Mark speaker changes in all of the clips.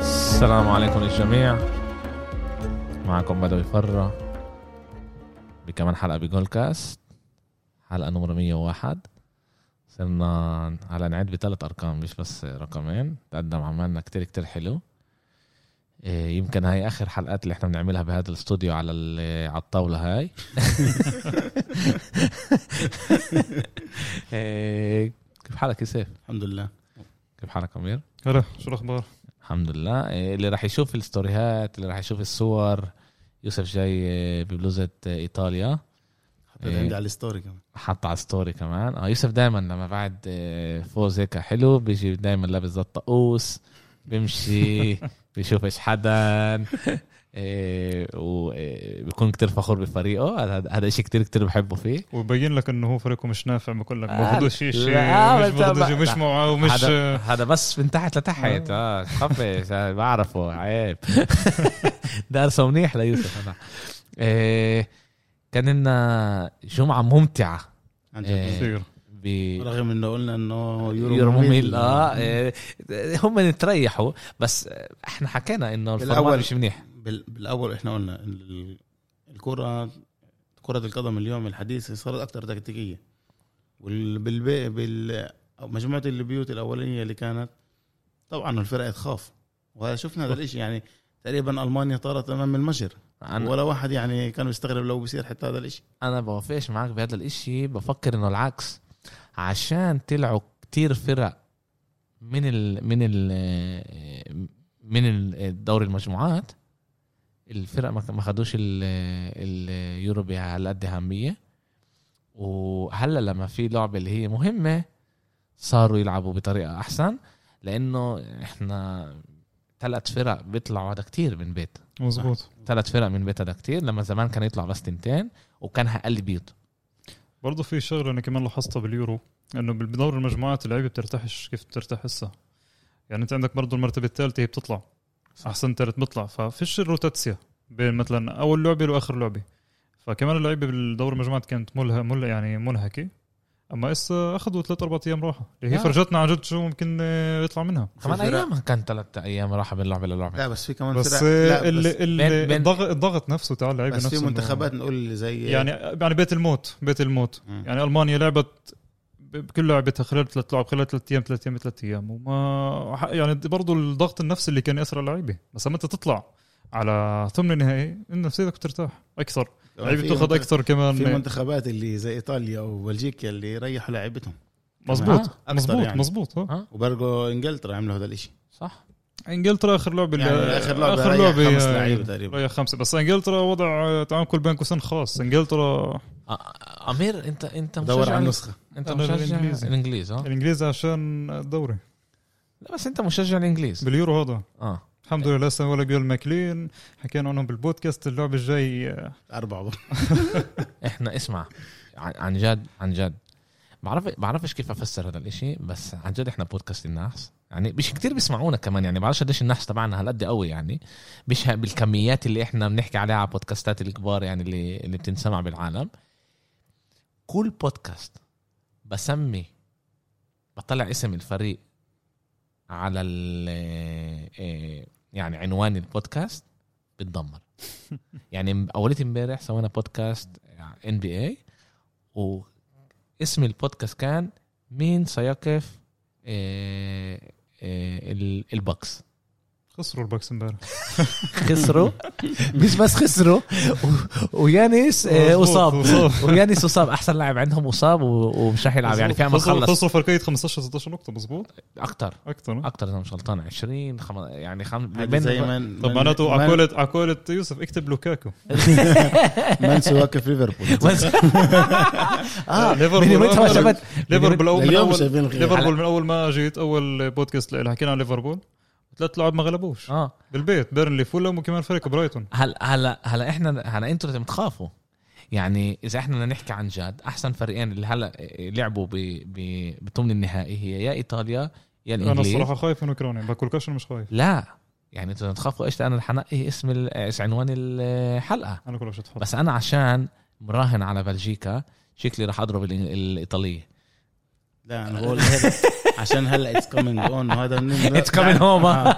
Speaker 1: السلام عليكم للجميع معكم بدوي فرة بكمان حلقة بجول كاست حلقة نمرة 101 صرنا على نعد بثلاث أرقام مش بس رقمين تقدم عملنا كتير كتير حلو إيه، يمكن هاي آخر حلقات اللي احنا بنعملها بهذا الاستوديو على ال- على الطاولة هاي إيه، كيف حالك يا سيف؟
Speaker 2: الحمد لله
Speaker 1: كيف حالك أمير؟
Speaker 3: هلا شو الاخبار؟
Speaker 1: الحمد لله إيه، اللي راح يشوف الستوريهات اللي راح يشوف الصور يوسف جاي إيه، ببلوزة إيه، ايطاليا
Speaker 2: حطيت
Speaker 1: إيه.
Speaker 2: عندي على الستوري كمان
Speaker 1: حط على ستوري كمان اه يوسف دائما لما بعد إيه، فوز هيك حلو بيجي دائما لابس زي الطقوس بيمشي بيشوف إيه، ايش حدا وبيكون آه، كتير فخور بفريقه هذا هذا شيء كتير كتير بحبه فيه
Speaker 3: وبين لك انه هو فريقه مش نافع بقول لك
Speaker 1: آه،
Speaker 3: باخذوش شيء شيء
Speaker 1: لا،
Speaker 3: مش
Speaker 1: بس-
Speaker 3: باخذوش مش آه، معه ومش
Speaker 1: هذا آه. هذا بس من تحت لتحت اه خفش آه، بعرفه عيب دارسه منيح ليوسف انا إيه، كان لنا جمعه ممتعه
Speaker 2: عن
Speaker 1: إيه.
Speaker 2: جد
Speaker 3: كثير
Speaker 1: ب
Speaker 2: رغم انه قلنا انه
Speaker 1: يورو ممل اه إيه، هم نتريحوا بس احنا حكينا انه الفورمات
Speaker 2: بالأول.
Speaker 1: مش منيح
Speaker 2: بال- بالاول احنا قلنا إن ال- الكره كره القدم اليوم الحديثه صارت اكثر تكتيكيه وبالبيع بال أو مجموعه البيوت الاوليه اللي كانت طبعا الفرق تخاف وهذا شفنا هذا الشيء يعني تقريبا المانيا طارت امام المجر
Speaker 1: انا
Speaker 2: ولا واحد يعني كان مستغرب لو بيصير حتى هذا الشيء
Speaker 1: انا بوافقش معك بهذا الاشي بفكر انه العكس عشان طلعوا كتير فرق من ال من ال من ال- دوري المجموعات الفرق ما ما خدوش ال- اليورو على قد اهميه وهلا لما في لعبه اللي هي مهمه صاروا يلعبوا بطريقه احسن لانه احنا ثلاث فرق بيطلعوا هذا كتير من بيت
Speaker 3: مزبوط
Speaker 1: ثلاث فرق من بيت هذا كتير لما زمان كان يطلع بس تنتين وكان اقل بيض
Speaker 3: برضه في شغله انا كمان لاحظتها باليورو انه بدور المجموعات اللعيبه بترتاحش كيف بترتاح هسه يعني انت عندك برضه المرتبه الثالثه هي بتطلع احسن ثالث بيطلع ففيش الروتاتسيا بين مثلا اول لعبه واخر لعبه فكمان اللعيبه بالدور المجموعات كانت ملهى مل يعني منهكه اما هسه اخذوا ثلاث اربع ايام راحه اللي هي
Speaker 1: آه.
Speaker 3: فرجتنا عن جد شو ممكن آه، يطلع منها
Speaker 1: كمان
Speaker 2: في فرق.
Speaker 1: ايامها كان ثلاث ايام راحه من لعبه للعبه
Speaker 2: لا بس في كمان
Speaker 3: بس
Speaker 2: فرق لا
Speaker 3: ال-
Speaker 2: بس,
Speaker 3: ال-
Speaker 1: بين- بين-
Speaker 3: الضغط الضغط نفسه تاع اللعيبه
Speaker 2: بس
Speaker 3: نفسه
Speaker 2: في
Speaker 3: إنه-
Speaker 2: منتخبات نقول زي آه،
Speaker 3: يعني يعني بيت الموت بيت الموت
Speaker 2: مم.
Speaker 3: يعني المانيا لعبت ب- بكل لعبتها خلال ثلاث لعب خلال ثلاث ايام ثلاث ايام ثلاث ايام وما ح- يعني برضه الضغط النفسي اللي كان يأثر على اللعيبه بس لما انت تطلع على ثمن النهائي نفسيتك بترتاح اكثر اللعيبه
Speaker 2: في
Speaker 3: بتاخذ
Speaker 2: منتخب-
Speaker 3: اكثر
Speaker 2: في
Speaker 3: كمان
Speaker 2: منتخبات اللي زي ايطاليا وبلجيكا اللي ريحوا لاعبتهم
Speaker 3: مزبوط
Speaker 2: آه، أكثر
Speaker 3: مزبوط
Speaker 2: يعني.
Speaker 3: مزبوط ها.
Speaker 1: ها
Speaker 2: وبرجو انجلترا عملوا هذا الاشي
Speaker 1: صح
Speaker 3: انجلترا اخر لعبه اللي-
Speaker 2: يعني اخر لعبه اخر لعبه خمس لعيبه تقريبا
Speaker 3: ريح خمسه بس انجلترا وضع تعامل كل بين قوسين خاص انجلترا
Speaker 1: آه، امير انت انت
Speaker 2: دور
Speaker 1: مشجع
Speaker 2: على النسخه
Speaker 1: انت
Speaker 3: أنا
Speaker 1: مشجع
Speaker 3: الإنجليزي.
Speaker 1: الانجليز اه
Speaker 3: الانجليز عشان الدوري
Speaker 1: لا بس انت مشجع الانجليز
Speaker 3: باليورو هذا
Speaker 1: اه
Speaker 3: الحمد لله لسه ولا جول ماكلين حكينا عنهم بالبودكاست اللعبه الجاي آه،
Speaker 2: اربعه برضه.
Speaker 1: احنا اسمع عن عن جد عن جد بعرف بعرفش كيف افسر هذا الاشي بس عن جد احنا بودكاست النحس يعني مش كتير بيسمعونا كمان يعني بعرفش قديش النحس تبعنا هالقد قوي يعني مش ه- بالكميات اللي احنا بنحكي عليها على بودكاستات الكبار يعني اللي اللي بتنسمع بالعالم كل بودكاست بسمي بطلع اسم الفريق على ال إيه، يعني عنوان البودكاست بتدمر يعني م- اولت امبارح سوينا بودكاست ان بي اي واسم البودكاست كان مين سيقف إيه، إيه، ال- البوكس
Speaker 3: خسروا الباكس امبارح
Speaker 1: خسروا مش بس خسروا و- ويانس إيه،
Speaker 3: مظبوط،
Speaker 1: اصاب
Speaker 3: مظبوط.
Speaker 1: ويانس اصاب احسن لاعب عندهم اصاب و- ومش راح يلعب يعني في عم
Speaker 3: خسروا-
Speaker 1: خلص
Speaker 3: خسروا فرقيه 15 16 نقطه مزبوط
Speaker 1: اكثر
Speaker 3: اكثر
Speaker 1: اكثر اذا مش غلطان 20 خم... يعني خم...
Speaker 2: هذا زي
Speaker 1: بين
Speaker 2: من
Speaker 3: طب
Speaker 2: من-
Speaker 3: معناته
Speaker 2: من-
Speaker 3: عقولة عقولة يوسف اكتب لوكاكو
Speaker 1: آه،
Speaker 2: من سواكف ليفربول
Speaker 1: اه
Speaker 3: آه، ليفربول
Speaker 1: من يومتها ما
Speaker 3: أول-
Speaker 1: شبت
Speaker 3: ليفربول اول من
Speaker 2: اليوم
Speaker 3: اول
Speaker 2: شايفين الخير
Speaker 3: ليفربول من اول ما جيت اول بودكاست اللي حكينا عن ليفربول ثلاث لعب ما غلبوش
Speaker 1: اه
Speaker 3: بالبيت بيرنلي فولم وكمان فريق برايتون
Speaker 1: هلا هلا هلا احنا هلا انتوا لازم تخافوا يعني اذا احنا بدنا نحكي عن جد احسن فريقين اللي هلا لعبوا ب ب بثمن النهائي هي يا ايطاليا يا
Speaker 3: انا
Speaker 1: الانجليز
Speaker 3: الصراحه خايف من اوكرانيا باكولكاش أنا مش خايف
Speaker 1: لا يعني انتوا لازم تخافوا ايش لان حنقي اسم ال- إيش عنوان الحلقه
Speaker 3: انا كلش اتفضل
Speaker 1: بس انا عشان مراهن على بلجيكا شكلي راح اضرب ال- الايطاليه
Speaker 2: لا انا بقول هيك عشان هلا اتس كامينج اون وهذا
Speaker 1: It's coming home.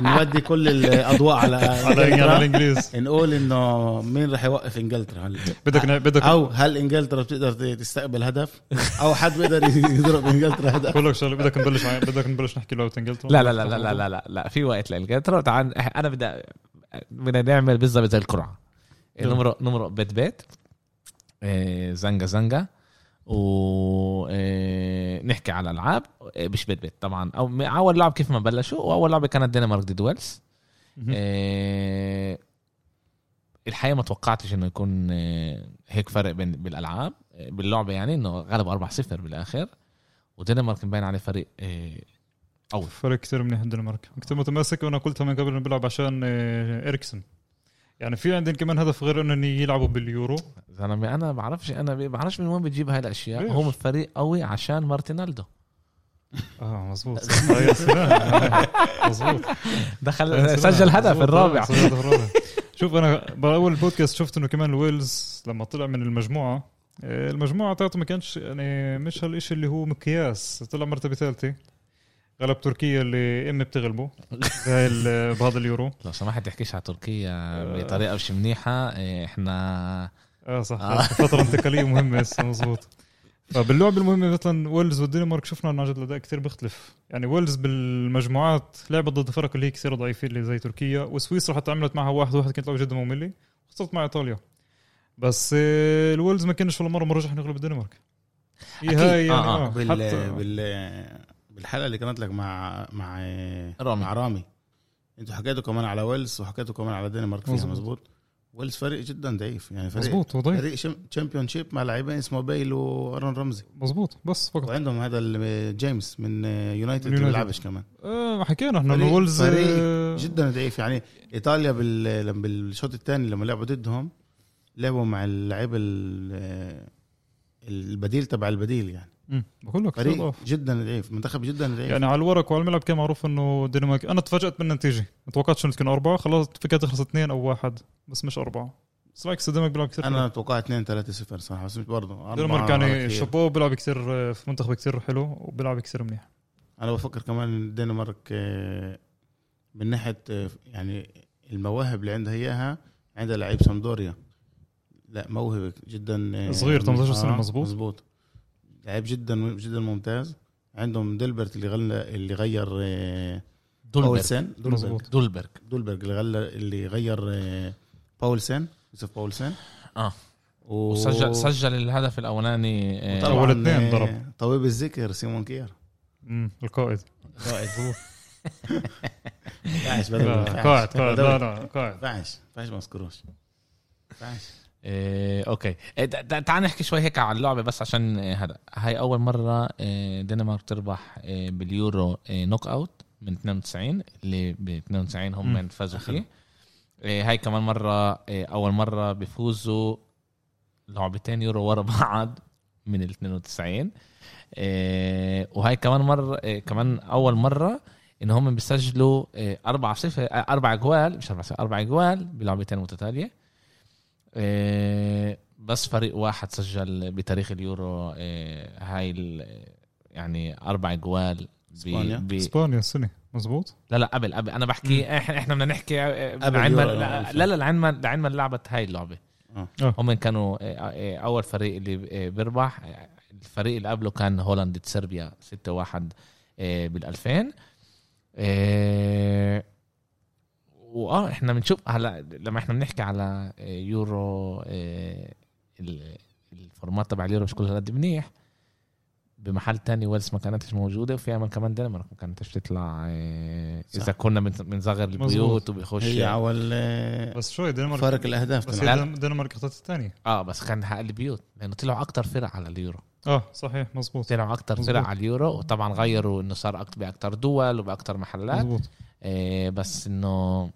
Speaker 2: نودي كل الاضواء على
Speaker 3: على على
Speaker 2: إنجلترا.
Speaker 3: الانجليز
Speaker 2: نقول انه مين راح يوقف انجلترا هلا
Speaker 3: بدك نا- بدك
Speaker 2: او هل انجلترا بتقدر تستقبل هدف او حد بيقدر يضرب انجلترا هدف
Speaker 3: بقول لك شغله بدك نبلش مع- بدك نبلش نحكي لو انجلترا
Speaker 1: لا لا لا لا لا لا لا, لا في وقت لانجلترا تعال انا بدي بدنا نعمل بالضبط زي القرعه نمرق نمرق بيت بيت إيه، زنقه زنقه ونحكي آه، على العاب إيه، مش بيت بيت طبعا او م- اول لعب كيف ما بلشوا واول لعبه كانت دنمارك ضد ويلز
Speaker 3: مهم.
Speaker 1: إيه، الحقيقه ما توقعتش انه يكون إيه، هيك فرق بين بالالعاب إيه، باللعبه يعني انه غلب 4-0 بالاخر ودنمارك مبين عليه فريق إيه، قوي
Speaker 3: فرق كثير منيح الدنمارك كنت متمسك وانا قلتها من قبل إنه بيلعب عشان آه، اريكسن يعني في عندهم كمان هدف غير انه يلعبوا باليورو
Speaker 1: زلمه انا بعرفش انا بعرفش من وين بتجيب هاي الاشياء
Speaker 3: ليش؟
Speaker 1: هم فريق قوي عشان مارتينالدو
Speaker 3: اه مزبوط آه، يا سلام. مزبوط
Speaker 1: دخل سجل هدف الرابع
Speaker 3: سجل هدف الرابع شوف انا باول بودكاست شفت انه كمان ويلز لما طلع من المجموعه آه، المجموعه تاعته ما كانش يعني مش هالشيء اللي هو مقياس طلع مرتبه ثالثه غلب تركيا اللي امي بتغلبه بهاي ال- بهذا اليورو
Speaker 1: لو سمحت تحكيش على تركيا بطريقه مش منيحه إيه، احنا
Speaker 3: اه صح
Speaker 1: آه.
Speaker 3: فتره انتقاليه مهمه هسه مزبوط فباللعب المهمه مثلا ويلز والدنمارك شفنا انه عن جد الاداء كثير بيختلف يعني ويلز بالمجموعات لعبت ضد فرق اللي هي كثير ضعيفين اللي زي تركيا وسويسرا حتى عملت معها واحد واحد كانت لعبه جدا ممله خسرت مع ايطاليا بس آه، الويلز ما كانش ولا مره مرجح نغلب الدنمارك هي
Speaker 1: أكيد.
Speaker 3: هاي يعني
Speaker 1: آه،
Speaker 3: آه
Speaker 1: آه.
Speaker 3: آه
Speaker 2: بال...
Speaker 3: حتى
Speaker 2: بال... بالحلقه اللي كانت لك مع مع
Speaker 1: رامي.
Speaker 2: مع رامي انتوا حكيتوا كمان على ويلز وحكيتوا كمان على دنمارك فيها
Speaker 3: مزبوط.
Speaker 2: مزبوط ويلز فريق جدا ضعيف يعني فريق
Speaker 3: مزبوط هو ضعيف
Speaker 2: فريق تشامبيون شيب مع لاعبين اسمه بيل وارون رمزي
Speaker 3: مزبوط بس فقط
Speaker 2: وعندهم هذا ال- جيمس من يونايتد
Speaker 3: من
Speaker 2: ما
Speaker 3: يونايتد.
Speaker 2: بيلعبش كمان
Speaker 3: آه حكينا احنا
Speaker 2: فريق-
Speaker 3: انه ويلز
Speaker 2: فريق
Speaker 3: آه،
Speaker 2: جدا ضعيف يعني ايطاليا بال... لما- بالشوط الثاني لما لعبوا ضدهم لعبوا مع اللعيبه ال- البديل تبع البديل يعني
Speaker 3: مم، بقول لك كتير
Speaker 2: فريق
Speaker 3: ضعف.
Speaker 2: جدا ضعيف منتخب جدا ضعيف
Speaker 3: يعني على الورق وعلى الملعب كان معروف انه الدنمارك انا تفاجات بالنتيجه ما توقعتش انه تكون اربعه خلاص فكرت تخلص اثنين او واحد بس مش اربعه بس بالعكس الدنمارك بيلعب كثير
Speaker 2: انا توقعت 2 3 0 صراحه بس برضه
Speaker 3: الدنمارك يعني شابو بيلعب كثير في منتخب كثير حلو وبيلعب كثير منيح
Speaker 2: انا بفكر كمان إن الدنمارك آه، من ناحيه آه، يعني المواهب اللي عندها اياها عندها لعيب سامدوريا لا موهبه جدا آه،
Speaker 3: صغير، 18 سنة،
Speaker 2: آه،
Speaker 3: مزبوط.
Speaker 2: مزبوط لعيب جدا جدا ممتاز عندهم ديلبرت اللي غلى اللي غير آه،
Speaker 1: دولبرغ
Speaker 2: باولسن دولبرغ
Speaker 3: مزبوط.
Speaker 1: دولبرغ
Speaker 2: دولبرغ اللي غلى اللي غير آه، باولسن يوسف باولسن
Speaker 1: اه
Speaker 2: و-
Speaker 1: وسجل سجل الهدف الاولاني إيه،
Speaker 2: وطبعاً،
Speaker 3: أول اتنين
Speaker 2: آه،
Speaker 3: ضرب.
Speaker 2: طبيب الذكر سيمون كير
Speaker 3: امم القائد
Speaker 2: فاحش بدل
Speaker 3: لا،
Speaker 2: ما
Speaker 3: قائد
Speaker 2: ينفعش.
Speaker 3: قائد
Speaker 2: بدل ما
Speaker 3: لا لا قائد
Speaker 2: ينفعش ينفعش ما اذكروش ينفعش.
Speaker 1: إيه، اوكي إيه، تع- تع- تعال نحكي شوي هيك عن اللعبه بس عشان إيه، هذا هاي اول مره إيه، دنمارك تربح إيه، باليورو إيه، نوك اوت من 92 اللي ب 92 هم
Speaker 3: مم.
Speaker 1: من فازوا فيه إيه، هاي كمان مره إيه، اول مره بيفوزوا لعبتين يورو ورا بعض من ال 92 إيه، وهاي كمان مره إيه، كمان اول مره ان هم بيسجلوا إيه، 4 0 4 جوال مش 4 0 4 جوال بلعبتين متتاليه إيه، بس فريق واحد سجل بتاريخ اليورو إيه، هاي ال- يعني اربع جوال ب-
Speaker 2: إسبانيا.
Speaker 1: ب-
Speaker 3: اسبانيا السنه مزبوط
Speaker 1: لا لا قبل قبل انا بحكي احنا احنا بدنا نحكي إيه،
Speaker 2: قبل
Speaker 1: لعلما
Speaker 2: اليورو،
Speaker 1: لا
Speaker 2: آه،
Speaker 1: لا لا، لعلما لعلما لعبت هاي اللعبه
Speaker 2: آه.
Speaker 3: آه.
Speaker 1: هم كانوا إيه، إيه، اول فريق اللي ب- إيه، بيربح إيه، الفريق اللي قبله كان هولندا ضد صربيا 6-1 إيه، بال 2000 إيه، واه احنا بنشوف هلا لما احنا بنحكي على إيه، يورو إيه، ال- الفورمات تبع اليورو مش كل هالقد منيح بمحل تاني ويلز ما كانتش موجوده وفي امل كمان دنمارك ما كانتش تطلع إيه،
Speaker 2: صح.
Speaker 1: اذا كنا بن- بنصغر البيوت
Speaker 3: مزبوط.
Speaker 1: وبيخش يعني.
Speaker 2: هي عوال آه،
Speaker 3: بس شوي الدنمارك
Speaker 2: فارق الاهداف
Speaker 3: بس
Speaker 2: تبع.
Speaker 1: لا.
Speaker 3: هي الدنمارك اخذت الثانيه
Speaker 1: اه بس كان اقل بيوت لانه طلعوا اكتر فرق على اليورو
Speaker 3: اه صحيح مزبوط
Speaker 1: طلعوا اكتر
Speaker 3: مظبوط.
Speaker 1: فرق على اليورو وطبعا غيروا انه صار أكتر باكتر دول وباكتر محلات
Speaker 3: مزبوط
Speaker 1: إيه بس انه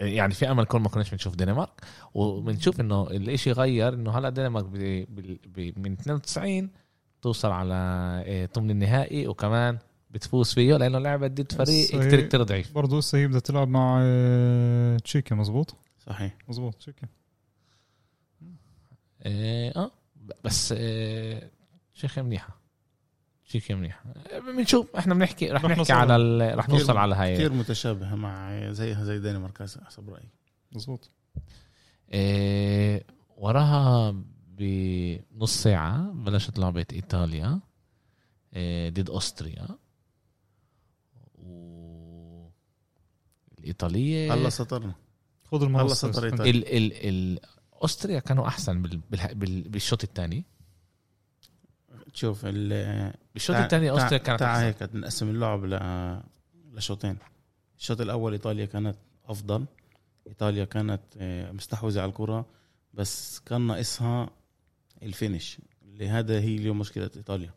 Speaker 1: يعني في امل كل ما كناش بنشوف دنمارك وبنشوف انه الاشي غير انه هلا دنمارك ب... ب... ب... من 92 توصل على إيه ثمن النهائي وكمان بتفوز فيه لانه لعبت ضد فريق
Speaker 3: صحيح.
Speaker 1: كتير كتير ضعيف
Speaker 3: برضه هسه هي بدها تلعب مع آه، تشيكيا مزبوط
Speaker 2: صحيح
Speaker 3: مزبوط تشيكيا
Speaker 1: آه، إيه اه بس إيه شيخ منيحه تشيكيا منيحه بنشوف احنا بنحكي رح
Speaker 3: رح
Speaker 1: نحكي
Speaker 3: نوصل
Speaker 1: على ال... رح
Speaker 2: كتير-
Speaker 1: نوصل على هاي
Speaker 2: كثير متشابهه مع زيها زي الدنمارك هسه حسب رايي
Speaker 3: مزبوط
Speaker 1: إيه... وراها بنص ساعه بلشت لعبه ايطاليا إيه... ضد اوستريا و الايطاليه
Speaker 2: هلا سطرنا
Speaker 3: خذ المنصة
Speaker 2: هلا سطر إيطاليا.
Speaker 1: ال ال ال اوستريا كانوا احسن بال... بال... بال... بالشوط الثاني
Speaker 2: تشوف ال-
Speaker 1: بالشوط
Speaker 2: تع-
Speaker 1: الثاني
Speaker 2: تع-
Speaker 1: اوستريا كانت
Speaker 2: تع
Speaker 1: احسن
Speaker 2: هيك نقسم اللعب ل... لشوطين الشوط الاول ايطاليا كانت افضل ايطاليا كانت آه، مستحوذه على الكره بس كان ناقصها الفينش لهذا هي اليوم مشكله ايطاليا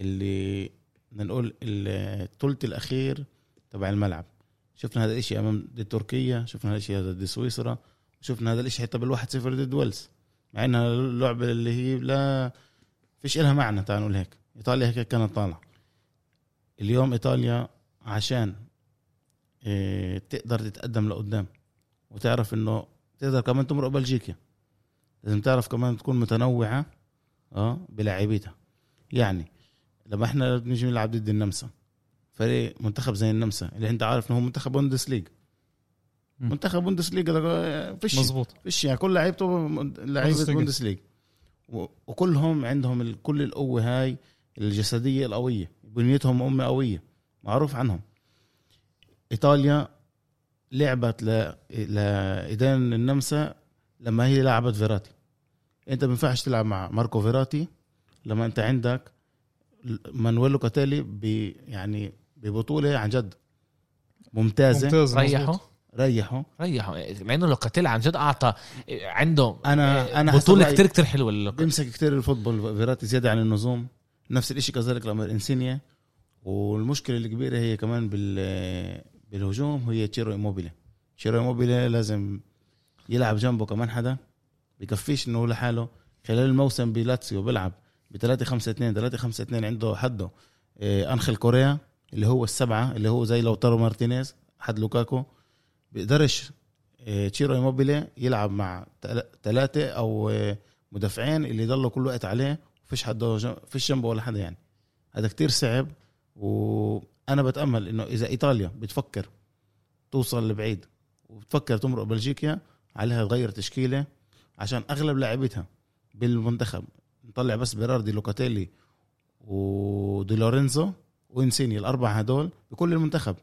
Speaker 2: اللي بدنا نقول الثلث الاخير تبع الملعب شفنا هذا الشيء امام ضد تركيا شفنا هذا الشيء هذا ضد سويسرا شفنا هذا الشيء حتى بالواحد صفر ضد ويلز مع انها اللعبه اللي هي لا فيش إلها معنى تعال نقول هيك ايطاليا هيك كانت طالعه اليوم ايطاليا عشان إيه، تقدر تتقدم لقدام وتعرف انه تقدر كمان تمرق بلجيكا لازم تعرف كمان تكون متنوعه اه بلاعيبتها يعني لما احنا بنيجي نلعب ضد النمسا فريق منتخب زي النمسا اللي انت عارف انه هو منتخب بوندس ليج
Speaker 3: مم.
Speaker 2: منتخب بوندس ليج فيش
Speaker 3: مزبوط
Speaker 2: فيش يعني كل لعيبته لعيبه
Speaker 3: بوندسليغا.
Speaker 2: بوندس ليج و- وكلهم عندهم ال- كل القوه هاي الجسديه القويه بنيتهم امه قويه معروف عنهم ايطاليا لعبت ل... لايدان النمسا لما هي لعبت فيراتي انت ما بينفعش تلعب مع ماركو فيراتي لما انت عندك مانويلو كاتالي ب... يعني ببطوله عن جد ممتازه, ممتاز.
Speaker 3: ممتاز
Speaker 1: ريحوا
Speaker 3: مزبوط.
Speaker 2: ريحه
Speaker 1: ريحوا مع انه لوكاتيل عن جد اعطى عنده
Speaker 2: انا انا حسب
Speaker 1: بطوله
Speaker 2: رأيي-
Speaker 1: كتير كتير حلوه للوكاتيل.
Speaker 2: بيمسك كتير الفوتبول فيراتي زيادة عن اللزوم نفس الشيء كذلك لما انسينيا والمشكلة الكبيرة هي كمان بال بالهجوم هي تشيرو إيموبيلي تشيرو إيموبيلي لازم يلعب جنبه كمان حدا بكفيش انه هو لحاله خلال الموسم بلاتسيو بيلعب ب 3 5 2 3 5 2 عنده حده آه، انخل كوريا اللي هو السبعه اللي هو زي لوتارو مارتينيز حد لوكاكو بيقدرش آه، تشيرو ايموبيلي يلعب مع ثلاثه او آه، مدافعين اللي يضلوا كل وقت عليه فيش حد فيش جنبه ولا حدا يعني هذا كتير صعب وانا بتامل انه اذا ايطاليا بتفكر توصل لبعيد وبتفكر تمرق بلجيكا عليها تغير تشكيله عشان اغلب لاعبتها بالمنتخب نطلع بس بيراردي لوكاتيلي ودي لورينزو وانسيني الاربع هدول بكل المنتخب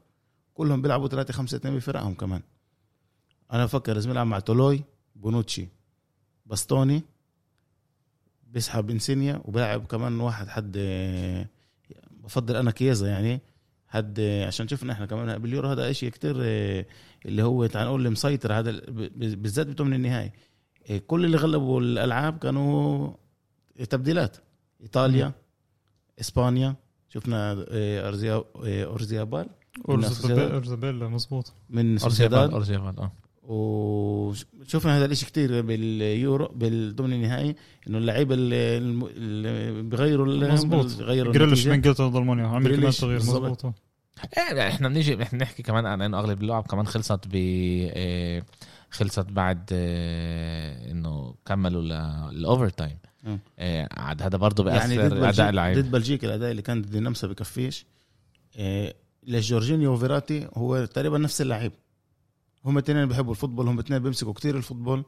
Speaker 2: كلهم بيلعبوا 3 5 2 بفرقهم كمان انا بفكر لازم يلعب مع تولوي بونوتشي باستوني بيسحب انسينيا وبيلعب كمان واحد حد آه، بفضل انا كيزا يعني حد آه، عشان شفنا احنا كمان باليورو هذا شيء كتير آه، اللي هو تعال نقول اللي مسيطر هذا ال- ب- ب- بالذات بتمن النهائي آه، كل اللي غلبوا الالعاب كانوا تبديلات ايطاليا اسبانيا شفنا آه، أرزيا- آه، اورزيابال
Speaker 3: أرزبيل- ارزابيلا مزبوط
Speaker 2: من
Speaker 1: أرسنال
Speaker 2: سوسيداد
Speaker 1: أرسنال اه
Speaker 2: وشفنا هذا الاشي كتير باليورو بالضمن النهائي انه اللعيبه اللي اللي بيغيروا ال-
Speaker 3: مظبوط.
Speaker 2: بيغيروا
Speaker 3: جريليش
Speaker 2: النتيجة.
Speaker 3: من انجلترا ضد المانيا عمل كمان
Speaker 2: جريليش
Speaker 3: تغيير
Speaker 2: بالظبط.
Speaker 3: مزبوط آه.
Speaker 1: ايه لا، احنا بنيجي احنا بنحكي كمان عن انه اغلب اللعب كمان خلصت ب إيه، خلصت بعد إيه، انه كملوا ل- الاوفر تايم
Speaker 2: آه.
Speaker 1: إيه، عاد هذا برضه
Speaker 2: يعني ضد
Speaker 1: بياثر اداء
Speaker 2: بلجيكا
Speaker 1: اللعيبه
Speaker 2: ضد بلجيكا الاداء اللي كان ضد النمسا بكفيش إيه، لجورجينيو وفيراتي هو تقريبا نفس اللعيب هم اثنين بيحبوا الفوتبول هم اثنين بيمسكوا كتير الفوتبول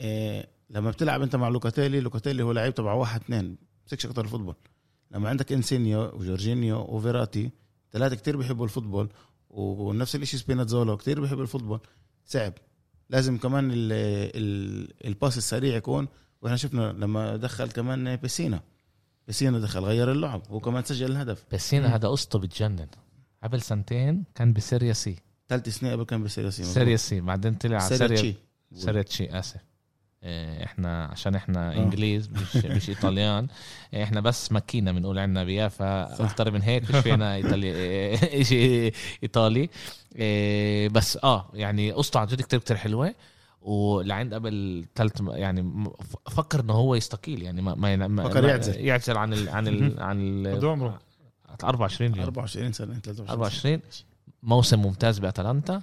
Speaker 2: إيه، لما بتلعب انت مع لوكاتيلي لوكاتيلي هو لعيب تبع واحد اثنين بيمسكش اكتر الفوتبول لما عندك انسينيو وجورجينيو وفيراتي ثلاثة كتير بيحبوا الفوتبول ونفس الشيء سبيناتزولا كتير بيحب الفوتبول صعب لازم كمان ال ال الباس السريع يكون واحنا شفنا لما دخل كمان بيسينا بيسينا دخل غير اللعب هو كمان سجل الهدف
Speaker 1: بس هنا هذا قصته بتجنن قبل سنتين كان بسيريا سي
Speaker 2: ثالث سنة قبل كان بسيريا سي
Speaker 1: سيريا سي بعدين طلع على
Speaker 2: سيريا
Speaker 1: سيريا
Speaker 2: تشي
Speaker 1: سيريا تشي اسف إيه، احنا عشان احنا
Speaker 2: آه.
Speaker 1: انجليز مش مش ايطاليان إيه، احنا بس مكينا بنقول عندنا بيافا
Speaker 2: صح.
Speaker 1: اكتر من هيك مش فينا ايطالي إيه، شيء ايطالي إيه، بس اه يعني قصته عن جد كتير كتير حلوه ولعند قبل ثالث يعني م- ف- فكر انه هو يستقيل يعني ما ما ما-
Speaker 2: فكر
Speaker 1: ما-
Speaker 2: يعتزل.
Speaker 1: يعتزل عن ال عن ال عن ال
Speaker 3: قد عمره
Speaker 1: 24 يوم
Speaker 2: 24 سنة 23
Speaker 1: 24 موسم ممتاز باتلانتا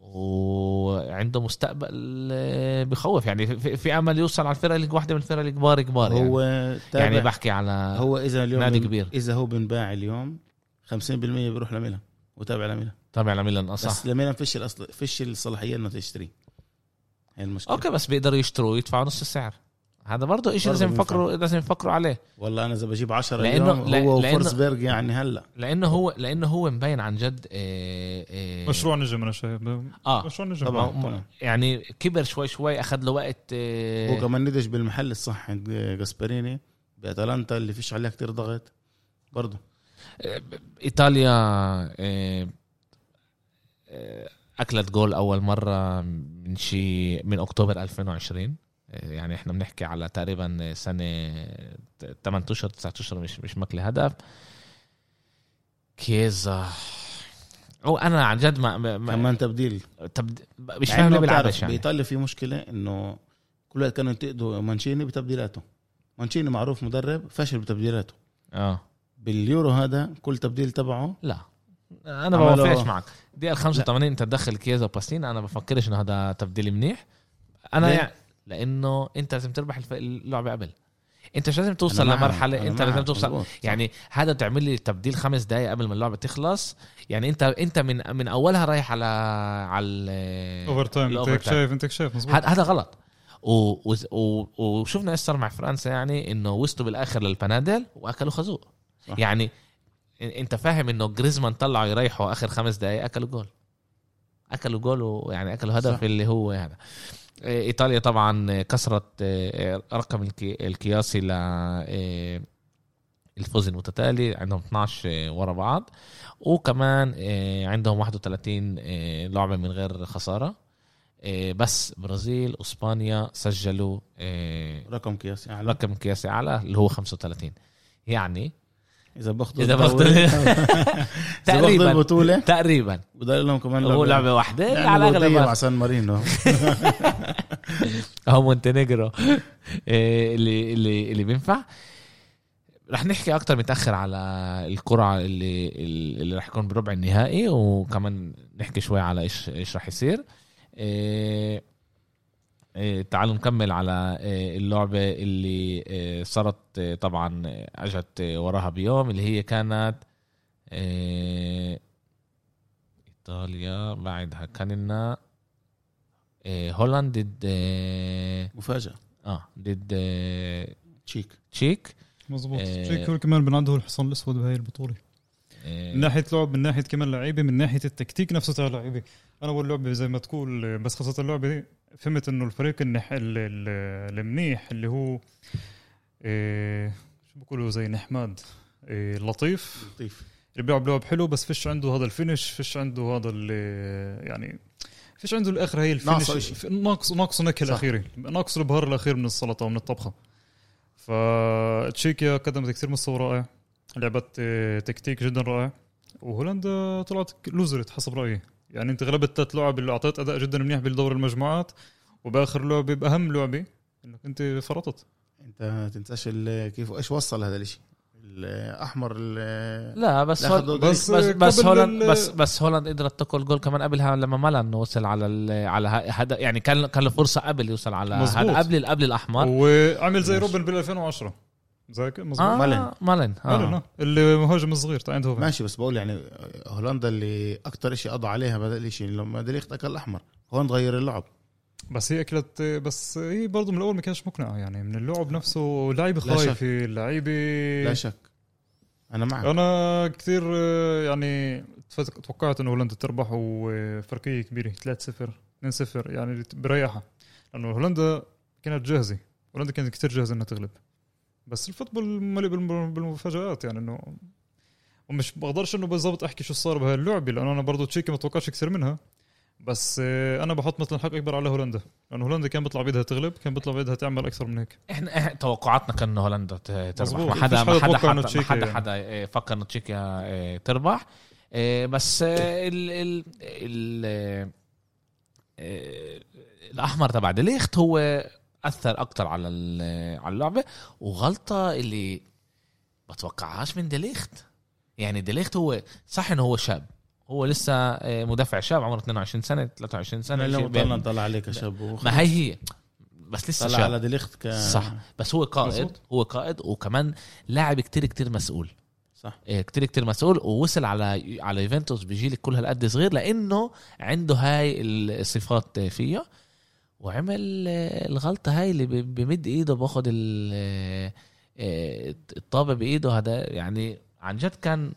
Speaker 1: و- وعنده مستقبل آه، بخوف يعني في, في امل يوصل على الفرق اللي- واحده من الفرق الكبار كبار
Speaker 2: هو
Speaker 1: يعني, يعني
Speaker 2: تابع
Speaker 1: بحكي على
Speaker 2: هو اذا اليوم
Speaker 1: نادي
Speaker 2: بن-
Speaker 1: كبير.
Speaker 2: اذا هو بنباع اليوم 50% بيروح لميلان وتابع لميلان
Speaker 1: تابع لميلان اه صح
Speaker 2: بس لميلان فيش الاصل فيش الصلاحيه انه تشتري هي المشكله
Speaker 1: اوكي بس بيقدروا يشتروا ويدفعوا نص السعر هذا برضه شيء
Speaker 2: برضه
Speaker 1: لازم
Speaker 2: بينفع.
Speaker 1: يفكروا لازم يفكروا عليه
Speaker 2: والله انا اذا بجيب 10
Speaker 1: لأنه-
Speaker 2: اليوم
Speaker 1: لا-
Speaker 2: هو
Speaker 1: لأنه-
Speaker 2: وفورسبرغ يعني هلا
Speaker 1: لانه هو لانه هو مبين عن جد آه، آه،
Speaker 3: مشروع نجم انا شايف
Speaker 1: اه
Speaker 3: مشروع نجم آه.
Speaker 2: طبعا
Speaker 1: م-
Speaker 2: طبعا
Speaker 1: يعني كبر شوي شوي اخذ له وقت آه،
Speaker 2: هو كمان ندج بالمحل الصح عند جاسبريني باتلانتا اللي فيش عليها كتير ضغط برضه
Speaker 1: ايطاليا آه، آه، اكلت جول اول مره من شي من اكتوبر 2020 آه، يعني احنا بنحكي على تقريبا سنه 8 اشهر 9 اشهر مش مش ماكله هدف كيزا او انا عن جد ما, ما ما-
Speaker 2: كمان تبديل
Speaker 1: طب مش
Speaker 2: مع
Speaker 1: فاهم
Speaker 2: إنه
Speaker 1: ليه
Speaker 2: بتعرف
Speaker 1: بيلعبش يعني
Speaker 2: بايطاليا في مشكله انه كل وقت كانوا ينتقدوا مانشيني بتبديلاته مانشيني معروف مدرب فاشل بتبديلاته
Speaker 1: اه
Speaker 2: باليورو هذا كل تبديل تبعه
Speaker 1: لا انا
Speaker 2: عمله-
Speaker 1: بوافقش معك دقيقه 85 انت تدخل كيزا وباستين انا بفكرش انه هذا تبديل منيح انا
Speaker 2: ليه؟
Speaker 1: يعني لانه انت لازم تربح الف- اللعبه قبل انت مش لازم توصل
Speaker 2: أنا معك،
Speaker 1: لمرحله
Speaker 2: أنا
Speaker 1: انت لازم
Speaker 2: معك،
Speaker 1: توصل
Speaker 2: مظبوط.
Speaker 1: يعني هذا تعمل لي تبديل خمس دقائق قبل ما اللعبه تخلص يعني انت انت من من اولها رايح على على ال-
Speaker 3: اوفر تايم انت
Speaker 1: الأوفر
Speaker 3: هيك
Speaker 1: تايم.
Speaker 3: شايف انت هيك شايف مزبوط
Speaker 1: هذا هذا غلط و... و... و... وشفنا ايش صار مع فرنسا يعني انه وصلوا بالاخر للبنادل واكلوا خازوق
Speaker 2: صح.
Speaker 1: يعني إن- انت فاهم انه جريزمان طلعوا يريحوا اخر خمس دقائق اكلوا جول اكلوا جول ويعني اكلوا هدف
Speaker 2: صح.
Speaker 1: اللي هو هذا إيه، ايطاليا طبعا كسرت إيه، رقم الكي- القياسي ل إيه، الفوز المتتالي عندهم 12 ورا بعض وكمان إيه، عندهم 31 إيه، لعبه من غير خساره إيه، بس برازيل اسبانيا سجلوا إيه،
Speaker 2: رقم قياسي اعلى
Speaker 1: رقم قياسي اعلى اللي هو 35 يعني
Speaker 2: اذا باخذوا
Speaker 1: اذا
Speaker 2: الدوري-
Speaker 1: باخذ
Speaker 2: اذا باخذوا
Speaker 1: تقريبا
Speaker 2: البطوله
Speaker 1: تقريبا
Speaker 2: وده لهم كمان
Speaker 1: هو لعبه
Speaker 2: يعني
Speaker 1: واحده على
Speaker 2: مع
Speaker 1: الاغلب
Speaker 2: سان مارينو
Speaker 1: هو مونتينيجرو إيه، اللي اللي اللي بينفع رح نحكي اكتر متاخر على القرعه اللي اللي رح يكون بربع النهائي وكمان نحكي شوي على ايش ايش رح يصير إيه، إيه، تعالوا نكمل على إيه، اللعبة اللي إيه، صارت إيه، طبعا إيه، اجت إيه، وراها بيوم اللي هي كانت إيه، ايطاليا بعدها كان لنا إيه، هولندا ضد إيه،
Speaker 2: مفاجاه
Speaker 1: اه ضد إيه،
Speaker 2: تشيك
Speaker 1: تشيك
Speaker 3: مزبوط
Speaker 1: آه.
Speaker 3: شيك هو كمان بنعده الحصان الاسود بهاي البطوله
Speaker 1: إيه،
Speaker 3: من ناحيه لعب من ناحيه كمان لعيبه من ناحيه التكتيك نفسه تاع اللعيبه انا اول لعبه زي ما تقول بس خلصت اللعبه دي فهمت انه الفريق النح... ال- ال- المنيح اللي هو إيه شو بيقولوا زي نحماد إيه لطيف
Speaker 2: لطيف
Speaker 3: اللي بيلعب لعب حلو بس فيش عنده هذا الفينش فيش عنده هذا ال- يعني فيش عنده الاخر هي الفينش
Speaker 2: ناقصه إشي.
Speaker 3: في- ناقص ناقصه النكهه
Speaker 2: صح.
Speaker 3: الاخيره ناقص البهار الاخير من السلطه ومن الطبخه فتشيكيا قدمت كثير مستوى رائع لعبت آه، تكتيك جدا رائع وهولندا طلعت ك- لوزرت حسب رايي يعني انت غلبت ثلاث لعب اللي اعطيت اداء جدا منيح بالدور المجموعات وباخر لعبه باهم لعبه انك انت فرطت
Speaker 2: انت ما تنساش ال- كيف ايش وصل هذا الاشي الاحمر ال-
Speaker 1: لا بس
Speaker 2: لا،
Speaker 1: هول... بس
Speaker 3: بس-
Speaker 1: بس, بس
Speaker 3: قبل
Speaker 1: هولند
Speaker 3: ال-
Speaker 1: بس بس هولند قدرت تاكل جول كمان قبلها لما مالن وصل على ال... على ه- هذا يعني كان كان له فرصه قبل يوصل على
Speaker 3: مظبوط.
Speaker 1: هذا قبل قبل الاحمر
Speaker 3: وعمل زي روبن بال 2010 زيك مظبوط
Speaker 1: آه
Speaker 3: آه.
Speaker 2: مالن.
Speaker 1: مالن آه.
Speaker 3: آه. المهاجم الصغير تاع ايندهوفن
Speaker 2: ماشي بس بقول يعني هولندا اللي اكتر اشي قضى عليها بدا الاشي لما دريخت اكل الاحمر هون غير اللعب
Speaker 3: بس هي اكلت بس هي برضه من الاول ما كانتش مقنعه يعني من اللعب نفسه لعيبه
Speaker 2: لا شك.
Speaker 3: خايفه
Speaker 2: لا
Speaker 3: لعيبه
Speaker 2: شك انا معك
Speaker 3: انا كثير آه، يعني تفت- توقعت انه هولندا تربح وفرقيه كبيره 3-0 2-0 يعني بريحها لانه هولندا كانت جاهزه هولندا كانت كثير جاهزه انها تغلب بس الفوتبول مليء بالم- بالمفاجات يعني انه ومش بقدرش انه بالضبط احكي شو صار بهاي اللعبه لانه انا برضه تشيكي ما توقعش كثير منها بس آه، انا بحط مثلا حق اكبر على هولندا لانه هولندا كان بيطلع بيدها تغلب كان بيطلع بيدها تعمل اكثر من هيك
Speaker 1: احنا إح- توقعاتنا كان إنه هولندا ت- تربح
Speaker 3: مظبوط.
Speaker 1: ما حدا
Speaker 3: فيش
Speaker 1: ما
Speaker 3: حدا
Speaker 1: حدا
Speaker 3: توقع إنه
Speaker 1: حدا ما
Speaker 3: تشيكيا
Speaker 1: حدا
Speaker 3: يعني.
Speaker 1: حدا إيه، فكر انه تشيكيا إيه، تربح إيه، بس إيه، ال ال ال إيه، الاحمر تبع ديليخت هو اثر اكثر على ال- على اللعبه وغلطه اللي بتوقعهاش من ديليخت يعني ديليخت هو صح انه هو شاب هو لسه آه، مدافع شاب عمره 22 سنه 23 سنه شيء
Speaker 2: لو
Speaker 1: بين-
Speaker 2: طلع طلع عليك يا شاب وخ-
Speaker 1: ما هي هي بس لسه
Speaker 2: طلع على
Speaker 1: شاب
Speaker 2: ديليخت ك
Speaker 1: صح بس هو قائد
Speaker 3: مظبوط.
Speaker 1: هو قائد وكمان لاعب كتير كتير مسؤول
Speaker 2: صح
Speaker 1: إيه، كتير كتير مسؤول ووصل على على يوفنتوس بجيل كل هالقد صغير لانه عنده هاي الصفات إيه، فيه وعمل آه، الغلطه هاي اللي ب- بمد ايده باخذ ال- إيه، آه، الطابه بايده هذا يعني عن جد كان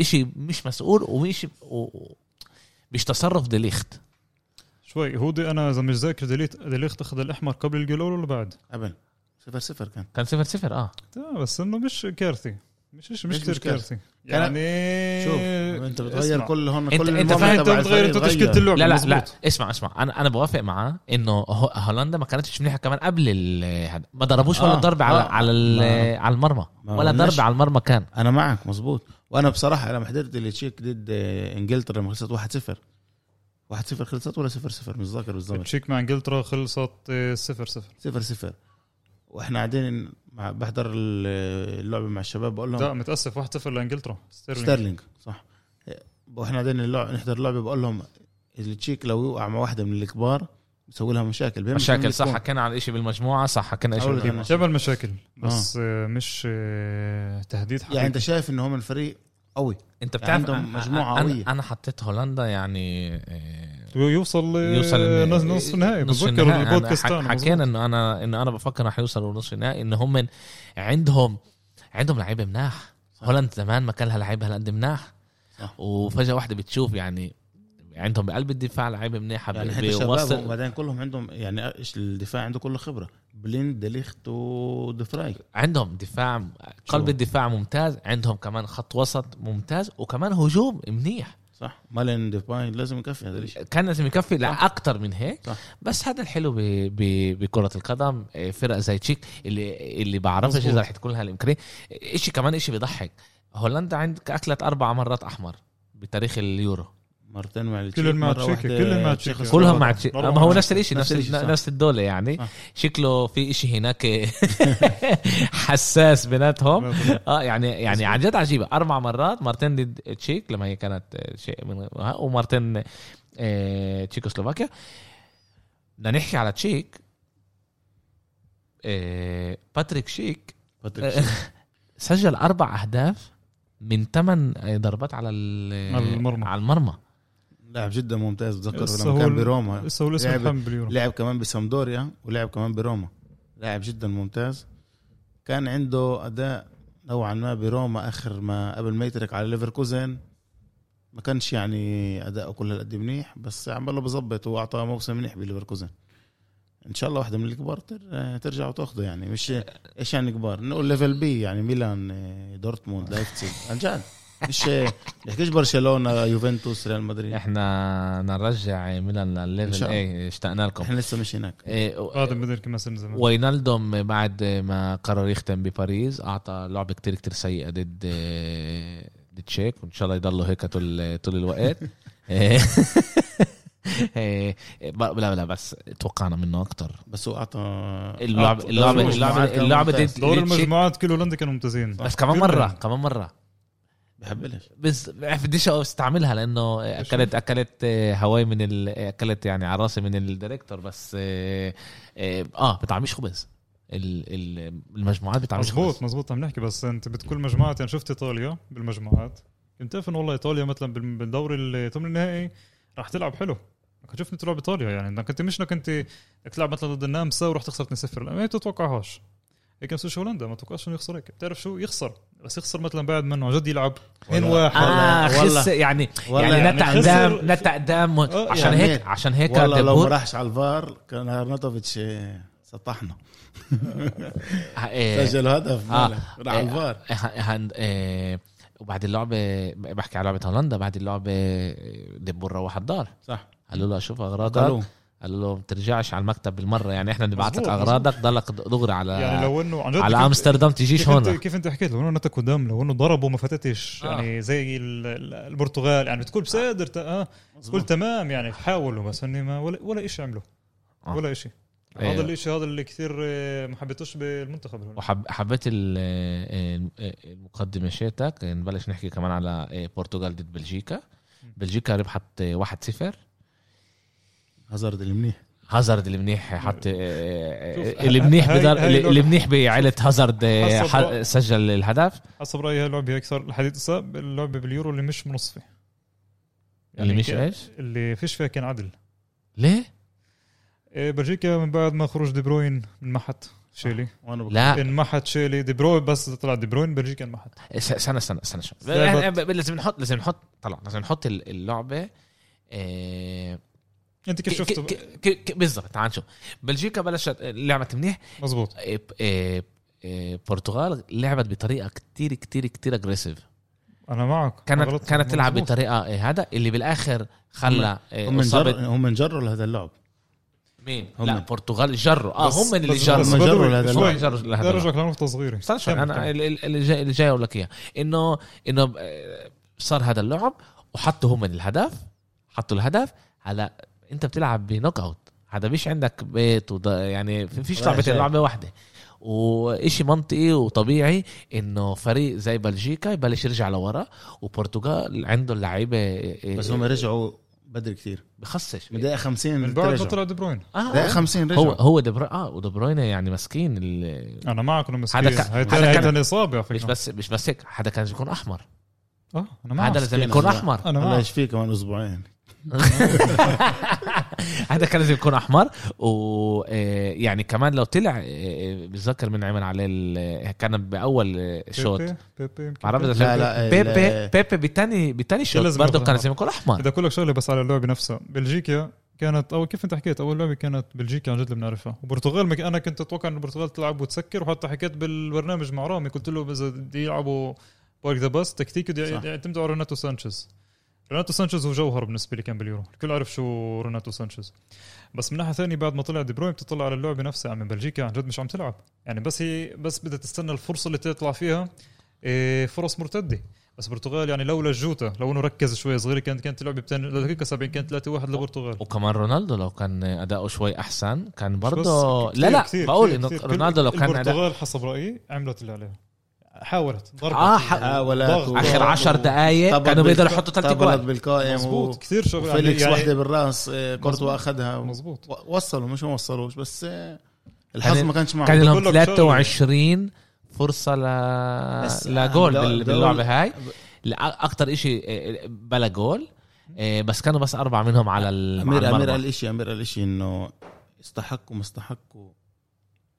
Speaker 1: اشي مش مسؤول ومش و- مش تصرف دليخت
Speaker 3: شوي هودي انا اذا مش ذاكر ديليت ديليخت اخذ الاحمر قبل الجلول ولا بعد؟
Speaker 2: ابدا صفر صفر كان
Speaker 1: كان صفر صفر اه
Speaker 3: لا بس انه مش كارثي مش مش, مش
Speaker 2: مش
Speaker 3: كثير
Speaker 2: كارثي.
Speaker 3: كارثي يعني
Speaker 2: شوف انت بتغير
Speaker 3: اسمع.
Speaker 2: كل هون
Speaker 1: انت-
Speaker 2: كل
Speaker 1: انت
Speaker 3: انت
Speaker 2: المنظر
Speaker 3: فاهم انت
Speaker 2: تبع
Speaker 3: بتغير
Speaker 2: الفريق
Speaker 3: انت تشكيله
Speaker 2: اتغير.
Speaker 3: اللعب
Speaker 1: لا لا لا
Speaker 3: مظبوط.
Speaker 1: اسمع اسمع انا انا بوافق معاه انه هو- هولندا ما كانتش منيحه كمان قبل ال- هذا ما ضربوش ولا
Speaker 2: آه،
Speaker 1: ضربه على
Speaker 2: آه.
Speaker 1: على ال- على المرمى
Speaker 2: ما
Speaker 1: ولا
Speaker 2: قلناش.
Speaker 1: ضربه على المرمى كان
Speaker 2: انا معك مزبوط وانا بصراحه لما حضرت التشيك ضد آه، انجلترا لما خلصت 1 0 1 0 خلصت ولا 0 0 مش ذاكر بالضبط
Speaker 3: تشيك مع انجلترا خلصت آه، صفر صفر
Speaker 2: 0 0 واحنا قاعدين مع بحضر ال- اللعبه مع الشباب بقول لهم
Speaker 3: لا متاسف 1-0 لانجلترا ستيرلينج
Speaker 2: ستيرلينج صح واحنا قاعدين اللع- نحضر اللعبه بقول لهم التشيك لو يوقع مع واحده من الكبار بيسوي لها مشاكل بهم
Speaker 1: مشاكل صح حكينا عن شيء بالمجموعه صح حكينا شيء
Speaker 2: أول
Speaker 1: بالمجموعة.
Speaker 2: كلمة.
Speaker 3: جبل مشاكل بس آه، مش آه، تهديد حقيقي
Speaker 2: يعني انت شايف ان هم الفريق قوي
Speaker 1: انت بتعرف
Speaker 2: عندهم
Speaker 1: أنا-
Speaker 2: مجموعة
Speaker 1: أنا-
Speaker 2: قوية.
Speaker 1: انا حطيت هولندا يعني آه،
Speaker 3: يوصل
Speaker 1: يوصل
Speaker 3: يوصل
Speaker 1: إن-
Speaker 3: نص نهائي
Speaker 1: نص
Speaker 3: بتذكر
Speaker 1: النهائي. أنا
Speaker 3: البودكاست
Speaker 1: حك-
Speaker 3: تاعنا
Speaker 1: حكينا
Speaker 3: مظبوط.
Speaker 1: انه انا انه انا بفكر رح يوصلوا نص النهائي ان هم عندهم عندهم لعيبه مناح
Speaker 2: صح.
Speaker 1: هولندا زمان ما كان لها لعيبه هالقد مناح
Speaker 2: صح.
Speaker 1: وفجاه واحده بتشوف يعني عندهم بقلب الدفاع لعيبه منيحه
Speaker 2: يعني حتى الشباب وبعدين كلهم عندهم يعني إيش الدفاع عنده كله خبره بليند دليخت ودفراي
Speaker 1: عندهم دفاع قلب
Speaker 2: شو.
Speaker 1: الدفاع ممتاز عندهم كمان خط وسط ممتاز وكمان هجوم منيح
Speaker 2: صح مالين ديباي لازم يكفي هذا الشيء
Speaker 1: كان لازم يكفي لاكثر من هيك
Speaker 2: صح.
Speaker 1: بس هذا الحلو ب... ب... بكره القدم إيه، فرق زي تشيك اللي اللي بعرفش
Speaker 3: مظبوط.
Speaker 1: اذا رح تكون لها الامكانيه شيء كمان شيء بيضحك هولندا عندك اكلت اربع مرات احمر بتاريخ اليورو
Speaker 2: مرتين مع التشيك
Speaker 3: كلهم مع
Speaker 2: مرة
Speaker 3: تشيك،
Speaker 2: واحدة
Speaker 3: كلهم مع
Speaker 2: تشيك
Speaker 3: تشيك.
Speaker 1: كلهم مع
Speaker 2: وسلوفاكيا.
Speaker 1: تشيك
Speaker 3: أربعة
Speaker 1: ما هو
Speaker 3: مرات.
Speaker 1: نفس الشيء نفس
Speaker 2: نفس الإشي،
Speaker 1: الشيء،
Speaker 2: صح.
Speaker 1: نفس الدوله يعني
Speaker 2: صح.
Speaker 1: شكله في إشي هناك حساس بيناتهم اه يعني يعني عن جد عجيبه اربع مرات مرتين ضد تشيك لما هي كانت آه، شيء من آه، ومرتين آه، تشيكوسلوفاكيا بدنا نحكي على تشيك آه، باتريك شيك
Speaker 2: باتريك شيك.
Speaker 1: سجل اربع اهداف من ثمان ضربات على ال-
Speaker 3: على المرمى.
Speaker 1: على المرمى
Speaker 2: لاعب جدا ممتاز بتذكر
Speaker 3: لسه
Speaker 2: لما كان
Speaker 3: هو-
Speaker 2: بروما
Speaker 3: لسه هو الاسم
Speaker 2: لعبة-
Speaker 3: الحام باليورو
Speaker 2: لعب كمان بسامدوريا ولعب كمان بروما لاعب جدا ممتاز كان عنده اداء نوعا ما بروما اخر ما قبل ما يترك على ليفركوزن ما كانش يعني اداؤه كل هالقد منيح بس عم بالله بظبط واعطى موسم منيح بليفركوزن ان شاء الله واحده من الكبار تر- ترجع وتاخده يعني مش ايش يعني كبار نقول ليفل بي يعني ميلان إيه، دورتموند لايبزيج عن جد مش نحكيش برشلونه يوفنتوس ريال مدريد
Speaker 1: احنا نرجع آه، ميلان
Speaker 2: إيه. إن
Speaker 1: للليفل
Speaker 2: شاء
Speaker 1: ايه اشتقنا لكم
Speaker 2: احنا لسه مش هناك
Speaker 1: إيه، و-
Speaker 3: هذا بدل كما سن زمان
Speaker 1: وينالدوم بعد ما قرر يختم بباريس اعطى لعبه كتير كتير سيئه ضد آه، ضد تشيك وان شاء الله يضلوا هيك طول طول الوقت إيه. إيه، ب- لا لا بس توقعنا منه اكتر
Speaker 2: بس هو اعطى
Speaker 1: اللعبة-
Speaker 2: أعطى-
Speaker 1: اللعبة-
Speaker 2: دور
Speaker 1: اللعبة-
Speaker 2: المجموعات كان
Speaker 1: اللعبة
Speaker 2: ممتاز.
Speaker 1: ضد-
Speaker 3: دور
Speaker 1: ليتشيك.
Speaker 3: المجموعات كل هولندا كانوا ممتازين
Speaker 1: بس كمان
Speaker 3: كلهم.
Speaker 1: مره كمان مره
Speaker 2: بحبلش
Speaker 1: بس بديش استعملها لانه اكلت اكلت آه، هواي من ال... اكلت يعني على راسي من الدايركتور بس اه, آه, آه بطعميش خبز ال- ال- المجموعات بطعميش خبز
Speaker 3: مزبوط مزبوط عم نحكي بس انت بتقول مجموعات يعني شفت ايطاليا بالمجموعات كنت تعرف انه والله ايطاليا مثلا بال- بالدوري الثمن النهائي راح تلعب حلو كنت شفت تلعب ايطاليا يعني انك انت مش انك انت بدك تلعب مثلا ضد النمسا وراح تخسر 2-0 لا ما تتوقعهاش هيك نفس الشيء هولندا ما توقعش انه يخسر هيك بتعرف شو يخسر بس يخسر مثلا بعد منه عن جد يلعب 2-1
Speaker 1: اه
Speaker 2: والله-
Speaker 1: خس يعني
Speaker 2: والله
Speaker 1: يعني
Speaker 3: يعني
Speaker 1: نتع
Speaker 3: خسر-
Speaker 1: دام نتع دام
Speaker 3: آه،
Speaker 1: عشان
Speaker 2: يعني
Speaker 1: هيك عشان هيك
Speaker 2: والله لو ما
Speaker 1: دبور
Speaker 2: راحش على الفار كان هرناتوفيتش آه، سطحنا
Speaker 1: آه،
Speaker 2: سجل هدف
Speaker 1: آه.
Speaker 2: مالك راح على الفار
Speaker 1: آه، هن- آه، وبعد اللعبه بحكي على لعبه هولندا بعد اللعبه دبور روح على الدار
Speaker 2: صح
Speaker 1: قالوا له شوف اغراضك
Speaker 2: قالوا
Speaker 1: قال له ما ترجعش على المكتب بالمره يعني احنا نبعث لك
Speaker 3: مظبوط،
Speaker 1: اغراضك ضلك دغري على
Speaker 3: يعني لو انه عن جد كنت-
Speaker 1: على امستردام تجيش
Speaker 3: كيف انت
Speaker 1: هون
Speaker 3: كيف انت حكيت لو انه نتك قدام لو انه ضربوا ما فتتش
Speaker 1: آه.
Speaker 3: يعني زي ال- ال- البرتغال يعني بتقول بصدر تا- اه بتقول تمام يعني حاولوا بس اني ما ولا ولا شيء عملوا
Speaker 1: آه.
Speaker 3: ولا شيء
Speaker 1: إيه.
Speaker 3: هذا الشيء هذا اللي كثير آه، ما حبيتوش بالمنتخب هون.
Speaker 1: وحبيت آه، المقدمه شيتك نبلش نحكي كمان على آه، برتغال آه، ضد بلجيكا بلجيكا ربحت آه، 1-0
Speaker 2: هازارد المنيح
Speaker 1: هازارد المنيح حط آه،
Speaker 3: شوف،
Speaker 1: المنيح
Speaker 3: هاي-
Speaker 1: بدار
Speaker 3: هاي لوك-
Speaker 1: المنيح بعيلة هازارد آه،
Speaker 3: حسب
Speaker 1: ح-
Speaker 3: رأ-
Speaker 1: سجل الهدف
Speaker 3: حسب رايي هاي اللعبه هيك صار لحد هسه اللعبه باليورو اللي مش منصفه
Speaker 1: اللي يعني مش
Speaker 3: ك-
Speaker 1: ايش؟
Speaker 3: اللي فيش فيها كان عدل
Speaker 1: ليه؟
Speaker 3: إيه، بلجيكا من بعد ما خروج دي بروين انمحت شيلي
Speaker 2: وانا بك...
Speaker 1: لا
Speaker 3: انمحت شيلي دي بروين بس طلع دي بروين بلجيكا انمحت
Speaker 1: س- استنى استنى استنى شوي.
Speaker 3: لعبة-
Speaker 1: إحنا ب- لازم نحط لازم نحط طلع لازم نحط ال- اللعبه آه،
Speaker 3: انت كيف
Speaker 1: ك-
Speaker 3: شفته
Speaker 1: ك- ك- ك- بالضبط تعال نشوف بلجيكا بلشت آه، لعبت منيح
Speaker 3: مزبوط
Speaker 1: آه، ب- آه، آه، البرتغال لعبت بطريقه كتير كتير كتير اجريسيف
Speaker 3: انا معك أنا غلط.
Speaker 1: كانت كانت تلعب
Speaker 3: مزبوط.
Speaker 1: بطريقه آه، هذا اللي بالاخر خلى آه،
Speaker 2: هم
Speaker 1: اصابه
Speaker 2: جر... هم جروا لهذا اللعب
Speaker 1: مين؟
Speaker 2: هم.
Speaker 1: لا البرتغال جروا اه
Speaker 3: بس-
Speaker 1: هم اللي
Speaker 3: بس-
Speaker 1: جروا
Speaker 3: بس
Speaker 2: هم جروا
Speaker 3: بدوي.
Speaker 2: لهذا
Speaker 3: شوي.
Speaker 1: اللعب. جروا لهذا
Speaker 3: بدي ارجعك لنقطه صغيره
Speaker 1: استنى شوي
Speaker 3: كمل،
Speaker 1: انا
Speaker 3: كمل.
Speaker 1: ال- ال- اللي جاي اللي جاي اقول لك اياه انه انه آه، صار هذا اللعب وحطوا هم الهدف حطوا الهدف هلا انت بتلعب بنوك اوت هذا مش عندك بيت وض... يعني في- فيش
Speaker 2: رايح
Speaker 1: لعبه
Speaker 2: جاي.
Speaker 1: لعبه واحده وإشي منطقي وطبيعي انه فريق زي بلجيكا يبلش يرجع لورا وبرتغال عنده اللعيبه
Speaker 2: بس هم رجعوا بدري كثير
Speaker 1: بخصش
Speaker 2: من دقيقه 50
Speaker 3: من بعد ما
Speaker 2: رجعوا.
Speaker 3: طلع دي بروين
Speaker 1: آه، آه.
Speaker 2: دقيقه 50 رجعوا
Speaker 1: هو هو دبر اه ودي بروين يعني مسكين ال-
Speaker 3: انا معك انه مسكين
Speaker 1: هذا كان-
Speaker 3: هاي
Speaker 1: هذا كان-
Speaker 3: كان اصابه على
Speaker 1: مش
Speaker 3: فكره
Speaker 1: بس مش بس هيك حدا كان يكون احمر
Speaker 3: اه انا معك
Speaker 1: هذا لازم
Speaker 2: مسكين
Speaker 1: يكون
Speaker 2: هذا.
Speaker 1: احمر
Speaker 3: انا
Speaker 2: الله
Speaker 3: معك
Speaker 2: يشفيه كمان اسبوعين
Speaker 1: هذا كان لازم يكون احمر ويعني يعني كمان لو طلع آه، بتذكر من عمل عليه ال- كان باول آه، شوط
Speaker 3: بيبي- بيبي يمكن.
Speaker 1: بعرف
Speaker 2: لا، لا،
Speaker 1: بيبي
Speaker 2: ال-
Speaker 1: بيبي بتاني بتاني شوط
Speaker 3: لازم
Speaker 1: برضه
Speaker 3: يكون
Speaker 1: كان
Speaker 3: أحمر.
Speaker 1: لازم يكون احمر
Speaker 3: بدي اقول لك شغله بس على اللعبه نفسها بلجيكا كانت او كيف انت حكيت اول لعبه كانت بلجيكا عن جد اللي بنعرفها وبرتغال مك... انا كنت اتوقع ان البرتغال تلعب وتسكر وحتى حكيت بالبرنامج مع رامي قلت له اذا بدي يلعبوا بارك ذا باس تكتيكي بدي
Speaker 2: صح.
Speaker 3: يعتمدوا على روناتو سانشيز روناتو سانشيز هو جوهر بالنسبه لي كان باليورو الكل عرف شو روناتو سانشيز بس من ناحيه ثانيه بعد ما طلع دي بروين بتطلع على اللعبه نفسها عم بلجيكا عن جد مش عم تلعب يعني بس هي بس بدها تستنى الفرصه اللي تطلع فيها إيه، فرص مرتده بس البرتغال يعني لولا الجوتا لو انه ركز شوي صغير كانت كانت اللعبه بتن... لدقيقه 70 كانت 3 1 للبرتغال
Speaker 1: وكمان رونالدو لو كان اداؤه شوي احسن كان
Speaker 3: مش بس،
Speaker 1: برضه
Speaker 3: كتير-
Speaker 1: لا لا
Speaker 3: كتير-
Speaker 1: بقول
Speaker 3: كتير-
Speaker 1: انه
Speaker 3: كتير.
Speaker 1: رونالدو لو كان أداء
Speaker 3: البرتغال حسب رايي عملت اللي عليها حاولت ضربت
Speaker 1: آه، ح-
Speaker 2: حاولت
Speaker 3: ضغط.
Speaker 1: اخر
Speaker 3: و-
Speaker 1: عشر دقائق
Speaker 2: طبلت
Speaker 1: كانوا بيقدروا
Speaker 2: بالك-
Speaker 1: يحطوا ثلاث
Speaker 2: طبلت
Speaker 1: اجوال
Speaker 2: بالقائم و...
Speaker 3: مظبوط كثير شغل
Speaker 2: وفيليكس
Speaker 3: يعني-
Speaker 2: واحدة بالراس آه، كورتوا اخذها و...
Speaker 3: مظبوط
Speaker 2: و- وصلوا مش ما وصلوش بس آه، الحظ
Speaker 1: كان-
Speaker 2: ما كانش معهم
Speaker 1: كان
Speaker 3: بقول
Speaker 1: لهم
Speaker 3: لك
Speaker 1: 23 فرصة ل
Speaker 2: بس آه،
Speaker 1: لجول
Speaker 2: دول-
Speaker 1: بال-
Speaker 2: دول-
Speaker 1: باللعبة هاي اكثر شيء آه، بلا جول إيه، بس كانوا بس أربعة منهم على ال- على
Speaker 2: امير امير
Speaker 1: المرمى.
Speaker 2: قال شيء امير قال شيء انه استحقوا ما استحقوا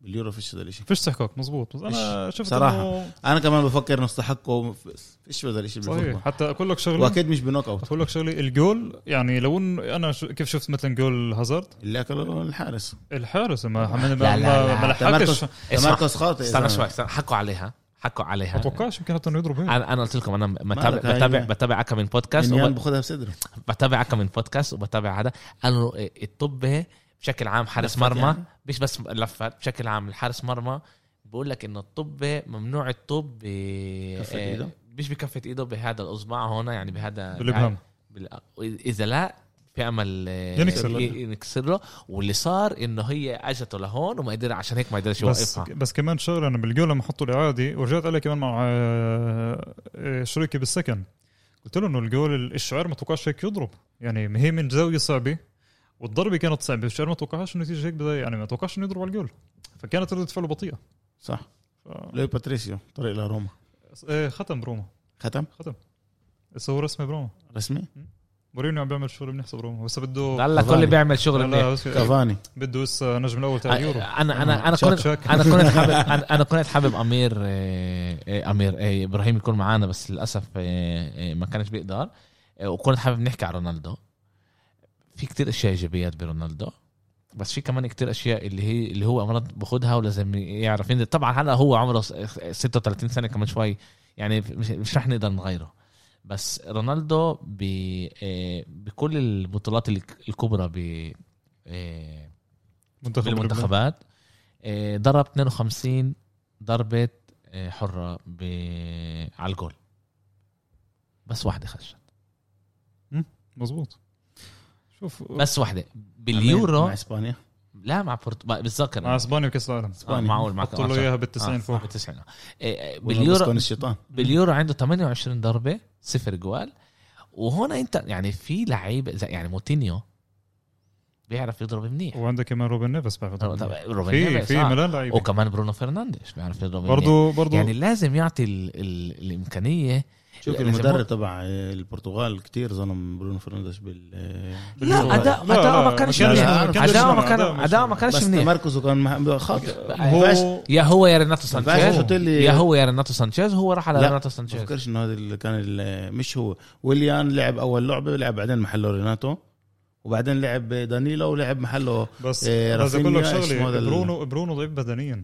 Speaker 2: باليورو فيش هذا الشيء
Speaker 3: فيش تحكك مظبوط بس انا شفت
Speaker 2: صراحة.
Speaker 3: إنه-
Speaker 2: انا كمان بفكر انه استحقوا ف- فيش هذا الشيء
Speaker 3: صحيح
Speaker 2: بالفوتبول
Speaker 3: حتى اقول لك شغله
Speaker 2: واكيد مش بنوك اوت
Speaker 3: اقول لك شغله الجول يعني لو إن انا ش... كيف شفت مثلا جول هازارد
Speaker 2: اللي اكله الحارس
Speaker 3: الحارس ما ما
Speaker 1: لا، لا،
Speaker 3: ما,
Speaker 1: لا.
Speaker 3: ما لحقش
Speaker 2: تمركز
Speaker 1: اسمع،
Speaker 2: تمركز خاطئ يا
Speaker 1: استنى
Speaker 2: زلمة.
Speaker 1: شوي استنى حكوا عليها حكوا عليها
Speaker 3: اتوقعش يمكن حتى انه يضرب هيك
Speaker 1: انا انا قلت لكم انا بتابع
Speaker 2: مالك هاي؟
Speaker 1: بتابع بتابع كم من بودكاست
Speaker 2: مينيان
Speaker 1: وب-
Speaker 2: بخدها بصدره
Speaker 1: بتابع كم من بودكاست وبتابع هذا قالوا إيه، الطب بشكل عام حارس
Speaker 2: لفت
Speaker 1: مرمى
Speaker 2: يعني؟
Speaker 1: مش بس لفات بشكل عام الحارس مرمى بقول لك انه الطب ممنوع الطب ب
Speaker 2: كفة
Speaker 1: آه،
Speaker 2: إيده؟
Speaker 1: مش بكفه ايده بهذا الاصبع هون يعني بهذا
Speaker 3: بالابهام
Speaker 1: بال- اذا لا في امل آه،
Speaker 3: ينكسر له.
Speaker 1: ي- ينكسر له واللي صار انه هي اجته لهون وما قدر عشان هيك ما قدرش
Speaker 3: بس
Speaker 1: يوقفها
Speaker 3: بس كمان شغله انا بالجول لما حطوا الاعاده ورجعت عليه كمان مع آه، آه، شريكي بالسكن قلت له انه الجول الشعر ما توقعش هيك يضرب يعني هي من زاويه صعبه والضربه كانت صعبه الشعر ما توقعش انه يجي هيك بداية يعني ما توقعش انه يضرب على الجول فكانت رده فعله بطيئه
Speaker 2: صح
Speaker 3: ف-
Speaker 2: لوي باتريسيو طريق لروما
Speaker 3: آه، ختم بروما
Speaker 2: ختم
Speaker 3: هسه هو رسمي بروما
Speaker 2: رسمي
Speaker 1: إيه.
Speaker 3: مورينيو عم بيعمل شغل منيح بروما هسه بده
Speaker 1: هلا كل
Speaker 2: كافاني.
Speaker 1: بيعمل شغل منيح
Speaker 3: هلا بس-
Speaker 2: كافاني
Speaker 3: بده هسه نجم الاول تاع اليورو
Speaker 1: انا انا انا
Speaker 3: شاك
Speaker 1: كنت
Speaker 3: شاك.
Speaker 1: انا كنت حابب انا أنا كنت حابب امير آه، آه، امير آه، ابراهيم يكون معانا بس للاسف آه، آه، ما كانش بيقدر آه، وكنت حابب نحكي على رونالدو في كتير اشياء ايجابيات برونالدو بس في كمان كتير اشياء اللي هي اللي هو امراض باخدها ولازم يعرف ينزل طبعا هلا هو عمره س- 36 سنه كمان شوي يعني مش مش رح نقدر نغيره بس رونالدو ب آه، بكل البطولات الك- الكبرى ب آه،
Speaker 3: منتخب لبنان.
Speaker 1: بالمنتخبات آه، ضرب 52 ضربة آه، حرة ب... على الجول بس واحدة خشت
Speaker 3: مزبوط شوف آه،
Speaker 1: بس واحدة باليورو
Speaker 2: مع اسبانيا
Speaker 1: لا مع بورت... بتذكر
Speaker 3: مع
Speaker 1: آه،
Speaker 3: اسبانيا وكاس العالم
Speaker 2: اسبانيا
Speaker 1: معقول معك
Speaker 3: حطوا له اياها بال 90 فوق
Speaker 1: بالتسعين آه، آه،
Speaker 2: باليورو
Speaker 1: باليورو
Speaker 2: الشيطان
Speaker 1: باليورو عنده 28 ضربة صفر جوال وهون انت يعني في لعيب زي- يعني موتينيو بيعرف يضرب منيح
Speaker 3: وعندك كمان روبن نيفس بعرف
Speaker 1: طب- طب روبن
Speaker 3: في
Speaker 1: نيفيز،
Speaker 3: في
Speaker 1: آه.
Speaker 3: ملان لعيبه
Speaker 1: وكمان برونو فرنانديز بيعرف يضرب منيح
Speaker 3: برضه برضه
Speaker 1: يعني لازم يعطي ال ال الامكانيه
Speaker 2: شوف
Speaker 1: لا،
Speaker 2: المدرب
Speaker 1: لازم-
Speaker 2: تبع البرتغال كتير ظلم برونو فرنانديز بال
Speaker 1: لا اداء
Speaker 3: لا،
Speaker 1: اداء
Speaker 3: لا،
Speaker 1: ما كانش
Speaker 2: ما كانش-
Speaker 1: منيح
Speaker 2: ما كانش
Speaker 1: اداء ما
Speaker 3: منيح،
Speaker 1: كان
Speaker 3: أداء مش
Speaker 1: اداء ما كانش
Speaker 2: بس
Speaker 1: منيح
Speaker 2: تمركزه كان مح- خاطئ ما ينفعش-
Speaker 3: هو
Speaker 1: يا هو يا ريناتو سانشيز
Speaker 2: ينفعش تقول لي-
Speaker 1: يا هو يا ريناتو سانشيز هو راح على
Speaker 2: لا،
Speaker 1: ريناتو
Speaker 2: ما
Speaker 1: سانشيز
Speaker 2: بفكرش انه هذا اللي كان ال- مش هو ويليان لعب اول لعبه لعب بعدين محله ريناتو وبعدين لعب دانيلو ولعب محله
Speaker 3: بس
Speaker 2: إيه،
Speaker 3: بس اقول لك
Speaker 2: رافينيا، اسمه هذا
Speaker 3: شغله
Speaker 2: ال-
Speaker 3: برونو برونو ضعيف بدنيا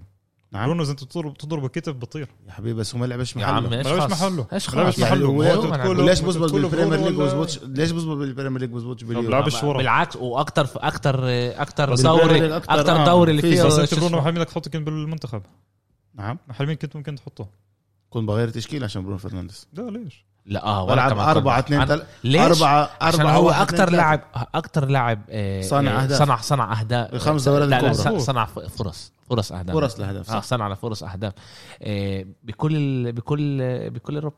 Speaker 2: نعم
Speaker 3: برونو اذا انت بتضرب بتضرب الكتف بطير
Speaker 2: يا حبيبي بس هو ما لعبش
Speaker 1: يا
Speaker 2: محله
Speaker 1: عم ايش
Speaker 3: ما لعبش
Speaker 1: خاص؟
Speaker 3: محله.
Speaker 1: ايش
Speaker 3: ما لعبش
Speaker 1: خاص
Speaker 2: محله.
Speaker 1: يعني
Speaker 2: وهو-
Speaker 1: هو-
Speaker 3: تقول له-
Speaker 2: ليش بزبط
Speaker 3: بتقول له
Speaker 2: بالبريمير
Speaker 3: برونو
Speaker 2: ليج
Speaker 3: ولا-
Speaker 2: وزبطش ليش بزبط بالبريمير ليج وزبطش
Speaker 3: طب
Speaker 2: باليورو
Speaker 3: لعبش ورا
Speaker 1: بالعكس واكثر اكثر اكثر
Speaker 2: بالبريمير ليج
Speaker 1: دوري
Speaker 2: أكتر،
Speaker 1: اكثر
Speaker 2: آه.
Speaker 1: دوري اللي
Speaker 2: في
Speaker 1: فيه
Speaker 3: بس
Speaker 1: شو
Speaker 3: انت
Speaker 1: اسمه؟
Speaker 3: برونو حميدك حطه كان بالمنتخب
Speaker 2: نعم
Speaker 3: حلمين كنت ممكن تحطه
Speaker 2: كنت بغير تشكيل عشان برونو فرنانديز
Speaker 3: لا ليش؟
Speaker 1: لا اه وأنا
Speaker 2: بلعب
Speaker 1: كمان كنت-
Speaker 2: 4 2
Speaker 1: أنا-
Speaker 2: 3
Speaker 1: ليش؟
Speaker 2: 4
Speaker 1: عشان
Speaker 2: 4
Speaker 1: هو اكثر لاعب اكثر لاعب آه،
Speaker 2: صنع
Speaker 1: آه،
Speaker 2: أهداف.
Speaker 1: صنع صنع اهداف
Speaker 2: الخمس دورات
Speaker 1: لا، لا،
Speaker 2: الكبرى.
Speaker 1: ص- صنع ف- فرص فرص اهداف
Speaker 2: فرص لهدف
Speaker 1: اه
Speaker 2: صح
Speaker 1: صنع فرص اهداف آه، بكل ال- بكل آه، بكل اوروبا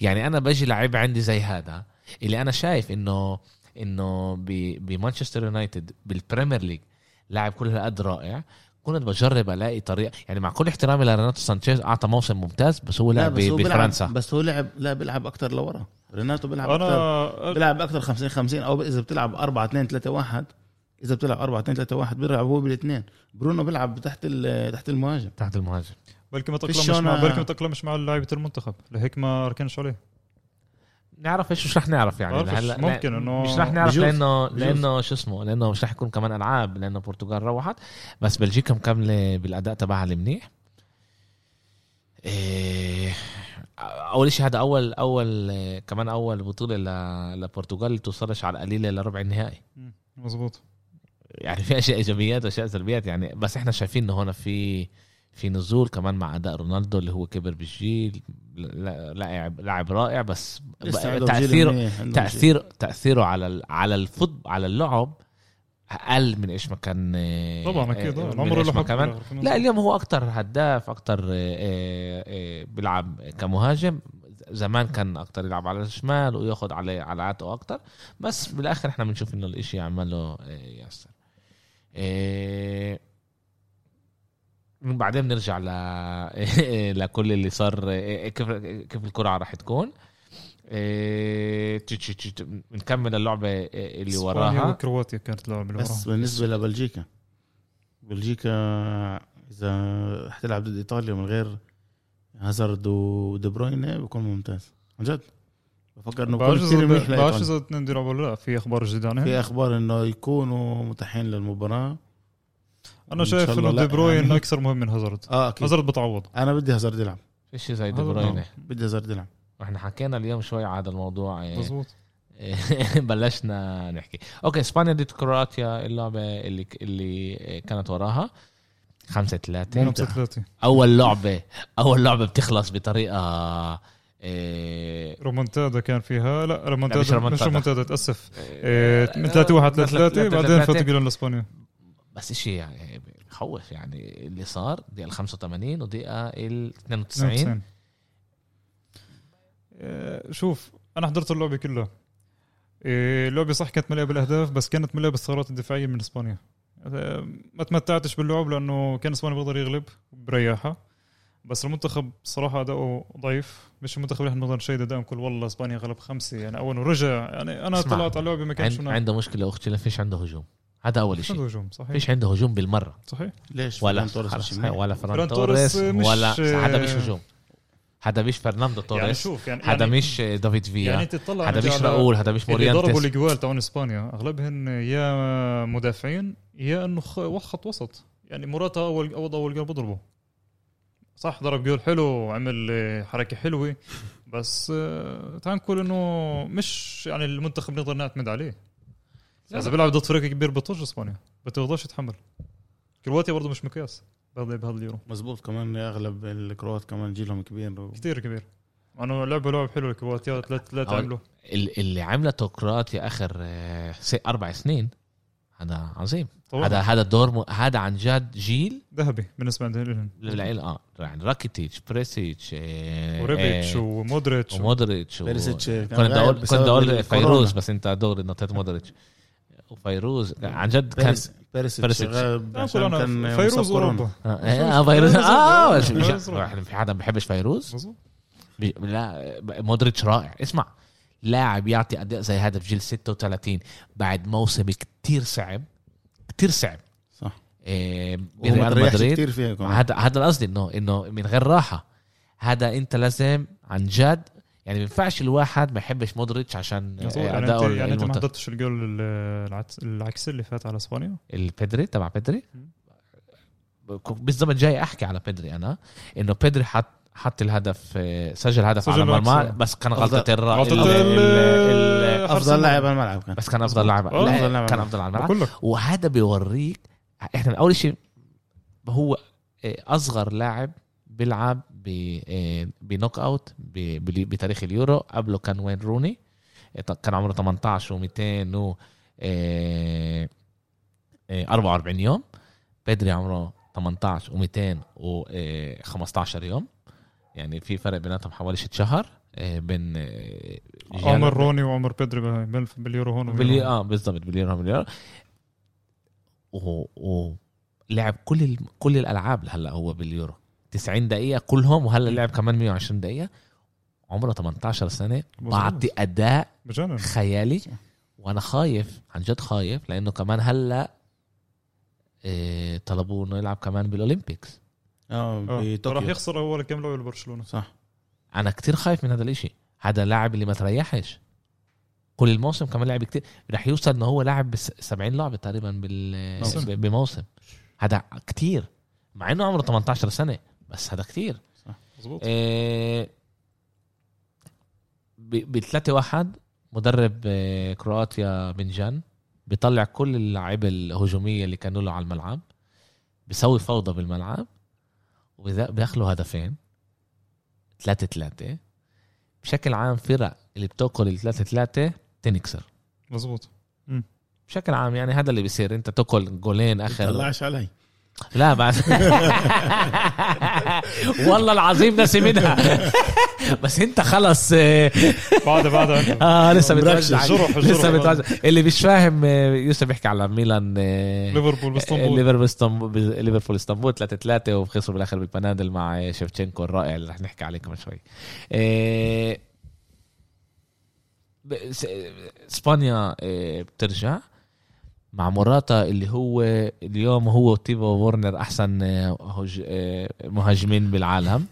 Speaker 1: يعني انا بجي لعيب عندي زي هذا اللي انا شايف انه انه ب- بمانشستر يونايتد بالبريمير ليج لاعب كل هالقد رائع كنت بجرب الاقي طريقه يعني مع كل احترامي لريناتو سانشيز اعطى موسم ممتاز بس هو لعب
Speaker 2: بس
Speaker 1: ب-
Speaker 2: هو بيلعب
Speaker 1: بفرنسا
Speaker 2: بس هو لعب لا بيلعب اكثر لورا ريناتو بيلعب اكثر
Speaker 3: انا
Speaker 2: بيلعب اكثر 50 50 او اذا بتلعب 4 2 3 1 اذا بتلعب 4 2 3 1 بيلعب هو بالاثنين برونو بيلعب تحت ال- تحت المهاجم
Speaker 1: تحت المهاجم
Speaker 3: بلكي ما
Speaker 2: فيش
Speaker 3: تاقلمش مع
Speaker 2: أنا-
Speaker 3: بلكي ما تاقلمش مع لعيبه المنتخب لهيك ما ركنش عليه
Speaker 1: نعرف ايش مش رح نعرف يعني
Speaker 3: بعرفش،
Speaker 1: هلا
Speaker 3: ممكن إنه-
Speaker 1: مش رح نعرف
Speaker 2: بجوز.
Speaker 1: لانه لانه شو اسمه لانه مش رح يكون كمان العاب لانه البرتغال روحت بس بلجيكا مكمله بالاداء تبعها المنيح إيه اول شيء هذا اول اول إيه، كمان اول بطوله ل- للبرتغال اللي توصلش على القليله لربع النهائي
Speaker 3: مزبوط
Speaker 1: يعني في اشياء ايجابيات واشياء سلبيات يعني بس احنا شايفين انه هون في في نزول كمان مع اداء رونالدو اللي هو كبر بالجيل لا- لاعب لاعب رائع بس
Speaker 2: لسه عندهم جيل
Speaker 1: تاثيره
Speaker 2: منيح، عندهم جيل.
Speaker 1: تاثير تاثيره على ال- على الفوت على اللعب اقل من ايش ما كان آه،
Speaker 3: طبعا اكيد
Speaker 1: آه،
Speaker 3: آه.
Speaker 1: من
Speaker 3: العمر
Speaker 1: إيش
Speaker 3: له
Speaker 1: ما
Speaker 3: حق
Speaker 1: كمان
Speaker 3: بالآخر.
Speaker 1: لا اليوم هو اكتر هداف اكتر آه، آه، آه، بيلعب كمهاجم زمان كان اكتر يلعب على الشمال وياخد على على عاتقه اكتر بس بالاخر احنا بنشوف انه الاشي عمله آه، ياسر آه، بعدين بنرجع ل آه، لكل اللي صار آه، كيف كيف القرعه راح تكون آه، تش- تش- تش- بنكمل اللعبه آه، اللي
Speaker 3: إسبانيا
Speaker 1: وراها
Speaker 3: وكرواتيا كانت لعبه اللي
Speaker 2: بس
Speaker 3: وراها
Speaker 2: بالنسبه لبلجيكا بلجيكا اذا حتلعب ضد ايطاليا من غير هازارد ودي بروين بيكون ممتاز عن جد بفكر انه بيكون
Speaker 3: بعرفش
Speaker 2: كثير منيح
Speaker 3: إذا- بعرفش
Speaker 2: لإيطاليا.
Speaker 3: اذا الاثنين بيلعبوا ولا لا في اخبار جديده عنها
Speaker 2: في اخبار انه يكونوا متاحين للمباراه
Speaker 3: انا
Speaker 2: إن
Speaker 3: شايف
Speaker 2: شاء الله
Speaker 3: انه دي
Speaker 2: لا،
Speaker 3: بروين
Speaker 2: يعني.
Speaker 3: اكثر مهم من هازارد
Speaker 2: اه اكيد
Speaker 3: هازارد بتعوض
Speaker 2: انا بدي هازارد يلعب
Speaker 1: فيش زي دي
Speaker 3: هذا
Speaker 1: بروين
Speaker 3: آه.
Speaker 2: بدي هازارد يلعب
Speaker 1: احنا حكينا اليوم شوي على هذا الموضوع
Speaker 2: إيه.
Speaker 1: آه،
Speaker 3: مزبوط
Speaker 1: بلشنا نحكي اوكي اسبانيا ضد كرواتيا اللعبه اللي اللي كانت وراها خمسة ثلاثة
Speaker 3: 5 3
Speaker 1: اول لعبه اول لعبه بتخلص بطريقه إيه
Speaker 3: رومونتادا كان فيها لا
Speaker 1: لا، مش
Speaker 3: رومونتادا
Speaker 1: رومونتادا.
Speaker 3: مش رومونتادا تاسف إيه، من 3 1 3 3 بعدين فاتوا جولين لاسبانيا
Speaker 1: بس شيء يعني بخوف يعني اللي صار دقيقه 85 ودقيقه ال 92
Speaker 3: 92 إيه، شوف انا حضرت اللعبه كلها إيه، اللعبه صح كانت مليئه بالاهداف بس كانت مليئه بالثغرات الدفاعيه من اسبانيا إيه، ما تمتعتش باللعب لانه كان اسبانيا بيقدر يغلب برياحه بس المنتخب صراحة أداؤه ضعيف مش المنتخب اللي احنا بنقدر نشيد أداء نقول والله اسبانيا غلب خمسة يعني أول ورجع يعني أنا
Speaker 1: اسمع،
Speaker 3: طلعت على اللعبة ما كانش
Speaker 1: عند
Speaker 3: هناك
Speaker 1: عنده مشكله اختي لا فيش عنده هجوم هذا اول
Speaker 3: عنده
Speaker 1: شيء
Speaker 3: هجوم صحيح
Speaker 1: فيش عنده هجوم بالمره
Speaker 3: صحيح
Speaker 2: ليش
Speaker 1: ولا
Speaker 2: فران توريس
Speaker 1: خلص،
Speaker 2: مش منيح؟
Speaker 1: ولا فران
Speaker 3: فران توريس
Speaker 1: توريس
Speaker 3: مش- آه،
Speaker 1: ولا هذا مش هجوم هذا مش فرناندو
Speaker 3: يعني
Speaker 1: توريس
Speaker 3: شوف يعني
Speaker 1: هذا
Speaker 3: يعني-
Speaker 1: مش دافيد فيا
Speaker 3: يعني تطلع
Speaker 1: هذا
Speaker 3: نرجع
Speaker 1: مش
Speaker 3: على-
Speaker 1: راؤول هذا مش
Speaker 3: اللي ضربوا
Speaker 1: موريانتس
Speaker 3: الجوال تاعون اسبانيا اغلبهن يا مدافعين يا انه خ- خط وسط يعني موراتا اول اول اول جول بضربه صح ضرب جول حلو وعمل آه، حركه حلوه بس آه، تعال نقول انه مش يعني المنتخب نقدر نعتمد عليه
Speaker 1: لا.
Speaker 3: اذا بيلعب ضد فريق كبير بطش اسبانيا بتقدرش تتحمل كرواتيا برضه مش مقياس بهذا بهذا اليورو
Speaker 2: مزبوط كمان اغلب الكروات كمان جيلهم كبير و...
Speaker 3: كثير كبير انه لعبوا لعب حلو الكرواتيا لا لا
Speaker 1: أول-
Speaker 3: تعملوا
Speaker 1: ال- اللي عملته كرواتيا اخر آه، س- اربع سنين هذا عظيم هذا
Speaker 3: طبعا
Speaker 1: هذا الدور م... هذا عن جد جيل
Speaker 3: ذهبي بالنسبه لهم
Speaker 1: للعيل اه يعني راكيتيتش بريسيتش إيه،
Speaker 3: وريبيتش
Speaker 1: إيه،
Speaker 3: ومودريتش و-
Speaker 1: ومودريتش و-
Speaker 2: بيريسيتش كان
Speaker 1: كنت بدي
Speaker 2: غايب
Speaker 1: اقول كنت
Speaker 2: بسبب
Speaker 1: بدي اقول
Speaker 2: الكورونا.
Speaker 1: فيروز بس انت دغري نطيت مودريتش وفيروز عن جد كان
Speaker 2: بيرس- بيرسيتش
Speaker 1: بيرسيتش.
Speaker 2: غاب
Speaker 3: آه،
Speaker 2: عشان
Speaker 3: كورونا.
Speaker 2: كان
Speaker 3: فيروز
Speaker 2: مصاب كورونا.
Speaker 3: اوروبا
Speaker 1: اه آه، فيروز
Speaker 3: فيروز-
Speaker 1: اه
Speaker 3: فيروز-
Speaker 1: بس مش-
Speaker 3: فيروز-
Speaker 1: واحد- في حدا ما بيحبش فيروز
Speaker 3: مظبوط
Speaker 1: بي- لا مودريتش رائع اسمع لاعب يعطي اداء زي هذا بجيل 36 بعد موسم كتير صعب كتير صعب
Speaker 2: صح
Speaker 1: إيه،
Speaker 2: وما
Speaker 1: بريال
Speaker 2: تريحش
Speaker 1: مدريد
Speaker 2: كثير فيها كمان
Speaker 1: هذا هذا القصد انه انه من غير راحه هذا انت لازم عن جد يعني ما ينفعش الواحد ما يحبش مودريتش عشان
Speaker 3: مظبوط.
Speaker 1: آه،
Speaker 3: يعني انت
Speaker 1: اداؤه
Speaker 3: يعني انت ما
Speaker 1: الممتاز.
Speaker 3: حضرتش الجول ال- العكس- العكسي اللي فات على اسبانيا
Speaker 1: البيدري تبع بيدري بالزمن جاي احكي على بيدري انا انه بيدري حط حط الهدف آه، سجل هدف
Speaker 3: سجل
Speaker 1: على المرمى
Speaker 3: العكس.
Speaker 1: بس كان
Speaker 2: أفضل-
Speaker 1: غلطه الر...
Speaker 3: غلطة
Speaker 1: ال-
Speaker 3: ال-
Speaker 1: ال- ال-
Speaker 3: حارس
Speaker 2: افضل
Speaker 3: المرمى.
Speaker 2: لاعب على الملعب كان
Speaker 1: بس كان افضل لاعب
Speaker 3: آه،
Speaker 1: لا،
Speaker 2: أفضل لاعب
Speaker 1: كان
Speaker 2: على
Speaker 1: افضل على الملعب
Speaker 3: بقول لك
Speaker 1: وهذا بيوريك احنا اول شيء هو آه، اصغر لاعب بيلعب ب- آه، بنوك اوت ب- بال- بتاريخ اليورو قبله كان وين روني آه، ط- كان عمره 18 و200 و آه، آه، 44 يوم بدري عمره 18 و200 و15 آه، يوم يعني في فرق بيناتهم حوالي 6 شهر آه، بين آه، جيل-
Speaker 3: عمر روني وعمر بيدري بال- باليورو هون وباليورو
Speaker 1: بلي...
Speaker 3: هون.
Speaker 1: اه بالضبط بليون مليار و... و... لعب كل ال... كل الالعاب هلا هو باليورو 90 دقيقه كلهم وهلا لعب كمان 120 دقيقه عمره 18 سنه
Speaker 3: مظبوط.
Speaker 1: بعطي اداء
Speaker 3: بجنن
Speaker 1: خيالي
Speaker 2: صح.
Speaker 1: وانا خايف عن جد خايف لانه كمان هلا إيه طلبوه انه يلعب كمان بالاولمبيكس
Speaker 2: اه
Speaker 3: آه. راح
Speaker 2: بطوكيو
Speaker 3: يخسر اول كم لعبه لبرشلونه
Speaker 2: صح
Speaker 1: انا كتير خايف من هذا الاشي هذا لاعب اللي ما تريحش كل الموسم كمان لعب كتير رح يوصل انه هو لاعب بس 70 لعبه تقريبا بال
Speaker 3: موسم.
Speaker 1: ب- بموسم هذا كتير مع انه عمره 18 سنه بس هذا كتير
Speaker 3: مظبوط
Speaker 1: إيه ب 3 1 مدرب آه، كرواتيا بنجان بيطلع كل اللعيبه الهجوميه اللي كانوا له على الملعب بيسوي فوضى بالملعب وبياخذوا هدفين 3 3 بشكل عام فرق اللي بتاكل ال 3 3 تنكسر
Speaker 3: مظبوط
Speaker 1: بشكل عام يعني هذا اللي بيصير انت تاكل جولين اخر
Speaker 2: طلعش علي
Speaker 1: لا بعد والله العظيم ناسي منها بس انت خلص آه،
Speaker 3: بعد بعد
Speaker 1: اه لسه
Speaker 2: مركز.
Speaker 1: بتوزع
Speaker 3: الجرح-
Speaker 1: لسه
Speaker 3: الجرح.
Speaker 1: بتوزع اللي مش فاهم آه، يوسف بيحكي على ميلان آه،
Speaker 3: ليفربول باسطنبول
Speaker 1: ليفربول اسطنبول ليفربول اسطنبول 3 3 وخسروا بالاخر بالبنادل مع آه، شيفتشينكو الرائع اللي رح نحكي عليه كمان شوي آه، ب- س- اسبانيا آه، بترجع مع موراتا اللي هو اليوم هو وتيبو وورنر احسن آه، هج- آه، مهاجمين بالعالم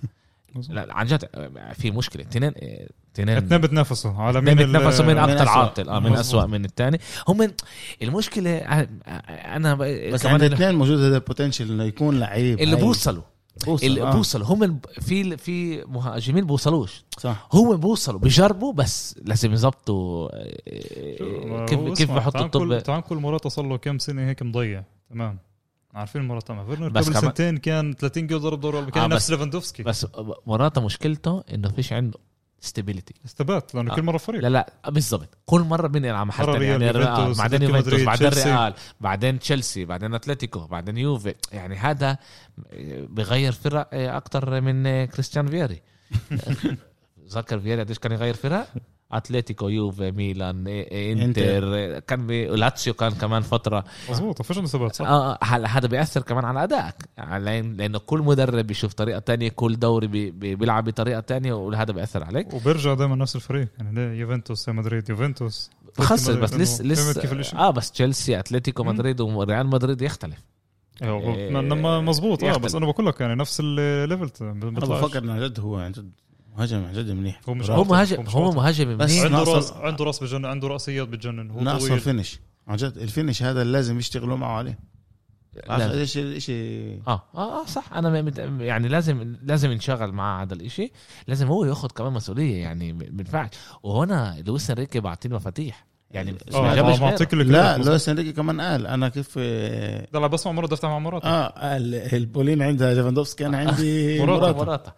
Speaker 3: مظبوط.
Speaker 1: لا عن جد آه، في مشكله تنين آه، تنين
Speaker 3: اثنين بتنافسوا على
Speaker 1: من
Speaker 3: مين ال-
Speaker 1: بتنافسوا من
Speaker 2: من
Speaker 1: اكثر
Speaker 2: أسوأ.
Speaker 1: عاطل اه من
Speaker 3: مظبوط.
Speaker 1: اسوء من الثاني هم المشكله آه، آه، انا ب-
Speaker 2: بس
Speaker 1: كمان
Speaker 2: عند
Speaker 1: اللي-
Speaker 2: الاثنين موجود هذا البوتنشل انه يكون لعيب
Speaker 1: اللي
Speaker 2: طيب، هاي.
Speaker 1: بوصلوا
Speaker 2: بوصل
Speaker 1: اللي
Speaker 2: آه.
Speaker 1: بوصلوا هم الب- في في مهاجمين بوصلوش
Speaker 2: صح
Speaker 1: هو بوصلوا بجربوا بس لازم يظبطوا آه،
Speaker 3: شو- هو
Speaker 1: كيف كيف
Speaker 3: اسمع،
Speaker 1: بحطوا
Speaker 3: تعال كل-
Speaker 1: الطب
Speaker 3: تعال كل موراتا صار له كم سنه هيك مضيع تمام عارفين موراتا مع فيرنر
Speaker 1: بس
Speaker 3: قبل
Speaker 1: كمان-
Speaker 3: سنتين كان 30 جول ضرب ضرب
Speaker 1: آه،
Speaker 3: كان
Speaker 1: بس-
Speaker 3: نفس ليفاندوفسكي
Speaker 1: بس مراته مشكلته انه فيش عنده ستابيليتي
Speaker 3: استبات لانه
Speaker 1: آه.
Speaker 3: كل مره فريق
Speaker 1: لا لا بالضبط كل مره بنلعب محل
Speaker 3: مرة
Speaker 1: تاني
Speaker 3: ريال،
Speaker 1: يعني الريال
Speaker 3: يوفنتوس،
Speaker 1: بعدين
Speaker 3: أتلتيكو
Speaker 1: يوفنتوس
Speaker 3: مدريد،
Speaker 1: بعدين
Speaker 3: تشيلسي.
Speaker 1: ريال بعدين تشيلسي بعدين اتلتيكو بعدين يوفي يعني هذا بغير فرق اكثر من كريستيان فيري ذكر فيري قديش كان يغير فرق اتلتيكو يوفي ميلان انتر كان بي- لاتسيو كان كمان فتره
Speaker 3: مظبوط ما فيش عنده ثبات صح
Speaker 1: اه آه، هلا هذا بياثر كمان على ادائك على- لانه كل مدرب بيشوف طريقه تانية كل دوري بي- بي- بيلعب بطريقه تانية وهذا بياثر عليك
Speaker 3: وبيرجع دائما نفس الفريق يعني ده يوفنتوس يا مدريد يوفنتوس
Speaker 1: بخسر
Speaker 3: مدريد،
Speaker 1: بس
Speaker 3: إنه
Speaker 1: لسه
Speaker 3: فهمت كيف
Speaker 1: لسه
Speaker 3: الاشي؟
Speaker 1: اه بس تشيلسي اتلتيكو
Speaker 3: مم.
Speaker 1: مدريد وريال مدريد يختلف
Speaker 3: ايوه
Speaker 1: إيه،
Speaker 3: ما- ما- مظبوط اه بس
Speaker 1: يختلف.
Speaker 3: انا بقول لك يعني نفس الليفل
Speaker 2: انا بفكر انه عن جد هو عن جد مهاجم عن جد منيح
Speaker 3: هو مش
Speaker 1: هو
Speaker 3: عارف.
Speaker 1: مهاجم
Speaker 3: مش
Speaker 1: هو
Speaker 3: عارف.
Speaker 1: مهاجم
Speaker 2: بس
Speaker 1: منيح.
Speaker 3: عنده
Speaker 2: ناقصة-
Speaker 3: راس عنده راس بجنن عنده راسيات بتجنن هو
Speaker 2: ناقصه
Speaker 3: طويل
Speaker 2: فينش عن جد الفينش هذا لازم يشتغلوا معه عليه بعرف
Speaker 1: لا.
Speaker 2: قديش الشيء
Speaker 1: اه اه اه صح انا مت- يعني لازم لازم ينشغل مع هذا الاشي لازم هو ياخذ كمان مسؤوليه يعني ما ينفعش وهنا لويس انريكي بعطيه المفاتيح يعني
Speaker 2: آه،
Speaker 1: مش
Speaker 3: اه
Speaker 1: جابش
Speaker 3: ما-
Speaker 1: غيره.
Speaker 3: معطيك
Speaker 2: لا
Speaker 3: الكريدت، مظبوط.
Speaker 2: لويس انريكي كمان قال انا كيف آه، اه
Speaker 3: ده لا بسمع مرة بدي افتح مع مرات
Speaker 2: آه، ال- البولين عندها ليفاندوفسكي انا عندي
Speaker 3: مرات.
Speaker 2: مرات
Speaker 1: مراته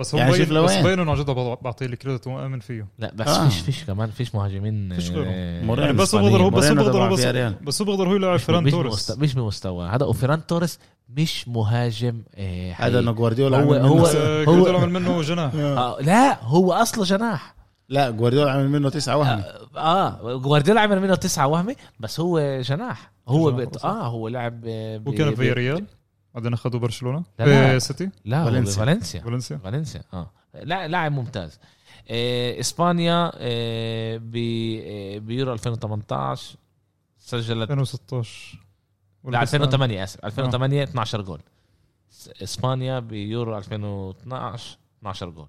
Speaker 3: بس هو
Speaker 2: يعني
Speaker 3: يعني
Speaker 2: شوف
Speaker 3: بين بس
Speaker 2: لوين.
Speaker 3: بين انه عن جد بع- بعطيه الكريدت ومآمن فيه
Speaker 1: لا بس
Speaker 2: آه.
Speaker 1: فيش فيش كمان فيش مهاجمين
Speaker 3: فيش غيره.
Speaker 1: آه،
Speaker 2: مورينو
Speaker 3: يعني بس هو
Speaker 2: الإسبانية.
Speaker 3: بقدر- هو بس
Speaker 2: مورينو
Speaker 3: بقدر-
Speaker 2: تبع
Speaker 3: هو بس-
Speaker 2: فياريال.
Speaker 3: بس هو بيقدر هو يلعب فران
Speaker 1: مش
Speaker 3: توريس
Speaker 1: بمستوى مش بمستوى هذا وفيران توريس مش مهاجم آه،
Speaker 2: هذا
Speaker 1: حقيقي.
Speaker 2: انه جوارديولا
Speaker 1: هو-
Speaker 2: عمل منه
Speaker 1: هو-
Speaker 2: س-
Speaker 3: آه، جوارديولا عمل منه جناح
Speaker 1: آه، لا هو اصله جناح
Speaker 2: لا جوارديولا عمل منه تسعة وهم
Speaker 1: اه جوارديولا عمل منه تسعة وهمي بس هو جناح هو
Speaker 3: جناح
Speaker 1: بت...
Speaker 3: خلاص.
Speaker 1: اه هو لعب آه، ب...
Speaker 3: وكان
Speaker 1: ب-
Speaker 3: في ريال بعدين اخذوا برشلونه
Speaker 1: لا، لا.
Speaker 3: إيه، سيتي
Speaker 1: لا
Speaker 2: فالنسيا.
Speaker 1: فالنسيا فالنسيا
Speaker 3: فالنسيا
Speaker 1: فالنسيا اه لا- لاعب ممتاز آه، اسبانيا آه، ب- آه، بيورو 2018 سجلت
Speaker 3: 2016
Speaker 1: لا
Speaker 3: والكأس العالم.
Speaker 1: 2008
Speaker 3: آه.
Speaker 1: اسف 2008 12 جول س- اسبانيا بيورو 2012 12 جول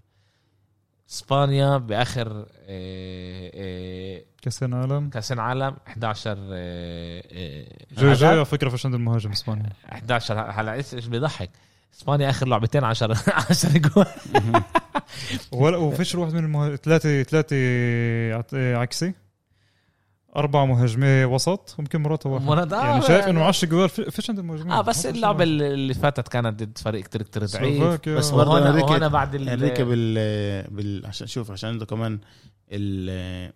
Speaker 1: اسبانيا باخر آه، آه،
Speaker 3: كاس العالم
Speaker 1: كاس العالم 11 آه، آه،
Speaker 3: جاي جاي
Speaker 1: هدف.
Speaker 3: على فكره فش عند المهاجم اسبانيا
Speaker 1: 11 هلا ايش إيش بيضحك اسبانيا اخر لعبتين 10 10 جول
Speaker 3: ولا وفيش واحد من المهاجم ثلاثه ثلاثه عت- عكسي اربع مهاجمين وسط ويمكن مراته واحد
Speaker 1: مرات- آه،
Speaker 3: يعني شايف
Speaker 1: يعني-
Speaker 3: انه 10 جوال في- فيش عند المهاجمين
Speaker 1: اه بس
Speaker 3: ما فيش
Speaker 1: اللعبه
Speaker 3: عندهم.
Speaker 1: اللي فاتت كانت ضد فريق كتير كتير ضعيف
Speaker 3: سلوفاكيا.
Speaker 2: بس برضه
Speaker 1: وهنا وهنا
Speaker 2: انريكي
Speaker 1: بعد ال- آه،
Speaker 2: انريكي بال بال عشان شوف عشان عنده كمان ال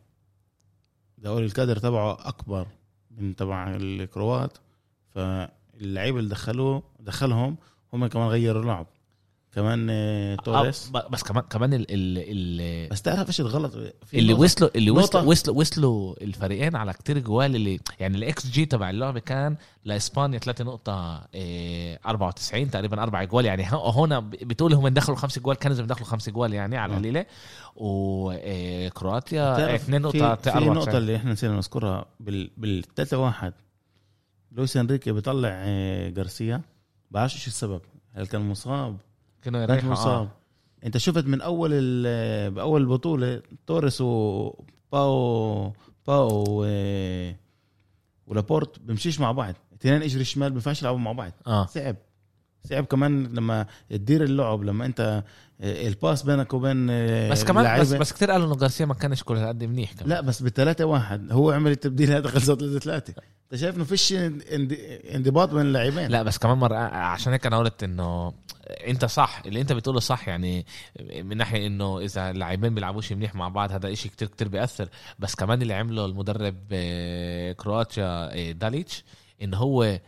Speaker 2: دوري الكادر تبعه اكبر من تبع الكروات فاللعيبه اللي دخلوه دخلهم هم كمان غيروا اللعب كمان آه، توريس
Speaker 1: آه، ب- بس كمان كمان ال ال ال
Speaker 2: بس تعرف ايش الغلط في
Speaker 1: اللي
Speaker 2: نقطة.
Speaker 1: وصلوا اللي
Speaker 2: نقطة.
Speaker 1: وصلوا وصلوا وصلوا الفريقين على كتير جوال اللي يعني الاكس جي تبع اللعبه كان لاسبانيا آه، 3.94 تقريبا اربع جوال يعني ه- هنا ب- بتقول هم دخلوا خمس جوال كانوا زي دخلوا خمس جوال يعني على آه،
Speaker 2: آه.
Speaker 1: القليله وكرواتيا
Speaker 2: بتعرف في, في
Speaker 1: 2.94
Speaker 2: نقطة اللي احنا نسينا نذكرها بال بالتلاتة واحد لويس انريكي بيطلع آه، جارسيا بعرفش ايش السبب هل كان مصاب؟
Speaker 1: كانوا
Speaker 2: كان
Speaker 1: يريحوا
Speaker 2: مصاب
Speaker 1: آه.
Speaker 2: انت شفت من اول ال- باول البطولة توريس وباو باو آه، ولابورت بيمشيش مع بعض اثنين اجري الشمال ما بينفعش يلعبوا مع بعض
Speaker 1: اه
Speaker 2: صعب صعب كمان لما تدير اللعب لما انت آه، الباس بينك وبين آه،
Speaker 1: بس كمان بس
Speaker 2: اللعيبة.
Speaker 1: بس كتير قالوا انه جارسيا ما كانش كل هالقد منيح كمان
Speaker 2: لا بس بالثلاثة واحد هو عمل التبديل هذا خلصت ثلاثة ثلاثة انت شايف انه فيش اند- انضباط بين اللاعبين
Speaker 1: لا بس كمان مرة عشان هيك انا قلت انه انت صح اللي انت بتقوله صح يعني من ناحيه انه اذا اللاعبين بيلعبوش منيح مع بعض هذا إشي كتير كتير بياثر بس كمان اللي عمله المدرب آه، كرواتيا آه، داليتش انه هو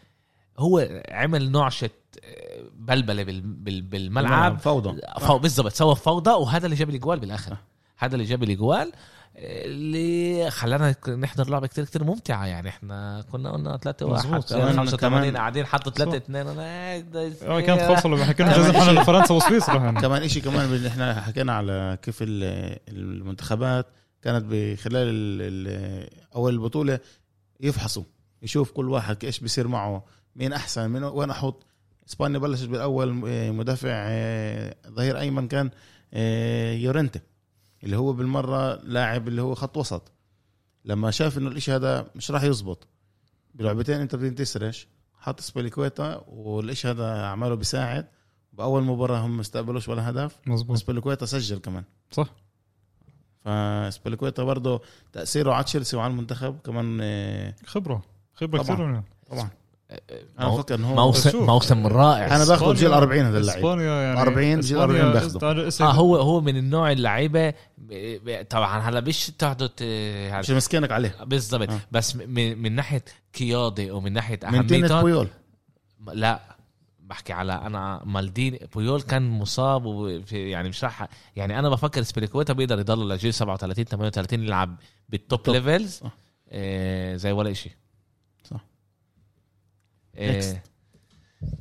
Speaker 1: هو عمل نعشه آه، بلبله بال- بال- بالملعب
Speaker 2: فوضى
Speaker 1: فو بالضبط سوى فوضى وهذا اللي جاب الاجوال بالاخر هذا اللي جاب الاجوال اللي خلانا ك- نحضر لعبه كتير كتير ممتعه يعني احنا كنا قلنا 3 1
Speaker 3: مزبوط.
Speaker 2: كمان-
Speaker 1: 85
Speaker 2: كمان-
Speaker 1: قاعدين حطوا 3
Speaker 3: صح.
Speaker 1: 2 انا هيك بدي
Speaker 3: اه كانت خمسه لما
Speaker 1: آه،
Speaker 3: كنا
Speaker 2: كمان
Speaker 3: جايزين
Speaker 2: شيء.
Speaker 3: حنا فرنسا وسويسرا يعني
Speaker 2: كمان شيء كمان بال- احنا حكينا على كيف ال- المنتخبات كانت بخلال ال- ال- اول البطولة يفحصوا يشوف كل واحد ايش بيصير معه مين احسن مين وين احط اسبانيا بلشت بالاول آه، مدافع آه، ظهير ايمن كان آه، يورنتي اللي هو بالمره لاعب اللي هو خط وسط لما شاف انه الاشي هذا مش راح يزبط بلعبتين انت بتنتسرش حط سبيليكويتا والاشي هذا عماله بيساعد باول مباراه هم ما استقبلوش ولا هدف
Speaker 3: مزبوط
Speaker 2: سبيليكويتا سجل كمان
Speaker 3: صح
Speaker 2: فسبيليكويتا برضه تاثيره على تشيلسي وعلى المنتخب كمان آه،
Speaker 3: خبره خبره
Speaker 2: طبعاً.
Speaker 3: كثير منيحة.
Speaker 2: طبعا انا
Speaker 1: مو-
Speaker 2: بفكر انه هو
Speaker 1: آه، موسم
Speaker 3: شوف.
Speaker 1: موسم رائع
Speaker 2: انا باخذ جيل 40 هذا اللاعب
Speaker 3: اسبانيا يعني
Speaker 2: 40 جيل 40 باخده.
Speaker 1: اه هو هو من النوع اللعيبه ب- ب- طبعا هلا مش تقعدوا ت-
Speaker 2: مش مسكينك عليه
Speaker 1: بالضبط
Speaker 2: آه.
Speaker 1: بس من, من ناحيه قياده ومن ناحيه
Speaker 2: من تينة
Speaker 1: اهميتها
Speaker 2: بويول
Speaker 1: لا بحكي على انا مالدين بويول كان مصاب وفي- يعني مش راح يعني انا بفكر سبيليكويتا بيقدر يضل لجيل 37 38 يلعب بالتوب
Speaker 2: بالتوب.
Speaker 1: ليفلز
Speaker 2: صح.
Speaker 1: آه زي ولا شيء
Speaker 2: صح. Next.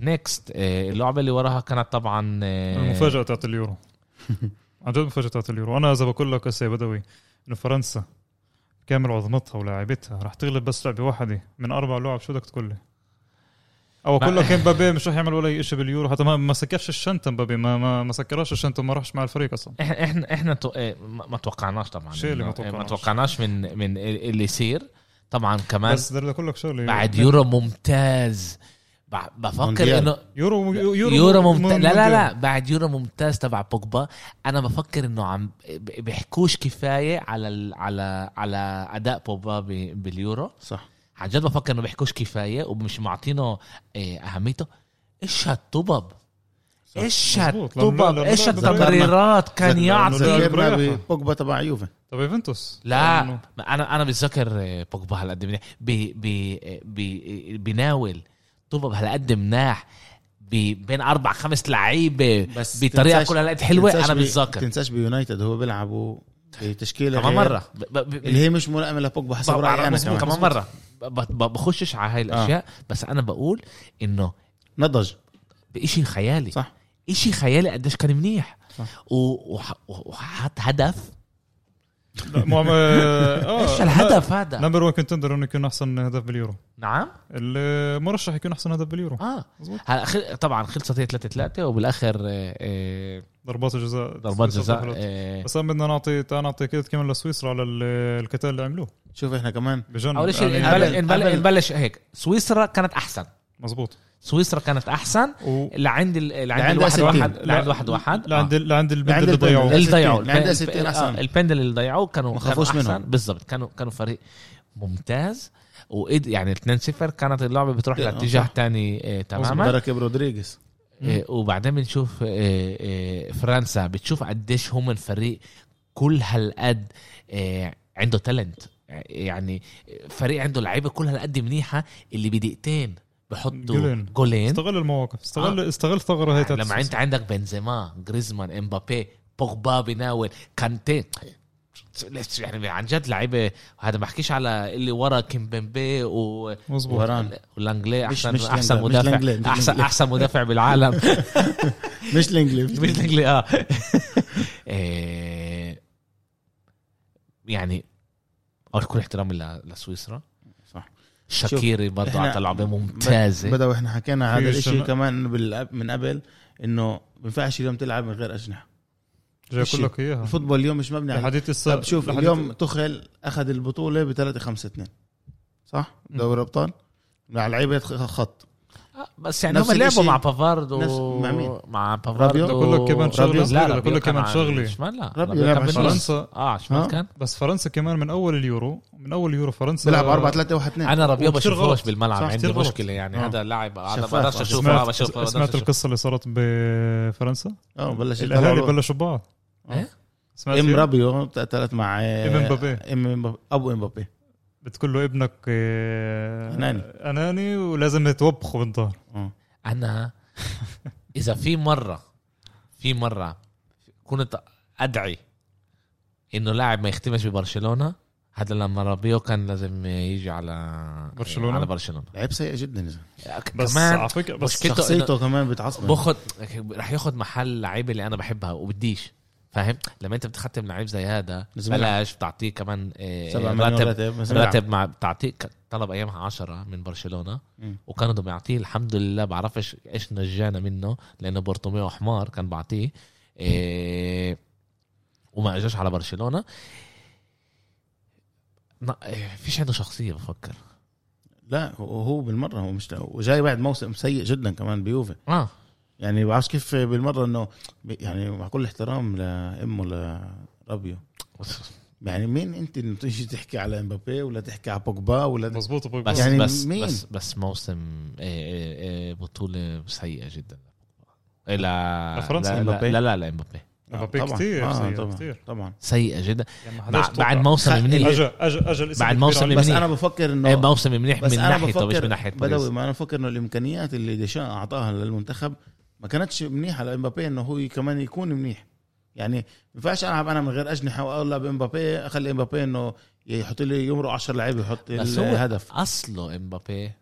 Speaker 1: نيكست آه اللعبه اللي وراها كانت طبعا آه
Speaker 3: المفاجاه تاعت اليورو عن جد المفاجاه تاعت اليورو انا اذا بقول لك هسه يا بدوي انه فرنسا كامل عظمتها ولاعبتها رح تغلب بس لعبه واحده من اربع لعب شو بدك تقول لي؟ او اقول لك مبابي مش رح يعمل ولا شيء باليورو حتى ما ما سكرش الشنطه مبابي ما ما, ما سكرش الشنطه ما راحش مع الفريق اصلا
Speaker 1: احنا احنا احنا تو... آه، ما ما توقعناش طبعا
Speaker 3: شيء اللي ما
Speaker 1: إنه- آه،
Speaker 3: توقعناش.
Speaker 1: ما توقعناش من من اللي يصير طبعا كمان
Speaker 3: بس بدي اقول لك شغله
Speaker 1: بعد يورو ممتاز ب- بفكر
Speaker 2: مونديال.
Speaker 1: انه
Speaker 3: يورو يورو,
Speaker 1: يورو, يورو ممتاز لا لا لا بعد يورو ممتاز تبع بوجبا انا بفكر انه عم ب- بيحكوش كفايه على ال... على على اداء بوجبا ب... باليورو
Speaker 2: صح
Speaker 1: عن جد بفكر انه بيحكوش كفايه ومش معطينه إيه، اهميته ايش هالطبب ايش
Speaker 3: مظبوط، لما-
Speaker 1: الطبب
Speaker 3: لما
Speaker 1: ايش
Speaker 3: لعب-
Speaker 1: التمريرات كان
Speaker 2: ذكرنا-
Speaker 1: يعطي
Speaker 3: لعب-
Speaker 2: ذكرنا
Speaker 3: بريحة.
Speaker 2: بوجبا تبع يوفي
Speaker 3: طب يوفنتوس
Speaker 1: لا
Speaker 3: لأنه-
Speaker 1: ما انا انا بتذكر آه، بوجبا هالقد منيح بي بي آه، بي بناول طبب هالقد مناح بي- بين اربع خمس لعيبه
Speaker 2: بس
Speaker 1: بطريقه
Speaker 2: تنساش-
Speaker 1: كلها هالقد حلوه
Speaker 2: تنساش
Speaker 1: انا
Speaker 2: بي-
Speaker 1: بتذكر
Speaker 2: تنساش بيونايتد هو بيلعبوا بتشكيله
Speaker 1: كمان
Speaker 2: غير
Speaker 1: مره ب- ب- ب-
Speaker 2: اللي هي مش ملائمه لبوجبا حسب
Speaker 1: بقى-
Speaker 2: رايي انا
Speaker 1: مظبوط،
Speaker 2: كمان, آه.
Speaker 1: كمان مره ب- ب- بخشش على هاي الاشياء بس انا بقول انه
Speaker 2: نضج
Speaker 1: بإشي خيالي
Speaker 2: صح.
Speaker 1: إشي خيالي قديش كان منيح
Speaker 2: صح.
Speaker 1: و- وح- وحط هدف
Speaker 3: لا، مو عم- آه،
Speaker 1: ايش الهدف هذا
Speaker 3: نمبر 1 كونتندر انه يكون احسن هدف باليورو
Speaker 1: نعم
Speaker 3: المرشح يكون احسن هدف باليورو
Speaker 1: اه
Speaker 3: مظبوط.
Speaker 1: هلا خل... طبعا خلصت هي 3 3 وبالاخر آه، آه،
Speaker 3: ضربات الجزاء
Speaker 1: ضربات
Speaker 3: سويسرا
Speaker 1: جزاء
Speaker 3: دخلت.
Speaker 1: آه،
Speaker 3: بس أنا بدنا نعطي تعال نعطي كريدت كمان لسويسرا على ال- القتال اللي عملوه
Speaker 2: شوف احنا كمان
Speaker 3: بجنن
Speaker 1: اول شيء
Speaker 3: يعني-
Speaker 2: قبل-
Speaker 1: نبلش نبلش-
Speaker 2: قبل-
Speaker 1: نبلش هيك سويسرا كانت احسن
Speaker 3: مظبوط
Speaker 1: سويسرا كانت احسن
Speaker 3: و...
Speaker 1: لعند ال... لعند
Speaker 2: لعند
Speaker 1: الواحد
Speaker 2: أسيتين.
Speaker 1: واحد
Speaker 3: لا-
Speaker 1: لعند واحد واحد
Speaker 3: لعند ال- لعند البنت
Speaker 2: لعند
Speaker 3: اللي
Speaker 2: البنت.
Speaker 3: ضيعوه
Speaker 1: اللي ضيعوه
Speaker 2: أسيتين. عند
Speaker 1: الب-
Speaker 2: أسيتين
Speaker 1: الب-
Speaker 2: أحسن.
Speaker 1: آه، البندل اللي ضيعوه كانوا
Speaker 2: ما
Speaker 1: كانوا
Speaker 2: خافوش
Speaker 1: احسن
Speaker 2: منهم.
Speaker 1: بالضبط كانوا كانوا فريق ممتاز وقد يعني 2-0 كانت اللعبه بتروح
Speaker 2: آه،
Speaker 1: لاتجاه
Speaker 2: صح.
Speaker 1: تاني آه، تماما
Speaker 2: بركب رودريغيز
Speaker 1: إيه، وبعدين بنشوف إيه، إيه، فرنسا بتشوف قديش هم فريق كل هالقد إيه، عنده تالنت يعني فريق عنده لعيبه كل هالقد منيحه اللي بدقيقتين بحطوا
Speaker 3: جولين.
Speaker 1: جولين
Speaker 3: استغل المواقف استغل استغل ثغره هي
Speaker 1: يعني
Speaker 3: تاعت
Speaker 1: إيه؟ لما انت
Speaker 3: سويسرا.
Speaker 1: عندك بنزيما جريزمان امبابي بوجبا بناول كانتي يعني عن جد لعيبه هذا ما بحكيش على اللي ورا كيمبمبي و
Speaker 3: مظبوط
Speaker 2: وران
Speaker 1: والانجلي
Speaker 2: مش-
Speaker 1: احسن
Speaker 2: مش
Speaker 1: احسن
Speaker 2: لانجلي، مش
Speaker 1: مدافع
Speaker 2: لانجلي، مش
Speaker 1: احسن
Speaker 2: لانجلي.
Speaker 1: احسن مدافع بالعالم
Speaker 2: مش الانجليز
Speaker 1: مش لانجلي اه إيه، يعني اول كل احترامي ل- لسويسرا
Speaker 2: صح.
Speaker 1: شاكيري برضه
Speaker 2: إحنا
Speaker 1: عطى لعبه ممتازه
Speaker 2: بدأوا احنا حكينا
Speaker 3: في
Speaker 2: هذا الشيء
Speaker 3: الشمال.
Speaker 2: كمان بال- من قبل انه ما بينفعش اليوم تلعب من غير اجنحه
Speaker 3: جاي اقول لك يعني اياها
Speaker 2: الفوتبول اليوم مش مبني على
Speaker 3: لحديت لسه
Speaker 2: طب شوف
Speaker 3: لحديت-
Speaker 2: اليوم تخل اخذ البطوله ب 3 5 2 صح
Speaker 3: مم.
Speaker 2: دوري ابطال مع لعيبه خ- خط
Speaker 1: بس يعني
Speaker 2: نفس
Speaker 1: هم لعبوا
Speaker 2: الإشي.
Speaker 1: مع بافارد و...
Speaker 2: نفس- مع مين؟
Speaker 1: مع بافارد
Speaker 2: رابيو؟
Speaker 1: و-
Speaker 3: بقول لك كمان شغلة
Speaker 1: رابيو-
Speaker 3: صغيرة،
Speaker 1: رابيو
Speaker 3: بقول لك
Speaker 1: كان
Speaker 3: كمان
Speaker 1: على
Speaker 3: شغلة.
Speaker 1: الشمال لا
Speaker 2: رابيو آه. لعب على
Speaker 1: كان بالنص.
Speaker 3: فرنسا
Speaker 1: اه على الشمال
Speaker 2: ها؟
Speaker 1: كان
Speaker 3: بس فرنسا كمان من اول اليورو من اول اليورو فرنسا
Speaker 2: بيلعب 4 3 1 2
Speaker 1: انا رابيو
Speaker 3: وكتير
Speaker 1: بشوفوش
Speaker 3: غلط.
Speaker 1: بالملعب
Speaker 3: صح،
Speaker 1: عندي
Speaker 3: كتير غلط.
Speaker 1: مشكله يعني
Speaker 2: آه.
Speaker 1: هذا لاعب انا
Speaker 2: شفاف.
Speaker 1: بقدرش اشوفه آه،
Speaker 3: سمعت,
Speaker 1: بشوفه بقدرش
Speaker 3: سمعت
Speaker 1: أشوفه.
Speaker 3: القصه اللي صارت بفرنسا
Speaker 2: اه بلش
Speaker 3: الاهالي
Speaker 2: يطلعوا له.
Speaker 3: بلشوا ببعض
Speaker 1: إيه؟
Speaker 3: سمعت
Speaker 2: ام
Speaker 3: فيها؟
Speaker 2: رابيو تقتلت مع آه،
Speaker 3: إم مبابي.
Speaker 2: ام مبابي ابو امبابي
Speaker 3: بتقول له ابنك آه،
Speaker 2: أناني.
Speaker 3: اناني ولازم توبخه بالظهر
Speaker 2: آه.
Speaker 1: انا اذا في مره في مره كنت ادعي انه لاعب ما يختمش ببرشلونه هذا لما رابيو كان لازم يجي على
Speaker 3: برشلونة؟
Speaker 1: على برشلونه
Speaker 2: لعيب سيء جدا يا زلمة.
Speaker 3: بس
Speaker 1: كمان
Speaker 3: على فكره بس
Speaker 1: مشكلته إنه
Speaker 2: شخصيته كمان بتعصب
Speaker 1: باخذ رح ياخذ محل لعيبه اللي انا بحبها وبديش فاهم لما انت بتختم لعيب زي هذا
Speaker 2: لازم يلعب.
Speaker 1: بلاش بتعطيه كمان إيه،
Speaker 2: سبع مليون
Speaker 1: راتب
Speaker 2: راتب بس بيلعب.
Speaker 1: راتب مع بتعطيه ك- طلب ايامها عشرة من برشلونه
Speaker 2: مم.
Speaker 1: وكانوا بدهم يعطيه الحمد لله بعرفش ايش نجانا منه لانه بورتوميو حمار كان بعطيه إيه وما اجاش على برشلونه ما- إيه، فيش عنده شخصيه بفكر
Speaker 2: لا هو هو بالمره هو مش وجاي بعد موسم سيء جدا كمان بيوفي
Speaker 1: اه
Speaker 2: يعني بعرفش كيف بالمره انه بي- يعني مع كل احترام لامه لرابيو
Speaker 1: بس
Speaker 2: يعني مين انت انه تيجي تحكي على امبابي ولا تحكي على بوجبا ولا تحكي-
Speaker 3: مظبوط أبو
Speaker 1: بس
Speaker 3: إبراهيم.
Speaker 2: يعني
Speaker 1: بس,
Speaker 2: مين؟
Speaker 1: بس بس موسم إيه إيه إيه بطوله سيئه جدا الى
Speaker 3: لفرنسا،
Speaker 1: لا
Speaker 2: إمبابي.
Speaker 1: لا لا, لا امبابي
Speaker 3: مبابي
Speaker 2: طبعاً.
Speaker 3: كتير
Speaker 2: آه
Speaker 3: سيء،
Speaker 2: طبعا
Speaker 3: كتير.
Speaker 2: طبعا
Speaker 1: سيئه جدا
Speaker 3: يعني ما حداش
Speaker 1: مع-
Speaker 3: توقع.
Speaker 1: بعد موسم منيح
Speaker 3: اجى اجى اجى الاسم
Speaker 1: بعد
Speaker 3: الكبير
Speaker 1: موسم
Speaker 3: عليه.
Speaker 1: من
Speaker 2: بس
Speaker 1: منيح.
Speaker 2: انا بفكر انه
Speaker 1: إيه، موسم منيح
Speaker 2: بس
Speaker 1: من
Speaker 2: انا
Speaker 1: ناحيته مش
Speaker 2: بفكر
Speaker 1: من ناحيه باريس.
Speaker 2: بدوي ما انا بفكر انه الامكانيات اللي ديشان اعطاها للمنتخب ما كانتش منيحه لامبابي انه هو كمان يكون منيح يعني ما ينفعش العب انا من غير اجنحه واقول بامبابي اخلي امبابي انه يحط لي يمرق 10 لعيبه يحط
Speaker 1: بس هو-
Speaker 2: الهدف
Speaker 1: اصله امبابي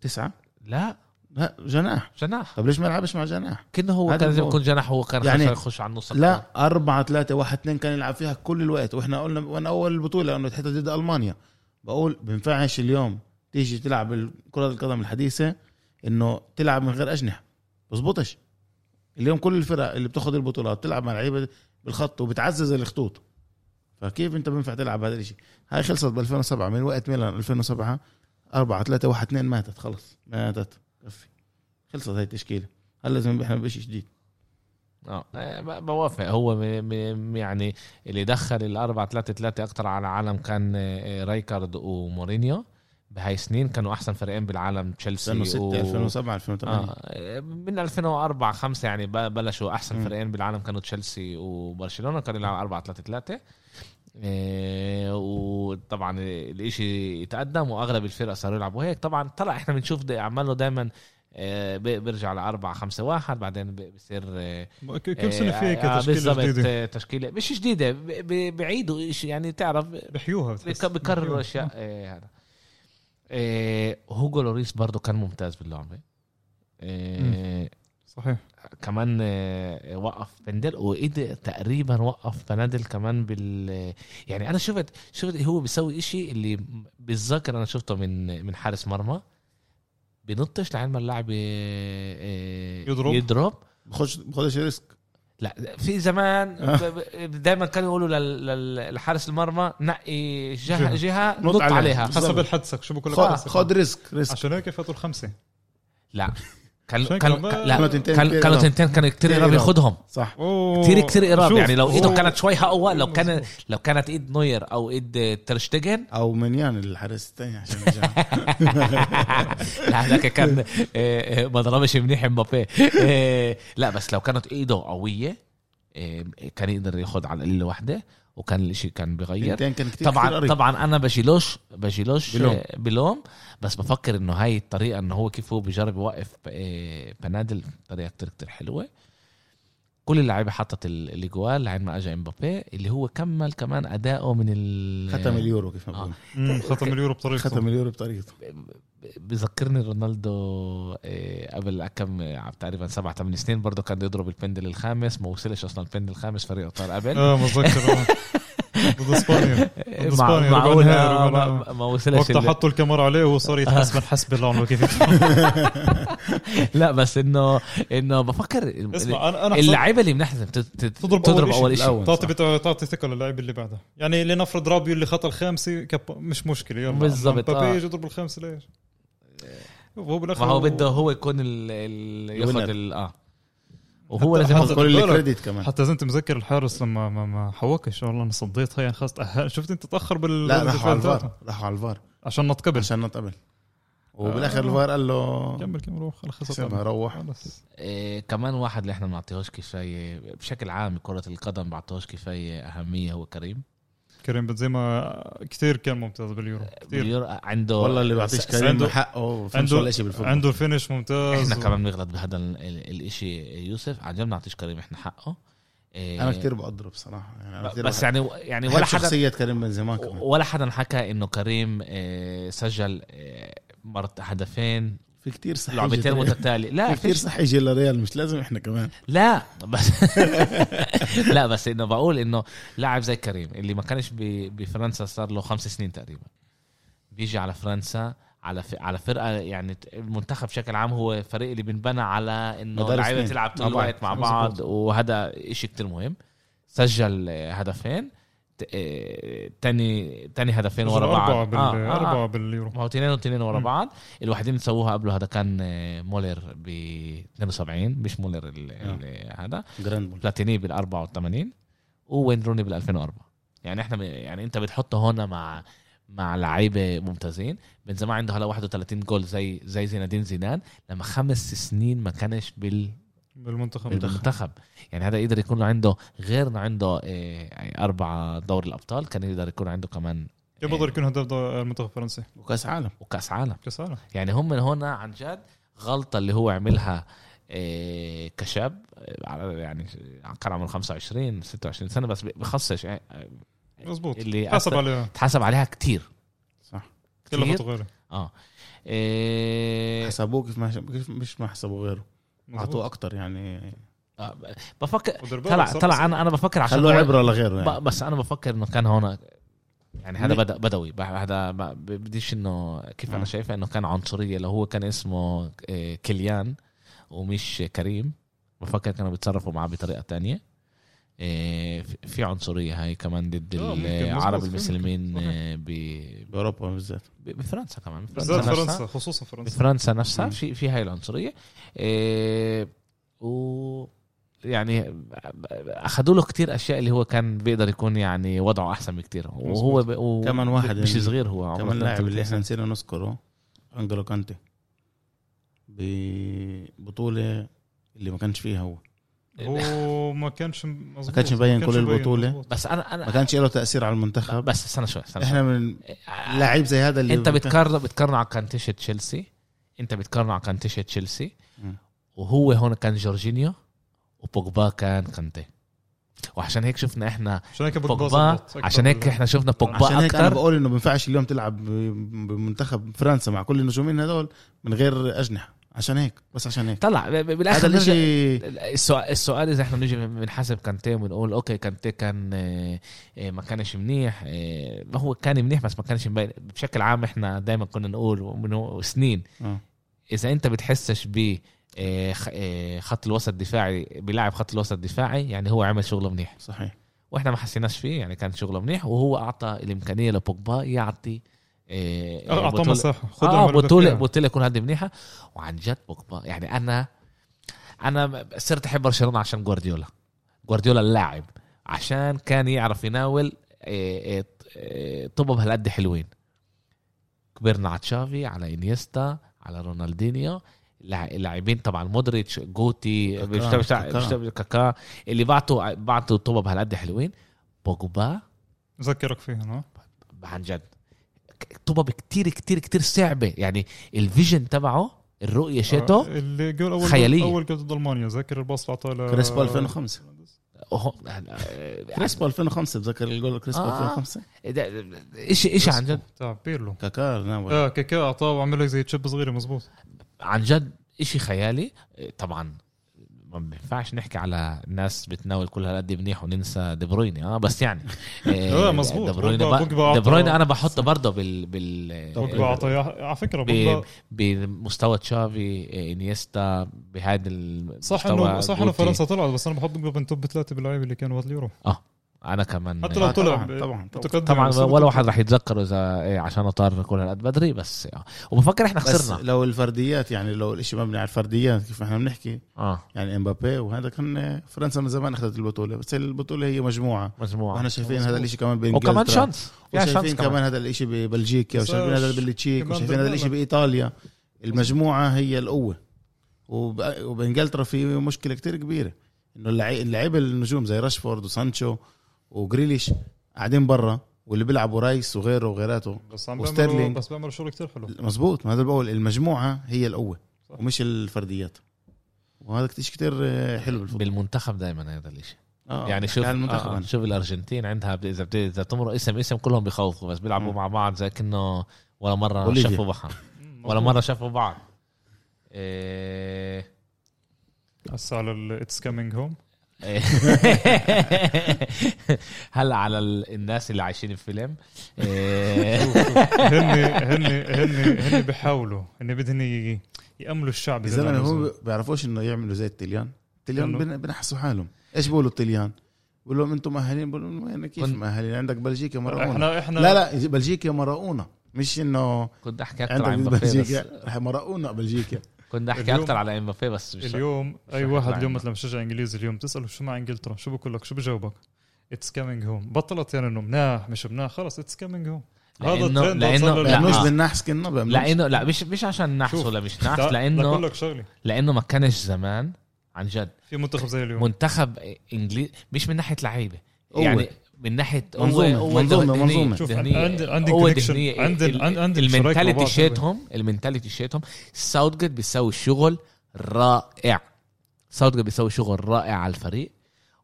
Speaker 2: تسعه
Speaker 1: لا
Speaker 2: لا جناح
Speaker 1: جناح
Speaker 2: طب ليش ما لعبش مع جناح؟
Speaker 1: كنا هو
Speaker 2: هذا
Speaker 1: كان لازم
Speaker 2: هو.
Speaker 1: يكون جناح هو كان
Speaker 2: يعني
Speaker 1: يعني يخش على النص أكتر.
Speaker 2: لا 4 3 1 2 كان يلعب فيها كل الوقت واحنا قلنا وانا اول البطوله انه حتى ضد المانيا بقول بينفعش اليوم تيجي تلعب كرة القدم الحديثة انه تلعب من غير اجنحة بزبطش اليوم كل الفرق اللي بتاخذ البطولات بتلعب مع لعيبة بالخط وبتعزز الخطوط فكيف انت بينفع تلعب هذا الشيء هاي خلصت ب 2007 من وقت ميلان 2007 4 3 1 2 ماتت خلص ماتت كفي خلصت هاي التشكيلة هلا لازم احنا بشيء جديد
Speaker 1: آه، آه، ب- بوافق هو م- م- يعني اللي دخل الأربعة ثلاثة ثلاثة أكتر على العالم كان آه، آه، رايكارد ومورينيو بهاي السنين كانوا احسن فريقين بالعالم تشيلسي
Speaker 2: 2006 2007 2008
Speaker 1: آه من 2004 5 يعني ب- بلشوا احسن
Speaker 2: مم.
Speaker 1: فريقين بالعالم كانوا تشيلسي وبرشلونه كانوا يلعبوا 4 3 3 إيه وطبعا الاشي تقدم واغلب الفرق صاروا يلعبوا هيك طبعا طلع احنا بنشوف دا- عمله دائما آه، بيرجع ل 4 5 1 بعدين ب- بصير آه،
Speaker 3: ك- كل سنه في هيك
Speaker 1: آه،
Speaker 3: تشكيله
Speaker 1: بالضبط،
Speaker 3: جديده
Speaker 1: آه، تشكيله مش جديده ب- ب- بعيدوا إشي، يعني تعرف
Speaker 3: بحيوها بتحس.
Speaker 1: بك- بكرر
Speaker 2: أيوه.
Speaker 3: بحيوها.
Speaker 1: اشياء آه، هذا آه، هوجو لوريس برضه كان ممتاز باللعبه آه،
Speaker 3: صحيح
Speaker 1: كمان آه، وقف بندل وقدر تقريبا وقف بنادل كمان بال يعني انا شفت شفت هو بيسوي إشي اللي بتذكر انا شفته من من حارس مرمى بنطش لعين ما اللاعب آه،
Speaker 3: يضرب.
Speaker 1: يضرب
Speaker 2: بخش بخش ريسك
Speaker 1: لا في زمان
Speaker 2: آه.
Speaker 1: دائما كانوا يقولوا لل- لل- لحارس المرمى نقي جهه
Speaker 3: جهة.
Speaker 1: جهه
Speaker 2: نط
Speaker 1: نط
Speaker 2: عليها.
Speaker 1: عليها
Speaker 2: بالضبط.
Speaker 3: حسب الحدسك شو بقول لك
Speaker 2: خد-
Speaker 3: حدسك؟
Speaker 2: خد ريسك ريسك
Speaker 3: عشان هيك فاتوا الخمسه
Speaker 1: لا كان
Speaker 3: عشان
Speaker 1: كان
Speaker 3: كمان
Speaker 1: لا
Speaker 2: كانوا تنتين
Speaker 1: كان
Speaker 2: كتير
Speaker 1: كانوا
Speaker 2: إيراب.
Speaker 1: تنتين كان كتير
Speaker 2: كتير
Speaker 1: قراب
Speaker 2: إيراب.
Speaker 1: ياخذهم
Speaker 2: صح
Speaker 3: إيه أوه.
Speaker 1: كتير كتير قراب
Speaker 3: شوف.
Speaker 1: يعني لو ايده
Speaker 3: أوه.
Speaker 1: كانت شوي اقوى لو
Speaker 3: مظبوط.
Speaker 1: كان لو كانت ايد نوير آه، او ايد ترشتجن
Speaker 2: او منيان الحارس الثاني عشان يرجع.
Speaker 1: لا هذاك كان آه، آه، ما ضربش منيح مبابي آه، لا بس لو كانت ايده قويه آه، كان يقدر ياخد على القليل واحده وكان الاشي كان بيغير
Speaker 2: التنتين كان كتير كتير
Speaker 1: طبعا
Speaker 2: قريب.
Speaker 1: طبعا انا بشيلوش بشيلوش
Speaker 2: بلوم.
Speaker 1: آه، بلوم بس بفكر انه هاي الطريقه انه هو كيف هو بيجرب يوقف آه، بنادل طريقه كتير كتير حلوه كل اللعيبه حطت ال- الاجوال لعين ما اجى امبابي اللي هو كمل كمان اداؤه من ال
Speaker 2: ختم اليورو كيف ما بقول
Speaker 3: مم، ختم اليورو بطريقه
Speaker 2: ختم اليورو بطريقته
Speaker 1: بذكرني رونالدو آه، قبل كم آه، تقريبا سبع ثمان سنين برضه كان يضرب البندل الخامس ما وصلش اصلا البندل الخامس فريقه طار قبل
Speaker 3: اه متذكر آه. ضد اسبانيا ضد
Speaker 1: مع-
Speaker 3: إسبانيا، ربع
Speaker 1: معقول،
Speaker 3: نهائي،
Speaker 1: آه،
Speaker 3: ربع-
Speaker 1: ما ما وصلش
Speaker 3: وقتها
Speaker 1: ال-
Speaker 3: حطوا الكاميرا عليه وصار
Speaker 1: آه.
Speaker 3: يتحسبن حسب الله ونعم الوكيل
Speaker 1: لا بس انه انه بفكر
Speaker 3: اسمع انا انا حسب-
Speaker 1: اللعيبه اللي بنحزم تضرب
Speaker 3: تضرب
Speaker 1: تضرب
Speaker 3: أول إشي
Speaker 1: اول شيء
Speaker 2: بالأول.
Speaker 3: تعطي بت- تعطي ثقه للاعب اللي بعده يعني لنفرض رابيو اللي خطا الخامسه كب... مش مشكله يلا
Speaker 1: بالضبط،
Speaker 3: مبابي
Speaker 1: آه.
Speaker 3: يجي يضرب الخامسه ليش هو بالاخر
Speaker 1: ما هو بده هو يكون ال- ال- ياخذ
Speaker 2: الوينر.
Speaker 1: ال- اه وهو
Speaker 3: حتى-
Speaker 1: لازم
Speaker 3: حتى-
Speaker 1: ياخد-
Speaker 2: كل
Speaker 3: بالك.
Speaker 2: الكريديت كمان
Speaker 3: حتى لازم متذكر الحارس لما ما, ما حوكش والله انا صديتها يعني خلص تأهل- شفت انت تاخر بال
Speaker 2: لا
Speaker 3: بالدفاع
Speaker 2: راحوا على
Speaker 3: تاعته.
Speaker 2: الفار راحوا على الفار
Speaker 3: عشان نتقبل
Speaker 2: عشان نتقبل
Speaker 3: آه.
Speaker 2: وبالاخر الفار قال له
Speaker 3: كمل آه. كمل روح خلص
Speaker 2: سيبها روح
Speaker 3: خلص
Speaker 1: إيه، كمان واحد اللي احنا ما بنعطيهوش كفايه بشكل عام كره القدم ما بعطيهوش كفايه اهميه هو كريم
Speaker 3: كريم بنزيما كثير كان ممتاز باليورو كثير
Speaker 1: بير- عنده
Speaker 2: والله اللي بيعطيش
Speaker 1: س-
Speaker 2: كريم
Speaker 3: عنده-
Speaker 2: حقه فهمش
Speaker 3: عنده
Speaker 2: ولا شيء بالفوتبول
Speaker 3: عنده الفينش ممتاز
Speaker 1: احنا
Speaker 3: و-
Speaker 1: كمان بنغلط بهذا ال- ال- الاشي يوسف عن جد ما بنعطيش كريم احنا حقه إيه،
Speaker 2: انا كتير بقدره بصراحه يعني أنا كتير
Speaker 1: بس
Speaker 2: بحب-
Speaker 1: يعني يعني
Speaker 2: بحب
Speaker 1: ولا حدا
Speaker 2: شخصيه كريم بنزيما كمان
Speaker 1: ولا حدا حكى انه كريم آه، سجل آه، مرت هدفين
Speaker 2: في كتير صح
Speaker 1: لعبتين متتالية لا
Speaker 2: في كتير
Speaker 1: فيش
Speaker 2: صح يجي لريال مش لازم احنا كمان
Speaker 1: لا بس لا بس انه بقول انه لاعب زي كريم اللي ما كانش ب- بفرنسا صار له خمس سنين تقريبا بيجي على فرنسا على ف... على فرقه يعني ت- المنتخب بشكل عام هو فريق اللي بنبنى على انه
Speaker 2: مدار
Speaker 1: لعيبه
Speaker 2: سنين.
Speaker 1: تلعب طول
Speaker 2: مع بعض.
Speaker 1: الوقت مع
Speaker 2: مظبوط.
Speaker 1: بعض وهذا إشي كتير مهم سجل آه، هدفين ت- آه، تاني تاني هدفين ورا بعض
Speaker 3: أربعة بال...
Speaker 1: آه، آه، آه.
Speaker 3: أربعة باليورو
Speaker 1: ما هو تنين وتنين ورا
Speaker 3: مم.
Speaker 1: بعض الوحيدين اللي سووها قبله هذا كان آه، مولر ب 72 مش مولر ال-
Speaker 3: آه.
Speaker 1: ال- هذا
Speaker 2: جراند بول
Speaker 1: بلاتيني بال 84 ووين روني بال 2004 يعني احنا ب- يعني انت بتحطه هنا مع مع لعيبه ممتازين بنزيما عنده هلا 31 جول زي زي زين زيدان لما خمس سنين ما كانش بال
Speaker 3: بالمنتخب
Speaker 1: بالمنتخب يعني هذا يقدر يكون له عنده غير انه عنده آه، يعني أربعة دوري الأبطال كان يقدر يكون عنده كمان
Speaker 3: كيف بقدر يكون هدف ده المنتخب الفرنسي
Speaker 2: وكاس عالم
Speaker 1: وكأس عالم
Speaker 3: كاس عالم
Speaker 1: يعني هم من هنا عن جد غلطه اللي هو عملها إيه، كشاب إيه، على- يعني كان عمره 25 26 سنه بس بخصش إيه،
Speaker 3: مزبوط
Speaker 1: اللي
Speaker 3: حسب
Speaker 1: أثر-
Speaker 3: عليه
Speaker 1: تحسب عليها كتير
Speaker 2: صح
Speaker 3: كلها
Speaker 1: كتير.
Speaker 3: غيره
Speaker 1: اه إيه،
Speaker 2: حسبوه كيف ما كيف مش ما حسبوا غيره اعطوه اكتر يعني
Speaker 1: آه، بفكر
Speaker 3: ودربالة
Speaker 1: طلع
Speaker 3: صار-
Speaker 1: طلع انا انا بفكر عشان
Speaker 2: خلوه
Speaker 1: هو-
Speaker 2: عبره لغيره
Speaker 1: ب-
Speaker 3: نعم.
Speaker 2: يعني
Speaker 1: بس انا بفكر انه كان هون يعني هذا
Speaker 2: مي-
Speaker 1: بدا بدوي ب- هذا ما- ب- بديش انه كيف
Speaker 3: نعم.
Speaker 1: انا
Speaker 2: آه.
Speaker 1: شايفه انه كان عنصريه لو هو كان اسمه إيه، كليان ومش كريم بفكر كانوا بيتصرفوا معاه بطريقه تانية إيه، في- في عنصريه هاي كمان ضد
Speaker 3: آه، ممكن،
Speaker 1: العرب
Speaker 3: مزبوط،
Speaker 1: المسلمين
Speaker 3: ممكن، صحيح.
Speaker 1: إيه، ب-
Speaker 2: باوروبا بالذات
Speaker 1: ب- بفرنسا كمان
Speaker 3: بالذات
Speaker 1: نفسها.
Speaker 3: فرنسا خصوصا فرنسا
Speaker 1: بفرنسا نفسها
Speaker 2: مم.
Speaker 1: في في هاي العنصريه إيه، و يعني اخذوا له كتير اشياء اللي هو كان بيقدر يكون يعني وضعه احسن بكتير وهو ب... و...
Speaker 2: كمان واحد
Speaker 1: مش
Speaker 2: يعني-
Speaker 1: صغير هو عمره
Speaker 2: كمان لاعب اللي
Speaker 1: 32
Speaker 2: احنا نسينا نذكره انجلو كانتي ببطوله اللي ما كانش فيها هو
Speaker 3: هو ما كانش مظبوط
Speaker 2: ما كانش مبين كل البطولة.
Speaker 3: مظبوط.
Speaker 1: بس انا
Speaker 2: ما
Speaker 1: انا
Speaker 2: كانش له تاثير على المنتخب
Speaker 1: بس استنى شوي استنى شوي.
Speaker 2: احنا من لعيب زي هذا اللي
Speaker 1: انت بتقارن بتقارنه على كانتيشة تشيلسي انت بتقارنه على كانتيشة تشيلسي
Speaker 2: مم.
Speaker 1: وهو هون كان جورجينيو وبوجبا كان كانتي وعشان هيك شفنا احنا
Speaker 3: عشان هيك بوجبا
Speaker 1: بوجبا
Speaker 3: زبط أكتر
Speaker 1: عشان هيك
Speaker 3: من-
Speaker 1: احنا شفنا
Speaker 2: عشان
Speaker 1: بوجبا
Speaker 2: هيك انا
Speaker 1: اكثر
Speaker 2: بقول انه ما بينفعش اليوم تلعب ب- بمنتخب فرنسا مع كل النجومين هذول من غير اجنحه عشان هيك بس عشان هيك
Speaker 1: طلع ب- ب-
Speaker 2: هذا
Speaker 1: بالاخر نرجع-
Speaker 2: الاشي
Speaker 1: السؤال السؤال اذا احنا بنيجي بنحاسب كانتي وبنقول اوكي كانتي كان آه، آه، ما كانش منيح آه، ما هو كان منيح بس ما كانش مبين بشكل عام احنا دائما كنا نقول من سنين
Speaker 2: آه.
Speaker 1: اذا انت بتحسش ب آه، خ- آه، خط الوسط الدفاعي بلاعب خط الوسط الدفاعي يعني هو عمل شغله منيح
Speaker 2: صحيح
Speaker 1: واحنا ما حسيناش فيه يعني كان شغله منيح وهو اعطى الامكانيه لبوجبا يعطي آه،
Speaker 3: آه، اعطاه
Speaker 1: بطولة-
Speaker 3: مساحه خدها
Speaker 1: اه
Speaker 3: من بدك
Speaker 1: بطولة
Speaker 3: إياها.
Speaker 1: بطولة يكون هذه منيحة وعن جد بوجبا يعني انا انا صرت احب برشلونة عشان جوارديولا جوارديولا اللاعب عشان كان يعرف يناول إيه، إيه، إيه، طبب هالقد حلوين كبرنا على تشافي على انيستا على رونالدينيو اللاع- اللاعبين طبعا مودريتش جوتي
Speaker 2: كاكا،
Speaker 1: مش مش-
Speaker 2: كاكا.
Speaker 1: مش- كاكا اللي بعتوا بعتوا طبب هالقد حلوين بوجبا
Speaker 3: ذكرك فيهم ها
Speaker 1: عن جد طبب كتير كتير كتير صعبه يعني الفيجن تبعه الرؤيه
Speaker 3: آه،
Speaker 1: شاتو
Speaker 3: اللي جول اول
Speaker 1: خيالية.
Speaker 3: اول جول ضد المانيا ذاكر الباص اللي اعطاه ل-
Speaker 2: كريسبو 2005
Speaker 1: أهو-
Speaker 2: كريسبو 2005 بتذكر الجول كريسبو
Speaker 1: يعني. آه.
Speaker 2: 2005
Speaker 1: ده- اشي اشي عن جد
Speaker 3: تاع آه، بيرلو
Speaker 2: كاكا ناول
Speaker 3: اه كاكا اعطاه وعمل لك زي تشيب صغيره مزبوط
Speaker 1: عن جد اشي خيالي طبعا ما بينفعش نحكي على ناس بتناول كل هالقد منيح وننسى دي برويني اه بس يعني
Speaker 3: آه، مزبوط.
Speaker 1: دي برويني
Speaker 3: بوجبا-
Speaker 1: ب-
Speaker 3: بوجبا
Speaker 1: دي برويني
Speaker 3: أعطى-
Speaker 1: انا بحطه برضه بال بال
Speaker 3: بوجبا اعطاه إياه- على فكره
Speaker 1: ب-
Speaker 3: بوجبا
Speaker 1: بمستوى تشافي انيستا بهذا المستوى
Speaker 3: صح انه صح انه
Speaker 1: جوتي.
Speaker 3: فرنسا طلعت بس انا بحط بوجبا من توب ثلاثه باللعيبه اللي كانوا وقت اليورو
Speaker 1: انا كمان
Speaker 3: حتى لو طلع
Speaker 2: طبعاً، طبعاً، طبعاً.
Speaker 3: متقدم يعني،
Speaker 1: طبعا
Speaker 3: بس هو
Speaker 1: ولا
Speaker 3: طلع.
Speaker 1: واحد راح يتذكره اذا إيه، عشان اطار كل هالقد بدري بس آه. وبفكر احنا
Speaker 2: بس
Speaker 1: خسرنا
Speaker 2: لو الفرديات يعني لو الاشي مبني على الفرديات كيف احنا بنحكي
Speaker 1: اه
Speaker 2: يعني امبابي وهذا كان فرنسا من زمان اخذت البطوله بس البطوله هي مجموعه
Speaker 1: مجموعه
Speaker 2: واحنا شايفين هذا الاشي كمان بانجلترا
Speaker 1: وكمان شانس فيها شانس
Speaker 2: وشايفين
Speaker 1: كمان
Speaker 2: كمان هذا الاشي ببلجيكا
Speaker 3: بس
Speaker 2: وشايفين هذا
Speaker 3: ش-
Speaker 2: بالتشيك
Speaker 3: كمان
Speaker 2: وشايفين هذا الاشي
Speaker 3: بالمغرب.
Speaker 2: بايطاليا المجموعه هي القوه وب- وبانجلترا في مشكله كتير كبيره انه اللعي- اللعيبه النجوم زي راشفورد وسانشو وجريليش قاعدين برا واللي بيلعبوا رايس وغيره وغيراته
Speaker 3: بس عم
Speaker 2: وستيرلينج.
Speaker 3: بيعملوا بس بيعملوا شغل كثير حلو
Speaker 2: مزبوط ما هذا بقول المجموعه هي القوه
Speaker 3: صح.
Speaker 2: ومش الفرديات وهذا كتير كتير آه، حلو بالفوتبول
Speaker 1: بالمنتخب دائما هذا الشيء
Speaker 2: آه،
Speaker 1: يعني
Speaker 2: بحكي
Speaker 1: شوف
Speaker 2: على المنتخب
Speaker 1: آه
Speaker 2: أنا.
Speaker 1: شوف الارجنتين عندها ب- اذا بت- اذا تمر اسم اسم كلهم بيخوفوا بس بيلعبوا
Speaker 2: مم.
Speaker 1: مع بعض زي كانه ولا مره
Speaker 2: بوليفيا.
Speaker 1: شافوا بعض ولا مره شافوا بعض إيه...
Speaker 3: هسه على اتس كامينج هوم
Speaker 1: هلا على ال- الناس اللي عايشين إيه. الفيلم
Speaker 3: هن هن هن هن بيحاولوا هن بدهن ي- ياملوا الشعب
Speaker 2: يا
Speaker 3: زي ما
Speaker 2: زلمه
Speaker 3: بيقولوا.
Speaker 2: هم بيعرفوش انه يعملوا زي التليان التليان
Speaker 3: إنه-
Speaker 2: بن- بنحسوا حالهم ايش بيقولوا التليان بقول لهم انتم مؤهلين بقول لهم يعني كيف
Speaker 1: كن-
Speaker 2: مؤهلين عندك بلجيكا مرقونا
Speaker 3: احنا احنا
Speaker 2: لا لا بلجيكا مرقونا مش انه
Speaker 1: كنت احكي اكثر عن
Speaker 2: عندك يعني.
Speaker 1: مبابي بس
Speaker 2: بلجيكا رح مرقونا بلجيكا
Speaker 1: كنت احكي
Speaker 3: اليوم-
Speaker 1: اكثر على امبابي بس مش
Speaker 3: اليوم اي
Speaker 1: رح
Speaker 3: واحد
Speaker 1: يطلع
Speaker 3: اليوم
Speaker 1: عنا.
Speaker 3: مثلا مشجع انجليزي اليوم تساله شو مع انجلترا شو بقول لك شو بجاوبك اتس كامينج هوم بطلت يعني انه مناح مش مناح خلص اتس كامينج هوم هذا
Speaker 1: لأنه-
Speaker 3: الترند
Speaker 1: لأنه-
Speaker 3: وصل
Speaker 1: لا.
Speaker 2: بيعملوش
Speaker 1: آه.
Speaker 2: بالنحس كنا بيعملوش.
Speaker 1: لانه لا مش مش عشان نحس
Speaker 3: شوف،
Speaker 1: ولا مش نحس
Speaker 3: لا، لا
Speaker 1: لانه
Speaker 3: بقول لك شغله
Speaker 1: لانه ما كانش زمان عن جد
Speaker 3: في منتخب زي اليوم
Speaker 1: منتخب انجليزي مش من ناحيه لعيبه
Speaker 2: قوة.
Speaker 1: يعني من ناحيه قوة-
Speaker 2: منظومة،
Speaker 1: قوة
Speaker 2: منظومة،
Speaker 1: ذهنية-
Speaker 2: منظومة.
Speaker 3: شوف،
Speaker 1: ذهنية،
Speaker 3: عند- عندي
Speaker 1: قوة
Speaker 3: connection،
Speaker 1: ذهنية.
Speaker 3: عند-
Speaker 1: ال-
Speaker 3: عند- عندي شرايك مع
Speaker 1: المنتاليتي
Speaker 3: بعض.
Speaker 1: شيتهم المنتاليتي شيتهم ساوث جيت بيسوي شغل رائع ساوث جيت بيسوي شغل رائع على الفريق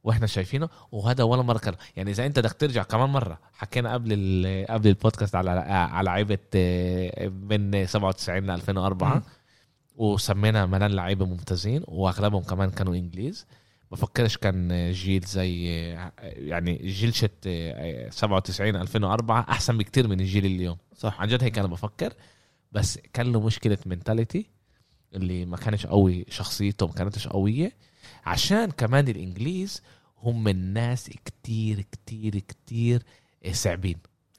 Speaker 1: واحنا شايفينه وهذا ولا مره كان يعني اذا انت بدك ترجع كمان مره حكينا قبل ال- قبل البودكاست على على لعيبه آه، من 97 ل 2004
Speaker 3: مم.
Speaker 1: وسمينا ملان لعيبه ممتازين واغلبهم كمان كانوا انجليز بفكرش كان جيل زي يعني جيل شت 97 2004 احسن بكتير من الجيل اليوم
Speaker 2: صح
Speaker 1: عن جد هيك انا بفكر بس كان له مشكله منتاليتي اللي ما كانش قوي شخصيته ما كانتش قويه عشان كمان الانجليز هم الناس كتير كتير كتير صعبين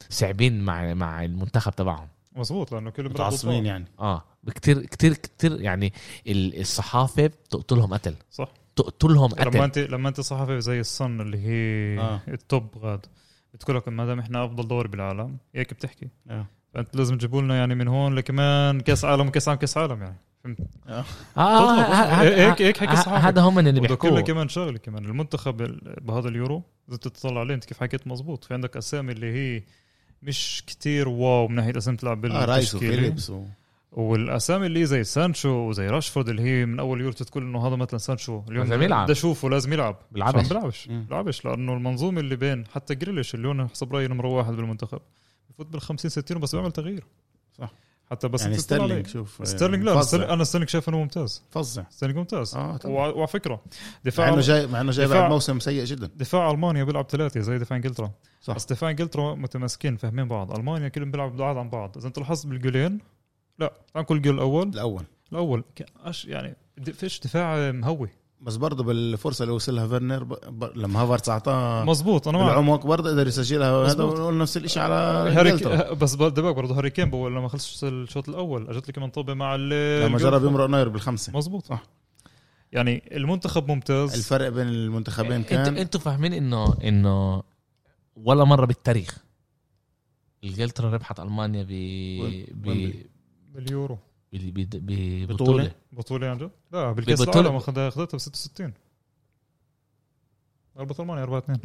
Speaker 1: صعبين مع مع المنتخب تبعهم آه،
Speaker 3: مزبوط لانه كل بلد
Speaker 2: متعصبين
Speaker 3: بطل.
Speaker 2: يعني
Speaker 1: اه كتير كتير كتير يعني ال- الصحافه بتقتلهم قتل
Speaker 3: صح
Speaker 1: تقتلهم
Speaker 3: لما
Speaker 1: قتل
Speaker 3: انت لما انت صحفي زي الصن اللي هي
Speaker 2: آه.
Speaker 3: آه. التوب غاد بتقول لك ما دام احنا افضل دوري بالعالم هيك بتحكي
Speaker 2: آه.
Speaker 3: فانت لازم تجيبوا لنا يعني من هون لكمان كاس عالم كاس عالم كاس عالم يعني فهمت
Speaker 1: اه
Speaker 3: تطلع.
Speaker 1: ه-
Speaker 2: إيه،
Speaker 1: ه-
Speaker 3: هيك- هيك حكي
Speaker 1: ه-
Speaker 3: الصحافة.
Speaker 1: آه، هذا هم اللي
Speaker 3: وذكر لك
Speaker 1: بيحكوه
Speaker 3: كمان شغله كمان المنتخب ال- بهذا اليورو اذا تطلع عليه انت كيف حكيت مزبوط في عندك اسامي اللي هي مش كتير واو من ناحيه اسامي تلعب
Speaker 2: آه رايس
Speaker 3: بالتشكيله
Speaker 2: وفيليبس و...
Speaker 3: والاسامي اللي زي سانشو وزي راشفورد اللي هي من اول يورو تقول انه هذا مثلا سانشو اليوم
Speaker 1: لازم يلعب.
Speaker 3: بدي اشوفه لازم يلعب
Speaker 1: بيلعبش.
Speaker 3: فما بيلعبش
Speaker 2: مم.
Speaker 3: بيلعبش لانه المنظومه اللي بين حتى جريليش اللي هو حسب رايي نمره واحد بالمنتخب بفوت بال 50 60 بس بيعمل تغيير
Speaker 2: صح.
Speaker 3: حتى بس
Speaker 2: يعني
Speaker 3: أنت تطلع
Speaker 2: ستيرلينج
Speaker 3: عليه.
Speaker 2: شوف آه،
Speaker 3: ستيرلينج لا ستيرلينج- انا ستيرلينج شايف انه ممتاز
Speaker 2: فظع
Speaker 3: ستيرلينج ممتاز
Speaker 2: اه طبعاً.
Speaker 3: وع- وعلى فكره
Speaker 2: مع انه
Speaker 3: دفاع
Speaker 2: جاي مع انه جاي
Speaker 3: دفاع-
Speaker 2: بعد موسم سيء جدا
Speaker 3: دفاع المانيا بيلعب ثلاثه زي دفاع انجلترا
Speaker 2: صح.
Speaker 3: صح بس دفاع انجلترا متماسكين فاهمين بعض المانيا كلهم بيلعبوا بعاد عن بعض اذا انت لاحظت بالجولين لا طبعا كل جول الاول
Speaker 2: الاول
Speaker 3: الاول ك- أش يعني د- فيش دفاع مهوي
Speaker 2: بس برضه بالفرصه اللي وصلها فيرنر ب... ب... لما هافرتس اعطاه
Speaker 3: مزبوط انا معك
Speaker 2: العمق برضه قدر يسجلها هذا
Speaker 3: نعم. مظبوط.
Speaker 2: ونقول نفس الشيء على
Speaker 3: هاري
Speaker 2: إنجلترا.
Speaker 3: ك- بس دباك برضه هاري كين بول لما خلص الشوط الاول اجت لي كمان طبه مع ال-
Speaker 2: لما
Speaker 3: الجول.
Speaker 2: جرب يمرق ناير بالخمسه
Speaker 3: مزبوط
Speaker 2: صح.
Speaker 3: صح يعني المنتخب ممتاز
Speaker 2: الفرق بين المنتخبين
Speaker 1: انتوا
Speaker 2: كان
Speaker 1: انتوا فاهمين انه انه ولا مره بالتاريخ انجلترا ربحت المانيا ب ب
Speaker 2: ويمبلي.
Speaker 3: باليورو
Speaker 1: ب- ب- ب-
Speaker 2: بطولة.
Speaker 1: بطوله
Speaker 3: بطوله عن يعني جد لا بالكاس
Speaker 1: ببطولة-
Speaker 3: العالم اخذها اخذتها ب 66 غلبت المانيا 4 2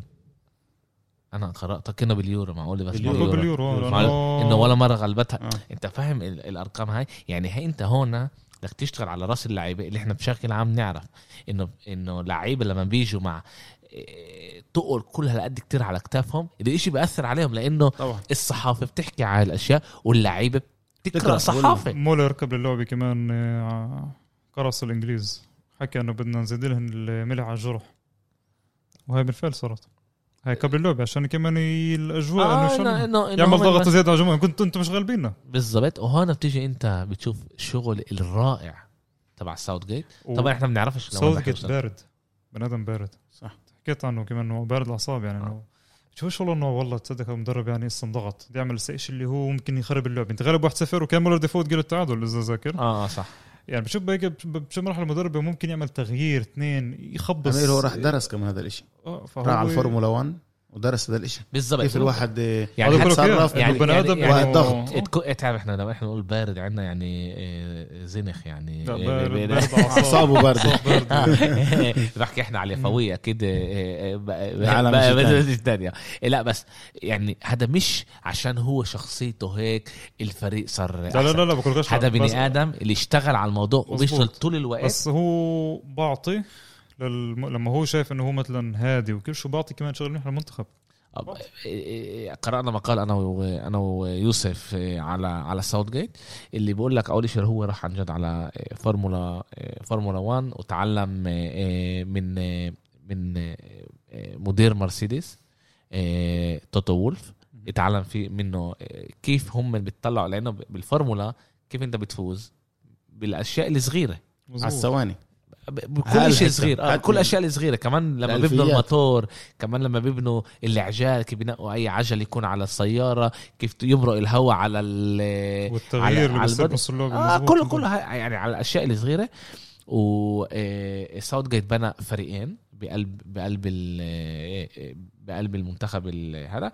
Speaker 1: انا قراتها كنا باليورو معقول بس
Speaker 2: باليورو.
Speaker 1: باليورو, باليورو.
Speaker 3: باليورو
Speaker 2: باليورو.
Speaker 3: لأنه-
Speaker 1: انه ولا مره غلبتها
Speaker 2: آه.
Speaker 1: انت فاهم ال- الارقام هاي يعني هي انت هون بدك تشتغل على راس اللعيبه اللي احنا بشكل عام نعرف انه انه لعيبه لما بيجوا مع إيه، تقل كل هالقد كتير على كتافهم الاشي بياثر عليهم لانه
Speaker 2: طبعا
Speaker 1: الصحافه بتحكي على الاشياء واللعيبه
Speaker 2: تقرأ،
Speaker 1: بتقرا صحافه
Speaker 3: مولر قبل اللعبه كمان آه، قرص الانجليز حكى انه بدنا نزيد لهم الملح على الجرح وهي بالفعل صارت هاي قبل اللعبه عشان كمان ي- الاجواء
Speaker 1: آه
Speaker 3: آه
Speaker 1: انه
Speaker 3: انه
Speaker 1: انه
Speaker 3: يعمل
Speaker 1: إنه هم
Speaker 3: ضغط زياده على الجمهور كنتوا انتم مش غالبيننا
Speaker 1: بالظبط وهون بتيجي انت بتشوف الشغل الرائع تبع ساوث جيت طبعا احنا بنعرفش لوين
Speaker 3: ساوث
Speaker 1: رح
Speaker 3: جيت
Speaker 1: يوصل.
Speaker 3: بارد بني ادم بارد
Speaker 2: صح.
Speaker 3: حكيت عنه كمان انه بارد الاعصاب يعني
Speaker 1: آه.
Speaker 3: انه بتشوفش والله انه والله تصدق المدرب يعني لسه انضغط بده يعمل الشيء اللي هو ممكن يخرب اللعبه انت غالب 1-0 وكان مولر يفوت جيل التعادل اذا ذاكر
Speaker 1: اه آه، صح
Speaker 3: يعني بشوف هيك بشوف مرحله المدرب ممكن يعمل تغيير اثنين يخبص
Speaker 2: امير هو راح درس كمان هذا الشيء
Speaker 3: اه فهو
Speaker 2: راح على الفورمولا 1 ودرس هذا الشيء
Speaker 1: بالظبط
Speaker 2: كيف الواحد آه،
Speaker 1: يعني
Speaker 3: هذا كله
Speaker 1: حتى-
Speaker 2: يتصرف
Speaker 3: كده.
Speaker 1: يعني-
Speaker 3: البني
Speaker 1: يعني-
Speaker 3: ادم
Speaker 1: يعني
Speaker 3: إنه-
Speaker 2: الضغط.
Speaker 1: تكو- تعرف احنا لما احنا نقول بارد عندنا يعني آه، زنخ يعني
Speaker 3: لا،
Speaker 1: آه،
Speaker 3: بارد-
Speaker 1: ب- ب-
Speaker 3: بارد أعصاب.
Speaker 2: اعصابه بارده
Speaker 1: بحكي احنا على فوي اكيد آه، آه، ب- ب-
Speaker 2: العالم
Speaker 1: ب-
Speaker 2: مش
Speaker 1: بلد التانية. إيه، لا بس يعني هذا مش عشان هو شخصيته هيك الفريق صار
Speaker 3: لا لا
Speaker 1: أحسن.
Speaker 3: لا لا بقول غش
Speaker 1: هذا
Speaker 3: بس-
Speaker 1: بني ادم اللي اشتغل على الموضوع
Speaker 3: مظبوط.
Speaker 1: وبيشتغل طول الوقت
Speaker 3: بس هو بعطي للم... لما هو شايف انه هو مثلا هادي وكل شو بعطي كمان شغل منيح للمنتخب
Speaker 1: أب- قرانا مقال انا و- انا ويوسف إيه، على على ساوث جيت اللي بيقول لك اول شيء هو راح عن جد على إيه، فورمولا إيه، فورمولا 1 وتعلم إيه، من إيه، من إيه، مدير مرسيدس إيه، توتو وولف اتعلم في منه إيه، كيف هم بيطلعوا لانه بالفورمولا كيف انت بتفوز بالاشياء الصغيره
Speaker 3: مظبوط.
Speaker 2: على الثواني
Speaker 1: ب- بكل
Speaker 2: هل
Speaker 1: شيء
Speaker 2: حتى-
Speaker 1: صغير آه
Speaker 2: حتى
Speaker 1: كل الاشياء الصغيره كمان لما بيبنوا
Speaker 2: الألفيات.
Speaker 1: الموتور كمان لما بيبنوا العجال كيف بينقوا اي عجل يكون على السياره كيف يمرق الهواء على ال على-
Speaker 3: والتغيير اللي
Speaker 1: على
Speaker 3: بيصير
Speaker 1: البدء.
Speaker 3: بنص اللعبه
Speaker 1: آه
Speaker 3: مظبوط.
Speaker 1: كله كله هاي- يعني على الاشياء الصغيره وساوث جيت آه، بنى فريقين بقلب بقلب ال- آه، بقلب المنتخب ال- هذا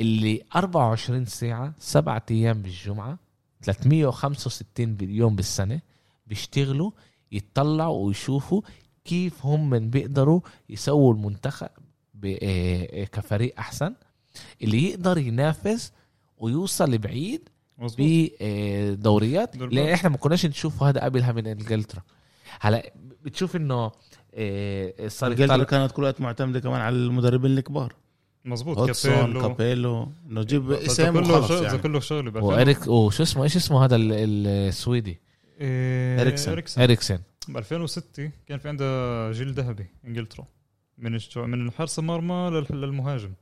Speaker 1: اللي 24 ساعه سبعة ايام بالجمعه 365 يوم بالسنه بيشتغلوا يتطلعوا ويشوفوا كيف هم من بيقدروا يسووا المنتخب ب- آه، آه، كفريق احسن اللي يقدر ينافس ويوصل بعيد
Speaker 3: مظبوط
Speaker 1: آه، بدوريات
Speaker 3: دوري
Speaker 1: لان
Speaker 3: الأبطال.
Speaker 1: احنا ما كناش نشوف هذا قبلها من انجلترا هلا بتشوف انه إيه، صار
Speaker 2: انجلترا
Speaker 1: يطلع
Speaker 2: كانت كل وقت معتمده كمان على المدربين الكبار
Speaker 3: مظبوط
Speaker 2: هوتسون
Speaker 3: كابيلو
Speaker 2: كابيلو انه جيب
Speaker 3: بس
Speaker 2: اسم
Speaker 3: كله
Speaker 2: وخلص
Speaker 3: شغل
Speaker 2: يعني
Speaker 3: يعني. كله شغل بألفين-
Speaker 1: واريك وشو اسمه ايش اسمه هذا ال- ال- السويدي
Speaker 3: إيه،
Speaker 2: إريكسن.
Speaker 3: اريكسن
Speaker 1: اريكسن
Speaker 3: ب 2006 كان في عندها جيل ذهبي انجلترا من الش- من حارس المرمى للح- للمهاجم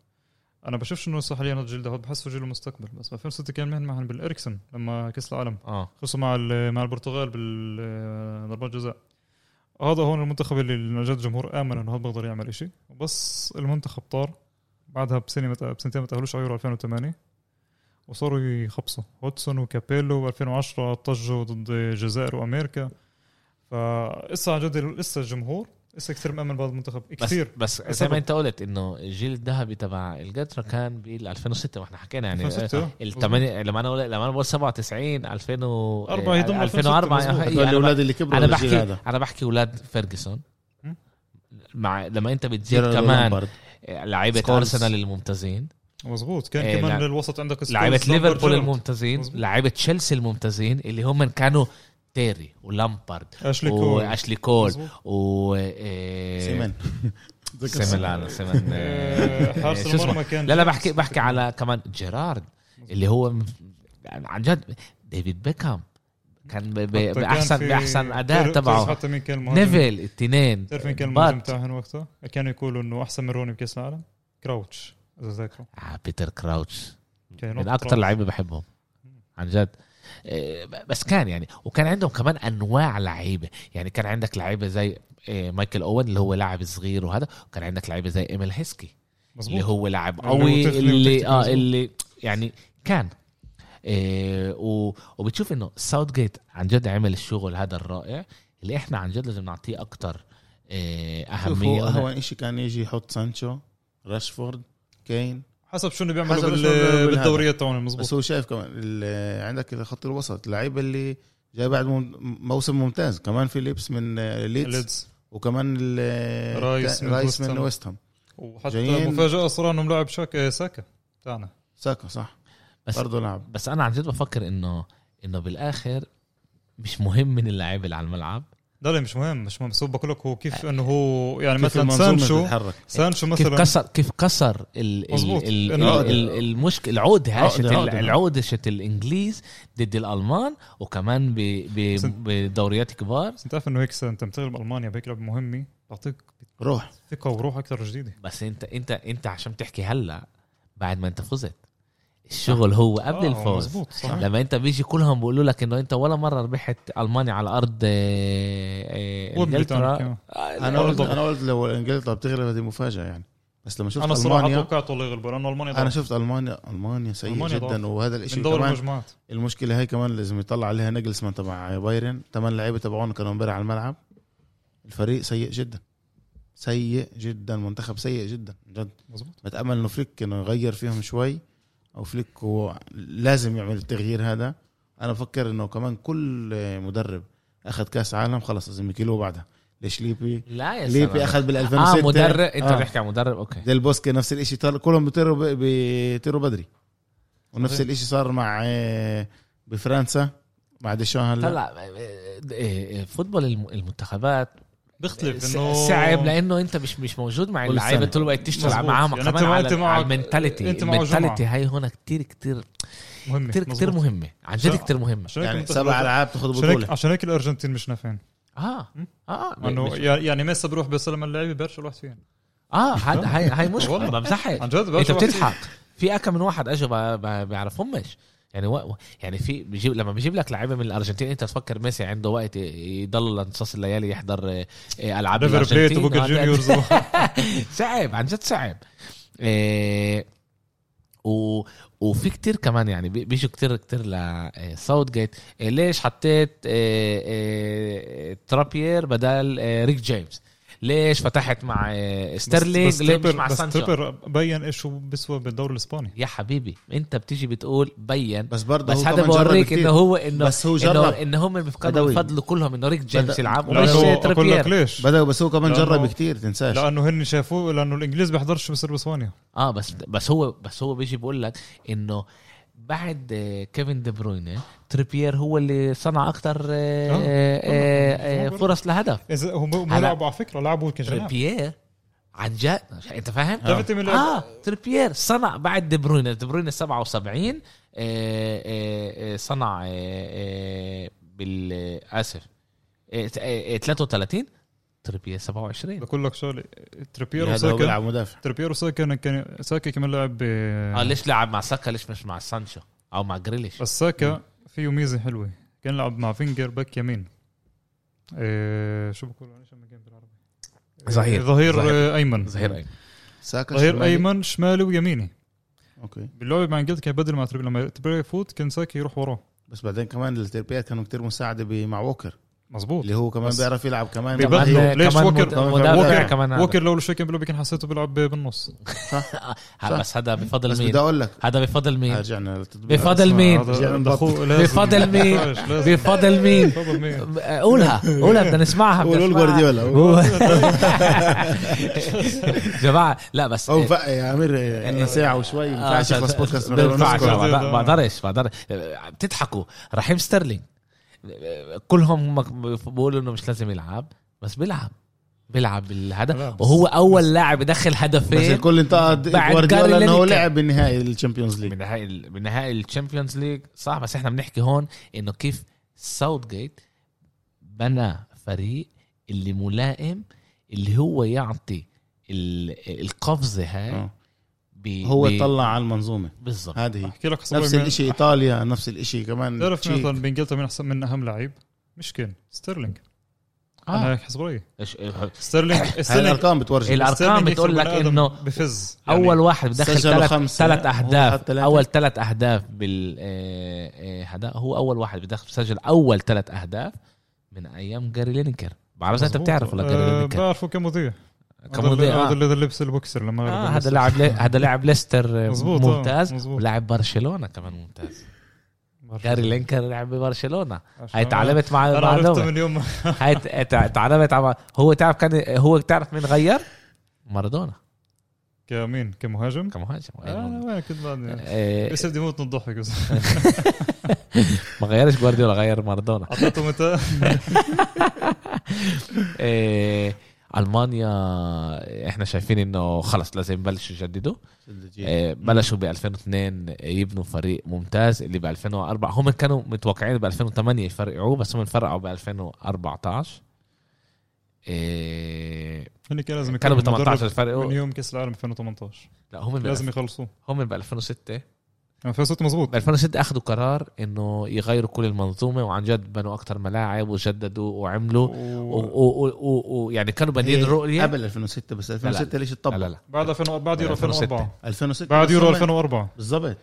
Speaker 3: انا بشوفش انه صح حاليا الجيل ده بحسه جيل المستقبل بس 2006 كان مهن معهم بالاريكسن لما كاس العالم
Speaker 1: اه
Speaker 3: خصوصا مع ال- مع البرتغال بالضربات جزاء هذا هون المنتخب اللي عن جد الجمهور امن انه هذا بيقدر يعمل إشي وبس المنتخب طار بعدها بسنه مت... بسنتين ما تاهلوش على يورو 2008 وصاروا يخبصوا هودسون وكابيلو 2010 طجوا ضد الجزائر وامريكا فلسه عن جد لسه الجمهور لسه كثير مامن بهذا المنتخب
Speaker 1: بس
Speaker 3: كثير
Speaker 1: بس زي
Speaker 3: السبب.
Speaker 1: ما انت قلت انه الجيل الذهبي تبع الجترا كان بال 2006 واحنا حكينا يعني
Speaker 3: 2006 آه.
Speaker 1: الثمانية لما انا قلت- لما انا بقول 97 2000 و
Speaker 3: أربعة يضم
Speaker 1: 2004
Speaker 3: 2006 مظبوط.
Speaker 1: هي-
Speaker 2: هدول
Speaker 1: أنا
Speaker 2: الاولاد اللي كبروا
Speaker 1: انا
Speaker 2: على الجيل
Speaker 1: بحكي
Speaker 2: هذا
Speaker 1: انا بحكي اولاد فيرجسون
Speaker 3: مم.
Speaker 1: مع لما انت بتزيد
Speaker 2: جيرارد
Speaker 1: كمان
Speaker 2: لامبارد.
Speaker 1: لعيبه
Speaker 2: سكولز.
Speaker 1: ارسنال الممتازين
Speaker 3: مظبوط كان
Speaker 1: إيه،
Speaker 3: كمان
Speaker 1: لا.
Speaker 3: الوسط عندك سكولز،
Speaker 1: لعيبه
Speaker 3: لامبرت،
Speaker 1: ليفربول
Speaker 3: جيرارد.
Speaker 1: الممتازين
Speaker 3: مظبوط.
Speaker 1: لعيبه تشيلسي الممتازين اللي هم كانوا تيري ولامبارد
Speaker 3: اشلي كول
Speaker 1: واشلي كول
Speaker 3: مظبوط.
Speaker 1: و إيه،
Speaker 2: سيمن
Speaker 1: سيمن لا لا، سيمن
Speaker 3: آه،
Speaker 1: إيه،
Speaker 3: حارس
Speaker 1: شو اسمه؟
Speaker 3: المرمى كان
Speaker 1: لا لا بحكي بحكي على كمان جيرارد اللي هو م- يعني عن جد ديفيد بيكهام كان ب- ب-
Speaker 3: حتى كان
Speaker 1: باحسن
Speaker 3: في-
Speaker 1: باحسن اداء
Speaker 3: بتعرف- بتعرف
Speaker 1: تبعه
Speaker 3: حتى مين كان المهاجم
Speaker 1: نيفل الاثنين
Speaker 3: بتعرف مين كان المهاجم
Speaker 1: بات
Speaker 3: تاعهم وقتها؟ كانوا يقولوا انه احسن من روني بكاس العالم كراوتش اذا ذاكروا
Speaker 1: آه، بيتر كراوتش
Speaker 3: كان
Speaker 1: من
Speaker 3: ينط
Speaker 1: اكثر
Speaker 3: كراوتش.
Speaker 1: لعيبه بحبهم عن جد إيه، ب- بس كان يعني وكان عندهم كمان انواع لعيبه يعني كان عندك لعيبه زي إيه، مايكل اوين اللي هو لاعب صغير وهذا وكان عندك لعيبه زي ايميل هيسكي
Speaker 3: مظبوط
Speaker 1: اللي هو لاعب
Speaker 3: اللي هو
Speaker 1: قوي
Speaker 3: تخلي
Speaker 1: اللي
Speaker 3: وتكتيك
Speaker 1: اه
Speaker 3: مظبوط.
Speaker 1: اللي يعني كان إيه و- وبتشوف انه ساوث جيت عن جد عمل الشغل هذا الرائع اللي احنا عن جد لازم نعطيه اكتر إيه
Speaker 2: شوفوا
Speaker 1: اهميه
Speaker 2: اهون شيء كان يجي يحط سانشو راشفورد كين
Speaker 3: حسب شو اللي
Speaker 2: حسب
Speaker 3: بيعملوا
Speaker 2: شو اللي بيعملوا
Speaker 3: بال...
Speaker 2: بالهذا.
Speaker 3: بالدوريات تاعهم مظبوط
Speaker 2: بس هو شايف كمان ال- عندك خط الوسط اللعيبه اللي جاي بعد مم- موسم ممتاز كمان فيليبس من آه، ليدز
Speaker 3: ليدز
Speaker 2: وكمان ال-
Speaker 3: رايس
Speaker 2: تا-
Speaker 3: من
Speaker 2: رايس
Speaker 3: ويست
Speaker 2: من
Speaker 3: هام.
Speaker 2: ويست هام
Speaker 3: وحتى
Speaker 2: جايين-
Speaker 3: مفاجاه صار انه ملاعب شاك آه، ساكا تاعنا
Speaker 2: ساكا صح
Speaker 1: بس-
Speaker 2: برضه لعب
Speaker 1: بس انا عن جد بفكر انه انه بالاخر مش مهم من اللاعب اللي على الملعب
Speaker 3: لا لا مش مهم مش مهم بس هو بقول لك هو كيف انه هو يعني
Speaker 2: كيف
Speaker 3: مثلا
Speaker 2: المنظومة
Speaker 3: سانشو
Speaker 2: بتتحرك
Speaker 3: سانشو
Speaker 1: كيف
Speaker 3: مثلا
Speaker 1: كسر كيف كسر ال
Speaker 3: مظبوط.
Speaker 1: ال ال
Speaker 3: العقدة.
Speaker 1: ال المشكله العود هاشت
Speaker 2: عقدة، عقدة.
Speaker 1: العود هاشت الانجليز ضد الالمان وكمان ب- ب-
Speaker 3: بس-
Speaker 1: بدوريات كبار
Speaker 3: بس انت عارف انه هيك سنة انت بتغلب المانيا بهيك لعبه مهمه بتعطيك
Speaker 2: روح
Speaker 3: ثقه وروح اكثر جديده
Speaker 1: بس انت انت انت عشان تحكي هلا بعد ما انت فزت الشغل هو قبل
Speaker 3: آه،
Speaker 1: الفوز
Speaker 3: مظبوط صح
Speaker 1: لما انت بيجي كلهم بيقولوا لك انه انت ولا مره ربحت المانيا على ارض آه، آه،
Speaker 3: ويمبلي تاعنا
Speaker 1: انجلترا
Speaker 3: كمان.
Speaker 1: آه،
Speaker 2: انا قلت
Speaker 1: آه،
Speaker 2: انا قلت لو انجلترا بتغلب هذه مفاجاه يعني بس لما شفت
Speaker 3: انا الصراحه
Speaker 2: المانيا
Speaker 3: توقعت والله يغلبوا لانه المانيا
Speaker 2: انا
Speaker 3: ضعف.
Speaker 2: شفت المانيا المانيا سيئه
Speaker 3: ألمانيا
Speaker 2: جدا
Speaker 3: ضعف.
Speaker 2: وهذا
Speaker 3: من
Speaker 2: الشيء
Speaker 3: دور
Speaker 2: كمان
Speaker 3: المجموعات
Speaker 2: المشكله هاي كمان لازم يطلع عليها نجلسمان تبع بايرن ثمان لعيبه تبعون كانوا امبارح على الملعب الفريق سيء جدا سيء جدا منتخب سيء جدا جد
Speaker 3: مظبوط
Speaker 2: بتامل انه فليك انه يغير فيهم شوي او فليك هو لازم يعمل التغيير هذا انا بفكر انه كمان كل مدرب اخذ كاس عالم خلص لازم يكيلوه بعدها ليش ليبي
Speaker 1: لا يا
Speaker 2: ليبي
Speaker 1: سلام
Speaker 2: اخذ بال 2006
Speaker 1: اه مدرب انت
Speaker 2: آه.
Speaker 1: بتحكي عن مدرب اوكي
Speaker 2: ديل بوسكي نفس الشيء طار كلهم بيطيروا ب- بيطيروا بدري ونفس
Speaker 3: صحيح.
Speaker 2: الشيء صار مع آه، بفرنسا مع ديشان هلا
Speaker 1: طلع آه، آه، فوتبول الم- المنتخبات
Speaker 3: بيختلف
Speaker 1: س-
Speaker 3: انه
Speaker 1: صعب لانه انت مش مش موجود مع
Speaker 2: كل
Speaker 1: اللعيبه
Speaker 2: سنة.
Speaker 1: طول الوقت تشتغل
Speaker 3: مظبوط.
Speaker 1: معاهم
Speaker 3: يعني أنت
Speaker 1: كمان
Speaker 3: مع-
Speaker 1: على
Speaker 3: أنت مع-
Speaker 1: المنتاليتي
Speaker 3: أنت مع
Speaker 1: المنتاليتي
Speaker 3: جمعة.
Speaker 1: هاي هون كتير كتير
Speaker 3: مهمه
Speaker 1: كتير كتير
Speaker 3: مظبوط.
Speaker 1: مهمه عن جد
Speaker 3: عشان-
Speaker 1: كتير مهمه
Speaker 3: عشان هيك
Speaker 2: يعني
Speaker 3: المنتخب-
Speaker 2: سبع العاب تاخذ
Speaker 3: عشان هيك
Speaker 2: بطوله
Speaker 3: عشان هيك الارجنتين مش نافعين
Speaker 1: اه اه
Speaker 3: انه
Speaker 1: مش-
Speaker 3: يع- يعني ميسي بروح بيسلم اللعيبه بيرجع الواحد فيهم
Speaker 1: اه هاد- هاي هاي مشكله
Speaker 3: والله.
Speaker 1: بمزحك
Speaker 3: عن جد
Speaker 1: انت
Speaker 3: بيرجع واحد
Speaker 1: بتضحك في اكم من واحد اجوا ب- ب- بيعرفهمش يعني و... يعني في بيجيب لما بيجيب لك لعيبه من الارجنتين انت تفكر ميسي عنده وقت ي- يضل لنصاص الليالي يحضر آه، آه، العاب
Speaker 3: ريفر بليت
Speaker 1: الأرجنتين.
Speaker 3: وبوكا
Speaker 1: آه،
Speaker 3: جونيورز و-
Speaker 1: صعب عن جد صعب إيه و... وفي كتير كمان يعني بي- بيجوا كتير كتير لساوث جيت إيه ليش حطيت إيه إيه ترابير بدل إيه ريك جيمس ليش فتحت مع إيه ستيرلينج
Speaker 3: بس- بس
Speaker 1: ليش مش
Speaker 3: تريبر-
Speaker 1: مع
Speaker 3: بس
Speaker 1: سانشو
Speaker 3: تريبر بين ايش هو بيسوى بالدوري الاسباني
Speaker 1: يا حبيبي انت بتيجي بتقول بين
Speaker 2: بس برضه
Speaker 1: بس
Speaker 2: هو
Speaker 1: هذا
Speaker 2: كمان جرب
Speaker 1: بوريك
Speaker 2: كتير.
Speaker 1: انه هو انه
Speaker 2: بس هو
Speaker 1: انه
Speaker 2: جرب
Speaker 1: ان هم بيفكروا
Speaker 2: بدوي.
Speaker 1: بفضلوا كلهم انه ريك جيمس
Speaker 2: بدأ-
Speaker 1: يلعب
Speaker 2: لا،
Speaker 1: ومش
Speaker 2: هو
Speaker 3: لانه اقول لك
Speaker 1: ترابير
Speaker 3: ليش؟
Speaker 2: بدأ بس هو كمان
Speaker 3: لأنه-
Speaker 2: جرب كتير تنساش
Speaker 3: لانه هن شافوه لانه الانجليز بيحضرش بيصير باسبانيا
Speaker 1: اه بس بس هو بس هو بيجي بيقول لك انه بعد آه، كيفن دي بروين تريبير هو اللي صنع اكثر
Speaker 3: آه، آه،
Speaker 1: فرص لهدف
Speaker 3: اذا هم هم
Speaker 1: على-
Speaker 3: لعبوا على فكره لعبوا كجناح
Speaker 1: تريبير عن جد انت فاهم؟
Speaker 3: عرفت من
Speaker 1: اه تريبير صنع بعد دي بروين دي بروين 77 آه، آه، آه، صنع آه، آه، بال آه، اسف آه، آه، آه، 33 تريبير 27
Speaker 3: بقول لك شغله تريبير
Speaker 2: يعني هذا هو
Speaker 3: وساكا
Speaker 2: بيلعب مدافع
Speaker 3: تريبير وساكا كان ساكا كمان لعب ب آه،
Speaker 1: اه ليش لعب مع ساكا ليش مش مع سانشو او مع جريليش
Speaker 3: بس ساكا فيه ميزه حلوه كان لعب مع فينجر باك يمين إيه شو بقولوا ايش لما كان بالعربي
Speaker 1: ظهير. إيه،
Speaker 3: ظهير
Speaker 1: ظهير.
Speaker 3: آه، ايمن
Speaker 1: ظهير أيمن.
Speaker 2: ساكا
Speaker 3: ظهير
Speaker 2: شمالي.
Speaker 3: ايمن شمالي ويميني
Speaker 2: اوكي
Speaker 3: باللعب مع انجلترا كان بدل مع تريبير لما تريبير يفوت كان ساكا يروح وراه
Speaker 2: بس بعدين كمان التربيات كانوا كتير مساعده ب- مع ووكر
Speaker 3: مزبوط
Speaker 2: اللي هو كمان
Speaker 3: بس- بيعرف
Speaker 2: بيعرف يلعب كمان
Speaker 3: بيبدلوا.
Speaker 2: كمان
Speaker 3: ببدله. ليش
Speaker 1: كمان
Speaker 3: ووكر-
Speaker 1: مد-
Speaker 2: ووكر-
Speaker 1: مدافع كمان
Speaker 3: ووكر لو شو كان بيلعب كان حسيته بيلعب بالنص
Speaker 1: هلا بس هذا بفضل
Speaker 2: بس بدي
Speaker 1: مين
Speaker 2: اقول لك
Speaker 1: هذا بفضل مين
Speaker 2: رجعنا للتطبيق آه،
Speaker 1: بفضل مين
Speaker 2: رجعنا
Speaker 3: هذا-
Speaker 2: نبطل.
Speaker 3: أخوه لازم-
Speaker 1: بفضل مين؟
Speaker 3: لازم.
Speaker 1: بفضل مين
Speaker 3: بفضل مين
Speaker 1: قولها قولها بدنا نسمعها بدنا
Speaker 2: قولوا
Speaker 1: نسمعها.
Speaker 2: الجوارديولا.
Speaker 1: جماعه لا بس
Speaker 2: او فق يا امير إيه، ساعه وشوي ما ينفعش
Speaker 1: آه،
Speaker 2: يخلص بودكاست من غير ما
Speaker 1: بينفعش
Speaker 2: نذكر.
Speaker 3: نذكر.
Speaker 1: ما بقدرش بقدر بتضحكوا رحيم ستيرلينج كلهم هم بيقولوا انه مش لازم يلعب بس بيلعب بيلعب
Speaker 3: لا،
Speaker 1: بالهدف
Speaker 3: بس-
Speaker 1: وهو اول لاعب يدخل هدفين
Speaker 2: بس الكل انتقد
Speaker 1: بعد
Speaker 2: جوارديولا
Speaker 1: جاري
Speaker 2: انه
Speaker 1: لينيكر.
Speaker 2: لعب بالنهائي الشامبيونز ليج
Speaker 1: من نهائي ال- من نهائي الشامبيونز ليج صح بس احنا بنحكي هون انه كيف ساوث جيت بنى فريق اللي ملائم اللي هو يعطي ال- القفزه هاي
Speaker 2: آه.
Speaker 1: ب-
Speaker 2: هو
Speaker 1: ب-
Speaker 2: طلع آه. على المنظومه
Speaker 1: بالظبط
Speaker 2: هذه هي
Speaker 3: احكي لك حصل
Speaker 2: نفس
Speaker 3: مين-
Speaker 2: الشيء ايطاليا نفس الشيء كمان
Speaker 3: تعرف
Speaker 2: تشيك.
Speaker 3: مثلا بانجلترا من احسن من اهم لعيب مش كين ستيرلينج انا
Speaker 1: اه
Speaker 3: هيك حسب رايي
Speaker 1: إيش- إيه-
Speaker 3: ستيرلينج
Speaker 2: هاي
Speaker 3: ستيرلينج
Speaker 2: الارقام بتورجي
Speaker 1: الأرقام
Speaker 3: ستيرلينج
Speaker 1: بتقول
Speaker 3: يخرب
Speaker 1: لك
Speaker 3: بني آدم
Speaker 1: إنه
Speaker 3: بفز يعني
Speaker 1: اول واحد بدخل
Speaker 2: سجلوا
Speaker 1: ثلاث
Speaker 2: خمسة،
Speaker 1: ثلاث
Speaker 2: هو
Speaker 1: اهداف
Speaker 2: حط ثلاثة.
Speaker 1: اول ثلاث اهداف بال آه، آه، هذا هو اول واحد بدخل سجل اول ثلاث اهداف من ايام جاري لينكر بعرف اذا انت
Speaker 3: مظبوط.
Speaker 1: بتعرف ولا
Speaker 3: آه،
Speaker 1: جاري لينكر
Speaker 3: بعرفه كمذيع
Speaker 1: كمذيع، آه.
Speaker 3: هذا اللي لبس البوكسر لما
Speaker 1: آه،
Speaker 3: لما-
Speaker 1: هذا لاعب لي- هذا لاعب ليستر آه،
Speaker 3: مظبوط، آه،
Speaker 1: ممتاز
Speaker 3: مظبوط.
Speaker 1: ولاعب برشلونه كمان ممتاز
Speaker 3: بعرفه.
Speaker 1: جاري لينكر لعب ببرشلونه
Speaker 3: عشان-
Speaker 1: هاي تعلمت مع
Speaker 3: انا
Speaker 1: مع
Speaker 3: عرفته
Speaker 1: نوفا.
Speaker 3: من يوم ما-
Speaker 1: هاي ت- تع- تعلمت مع هو تعرف كان هو تعرف مين غير مارادونا
Speaker 3: كمين كمهاجم
Speaker 1: كمهاجم
Speaker 3: انا وين كنت بعدني
Speaker 1: آه،
Speaker 3: بس بدي موت من الضحك بس
Speaker 1: ما غيرش جوارديولا غير مارادونا
Speaker 3: اعطيته متى
Speaker 1: إيه، المانيا احنا شايفين انه خلص لازم يبلشوا يجددوا إيه، بلشوا ب 2002 يبنوا فريق ممتاز اللي ب 2004 هم كانوا متوقعين ب 2008 يفرقعوه بس هم انفرقعوا ب 2014 إيه،
Speaker 3: هن يعني كان لازم
Speaker 1: كانوا ب
Speaker 3: يكونوا
Speaker 1: 18
Speaker 3: مدرب من
Speaker 1: يفرقعوا
Speaker 3: يوم كاس العالم 2018
Speaker 1: لا هم بال-
Speaker 3: لازم يخلصوه
Speaker 1: هم ب 2006
Speaker 3: يعني فزت مزبوط
Speaker 1: ب 2006 اخذوا قرار انه يغيروا كل المنظومه وعن جد بنوا اكثر ملاعب وجددوا وعملوا
Speaker 3: و-
Speaker 1: ويعني يعني كانوا بادئين رؤيه
Speaker 2: إيه، قبل 2006 بس 2006 ليش
Speaker 1: لا
Speaker 2: اتطبق
Speaker 1: لا
Speaker 3: بعد 2000 بعد يورو
Speaker 1: 2006.
Speaker 3: 2004
Speaker 2: 2006
Speaker 3: بعد
Speaker 2: بس
Speaker 3: يورو
Speaker 2: هم-
Speaker 3: 2004
Speaker 2: بالضبط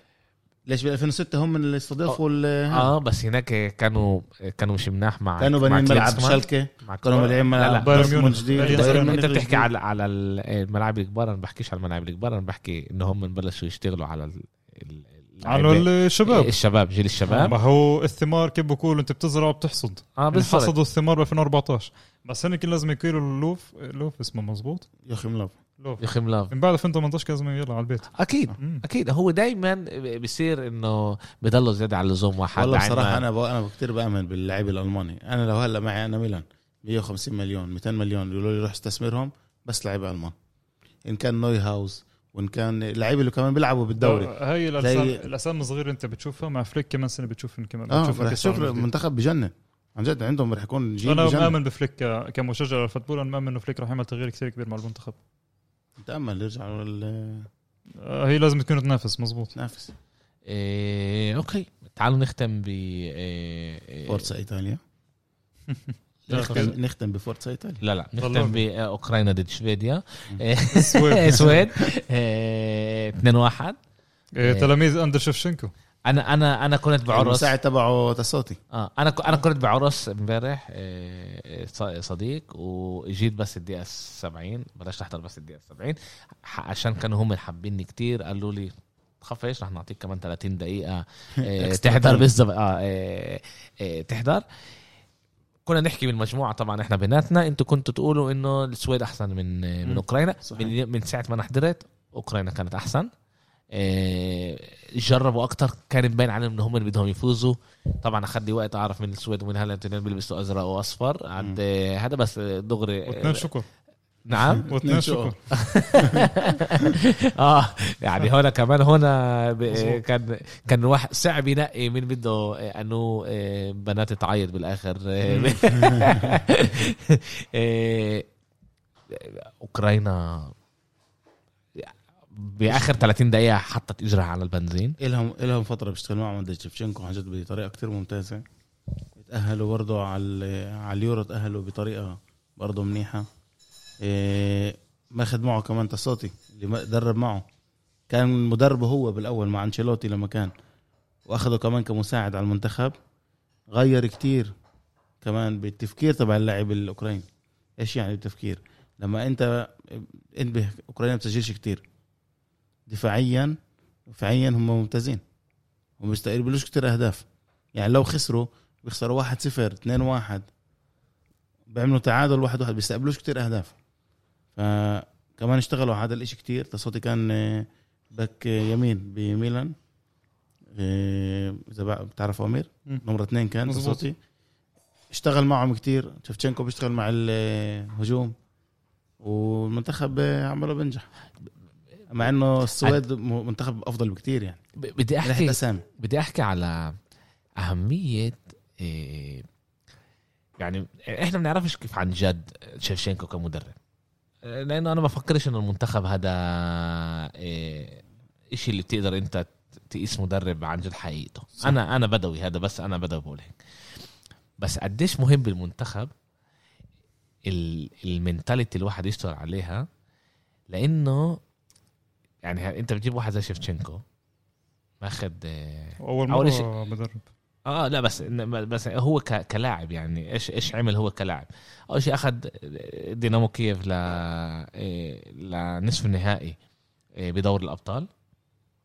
Speaker 2: ليش بال 2006 هم اللي استضافوا ال-
Speaker 1: اه بس هناك كانوا كانوا مش مناح مع
Speaker 2: كانوا
Speaker 1: مع
Speaker 2: بانيين ملعب
Speaker 1: كلينسمان.
Speaker 2: شالكه
Speaker 1: مع
Speaker 2: كانوا
Speaker 1: كلينسمان.
Speaker 2: ملعبين
Speaker 1: لا، لا.
Speaker 2: ملعب
Speaker 3: بايرن
Speaker 2: دورتموند
Speaker 3: ميونخ.
Speaker 2: جديد
Speaker 3: بايرن
Speaker 1: بس
Speaker 2: بايرن
Speaker 1: انت
Speaker 2: ميونخ
Speaker 1: بتحكي على على ال- الملاعب الكبار انا بحكيش على الملاعب الكبار انا بحكي ان هم بلشوا يشتغلوا على ال- ال-
Speaker 3: على
Speaker 1: اللعيبة.
Speaker 3: الشباب
Speaker 1: الشباب جيل
Speaker 3: ما
Speaker 1: يعني الشباب
Speaker 3: هو الثمار كيف بقول انت بتزرع وبتحصد
Speaker 1: اه
Speaker 3: يعني
Speaker 1: بالضبط
Speaker 3: حصدوا الثمار ب 2014 بس هن كان لازم يكيلوا اللوف لوف اسمه مزبوط
Speaker 2: يوخي ملوف
Speaker 3: لوف
Speaker 1: يا اخي ملاف
Speaker 3: من بعد 2018 كان لازم يلا على البيت
Speaker 1: اكيد
Speaker 3: مم.
Speaker 1: اكيد هو دائما بصير انه بضلوا زياده على اللزوم واحد
Speaker 2: والله
Speaker 1: عين ما-
Speaker 2: بصراحه انا بو... انا كثير بامن باللعيب الالماني انا لو هلا معي انا ميلان 150 مليون 200 مليون يقولوا لي روح استثمرهم بس لعيبه المان ان كان نوي هاوس وان كان اللعيبه اللي كمان بيلعبوا بالدوري
Speaker 3: آه، هاي الاسامي
Speaker 2: زي-
Speaker 3: الاسامي الصغيره انت بتشوفها مع فليك كمان سنه بتشوف كمان
Speaker 1: آه،
Speaker 2: اه
Speaker 3: بتشوف
Speaker 2: رح
Speaker 3: الكأس العالم
Speaker 2: تشوف
Speaker 3: الجديد.
Speaker 2: منتخب بجنن عن جد عندهم رح يكون جيل
Speaker 3: انا
Speaker 2: بجنن
Speaker 3: مآمن بفليك ك- كمشجع للفوتبول انا مآمن انه فليك رح يعمل تغيير كثير كبير مع المنتخب
Speaker 2: نتامل يرجعوا لل-
Speaker 3: آه، هي لازم تكون تنافس مزبوط
Speaker 2: تنافس
Speaker 1: إيه اوكي تعالوا نختم ب إيه إيه
Speaker 2: فورتسا ايطاليا
Speaker 1: لا
Speaker 2: نختم نختم بفورتسا ايطاليا
Speaker 1: لا نختم
Speaker 3: والله.
Speaker 1: باوكرانيا ضد شويديا إيه،
Speaker 3: سويد.
Speaker 1: سويد إيه، 2-1 إيه.
Speaker 3: آه، تلاميذ اندر شفشنكو
Speaker 1: انا انا انا كنت بعرس
Speaker 2: المساعد تبعه تسوتي
Speaker 1: اه انا ك- انا كنت بعرس امبارح إيه، ص- صديق واجيت بس الدقيقه 70 بلاش احضر بس الدقيقه 70 ح- عشان كانوا هم حابيني كتير قالوا لي تخافش رح نعطيك كمان 30 دقيقه إيه،
Speaker 2: Extra
Speaker 1: تحضر
Speaker 2: time.
Speaker 1: بالظبط اه إيه، إيه، تحضر كنا نحكي بالمجموعه طبعا احنا بيناتنا انتوا كنتوا تقولوا انه السويد احسن من من
Speaker 2: مم.
Speaker 1: اوكرانيا
Speaker 2: صحيح.
Speaker 1: من, من ساعه ما انا حضرت اوكرانيا كانت احسن إيه، جربوا اكتر كان باين عليهم ان هم اللي بدهم يفوزوا طبعا اخذ لي وقت اعرف من السويد ومن هلا الاثنين بيلبسوا ازرق واصفر عاد إيه، هذا بس دغري
Speaker 3: واثنين شكر
Speaker 1: نعم
Speaker 3: واثنين شكر
Speaker 1: اه يعني هنا كمان هنا ب-
Speaker 3: مظبوط.
Speaker 1: كان كان الواحد صعب ينقي مين بده آه، انه آه، بنات تعيط بالاخر آه، آه، اوكرانيا باخر 30 دقيقه حطت اجرها على البنزين
Speaker 2: الهم الهم فتره بيشتغلوا معهم عند شفشنكو عن جد بطريقه كتير ممتازه تاهلوا برضه على ال- على اليورو تاهلوا بطريقه برضه منيحه إيه ماخذ معه كمان تصاطي اللي ما- درب معه كان مدربه هو بالاول مع انشيلوتي لما كان واخده كمان كمساعد على المنتخب غير كتير كمان بالتفكير تبع اللاعب الاوكراني ايش يعني التفكير لما انت انتبه اوكرانيا ما بتسجلش كتير دفاعيا دفاعيا هم ممتازين وما بيستقبلوش كتير اهداف يعني لو خسروا بيخسروا 1 0 2 1 بيعملوا تعادل 1 1 بيستقبلوش كتير اهداف فكمان اشتغلوا على هذا الاشي كتير تصوتي كان آه، باك آه، يمين بميلان آه، اذا بع- بتعرف امير
Speaker 3: مم.
Speaker 2: نمرة اثنين كان
Speaker 3: مظبوط.
Speaker 2: تصوتي اشتغل معهم كتير شفتشنكو بيشتغل مع الهجوم والمنتخب آه، عماله بنجح مع انه السويد م- منتخب افضل بكتير يعني
Speaker 1: ب- بدي
Speaker 2: من ناحيه
Speaker 1: احكي
Speaker 2: اسامي
Speaker 1: بدي احكي على اهميه إيه، يعني احنا ما بنعرفش كيف عن جد شيفشينكو كمدرب إيه، لانه انا ما بفكرش انه المنتخب هذا إيه، إشي اللي بتقدر انت تقيس مدرب عن جد حقيقته
Speaker 2: صح.
Speaker 1: انا انا بدوي هذا بس انا بدوي بقول هيك بس قديش مهم بالمنتخب ال- المنتاليتي الواحد يشتغل عليها لانه يعني ه- انت بتجيب واحد زي شيفشينكو ماخذ آه،
Speaker 3: اول
Speaker 1: أول
Speaker 3: مره بدرب
Speaker 1: اه لا بس إن- بس هو ك- كلاعب يعني ايش ايش عمل هو كلاعب؟ اول شيء اخذ دينامو كييف ل إيه، لنصف النهائي إيه، بدور الابطال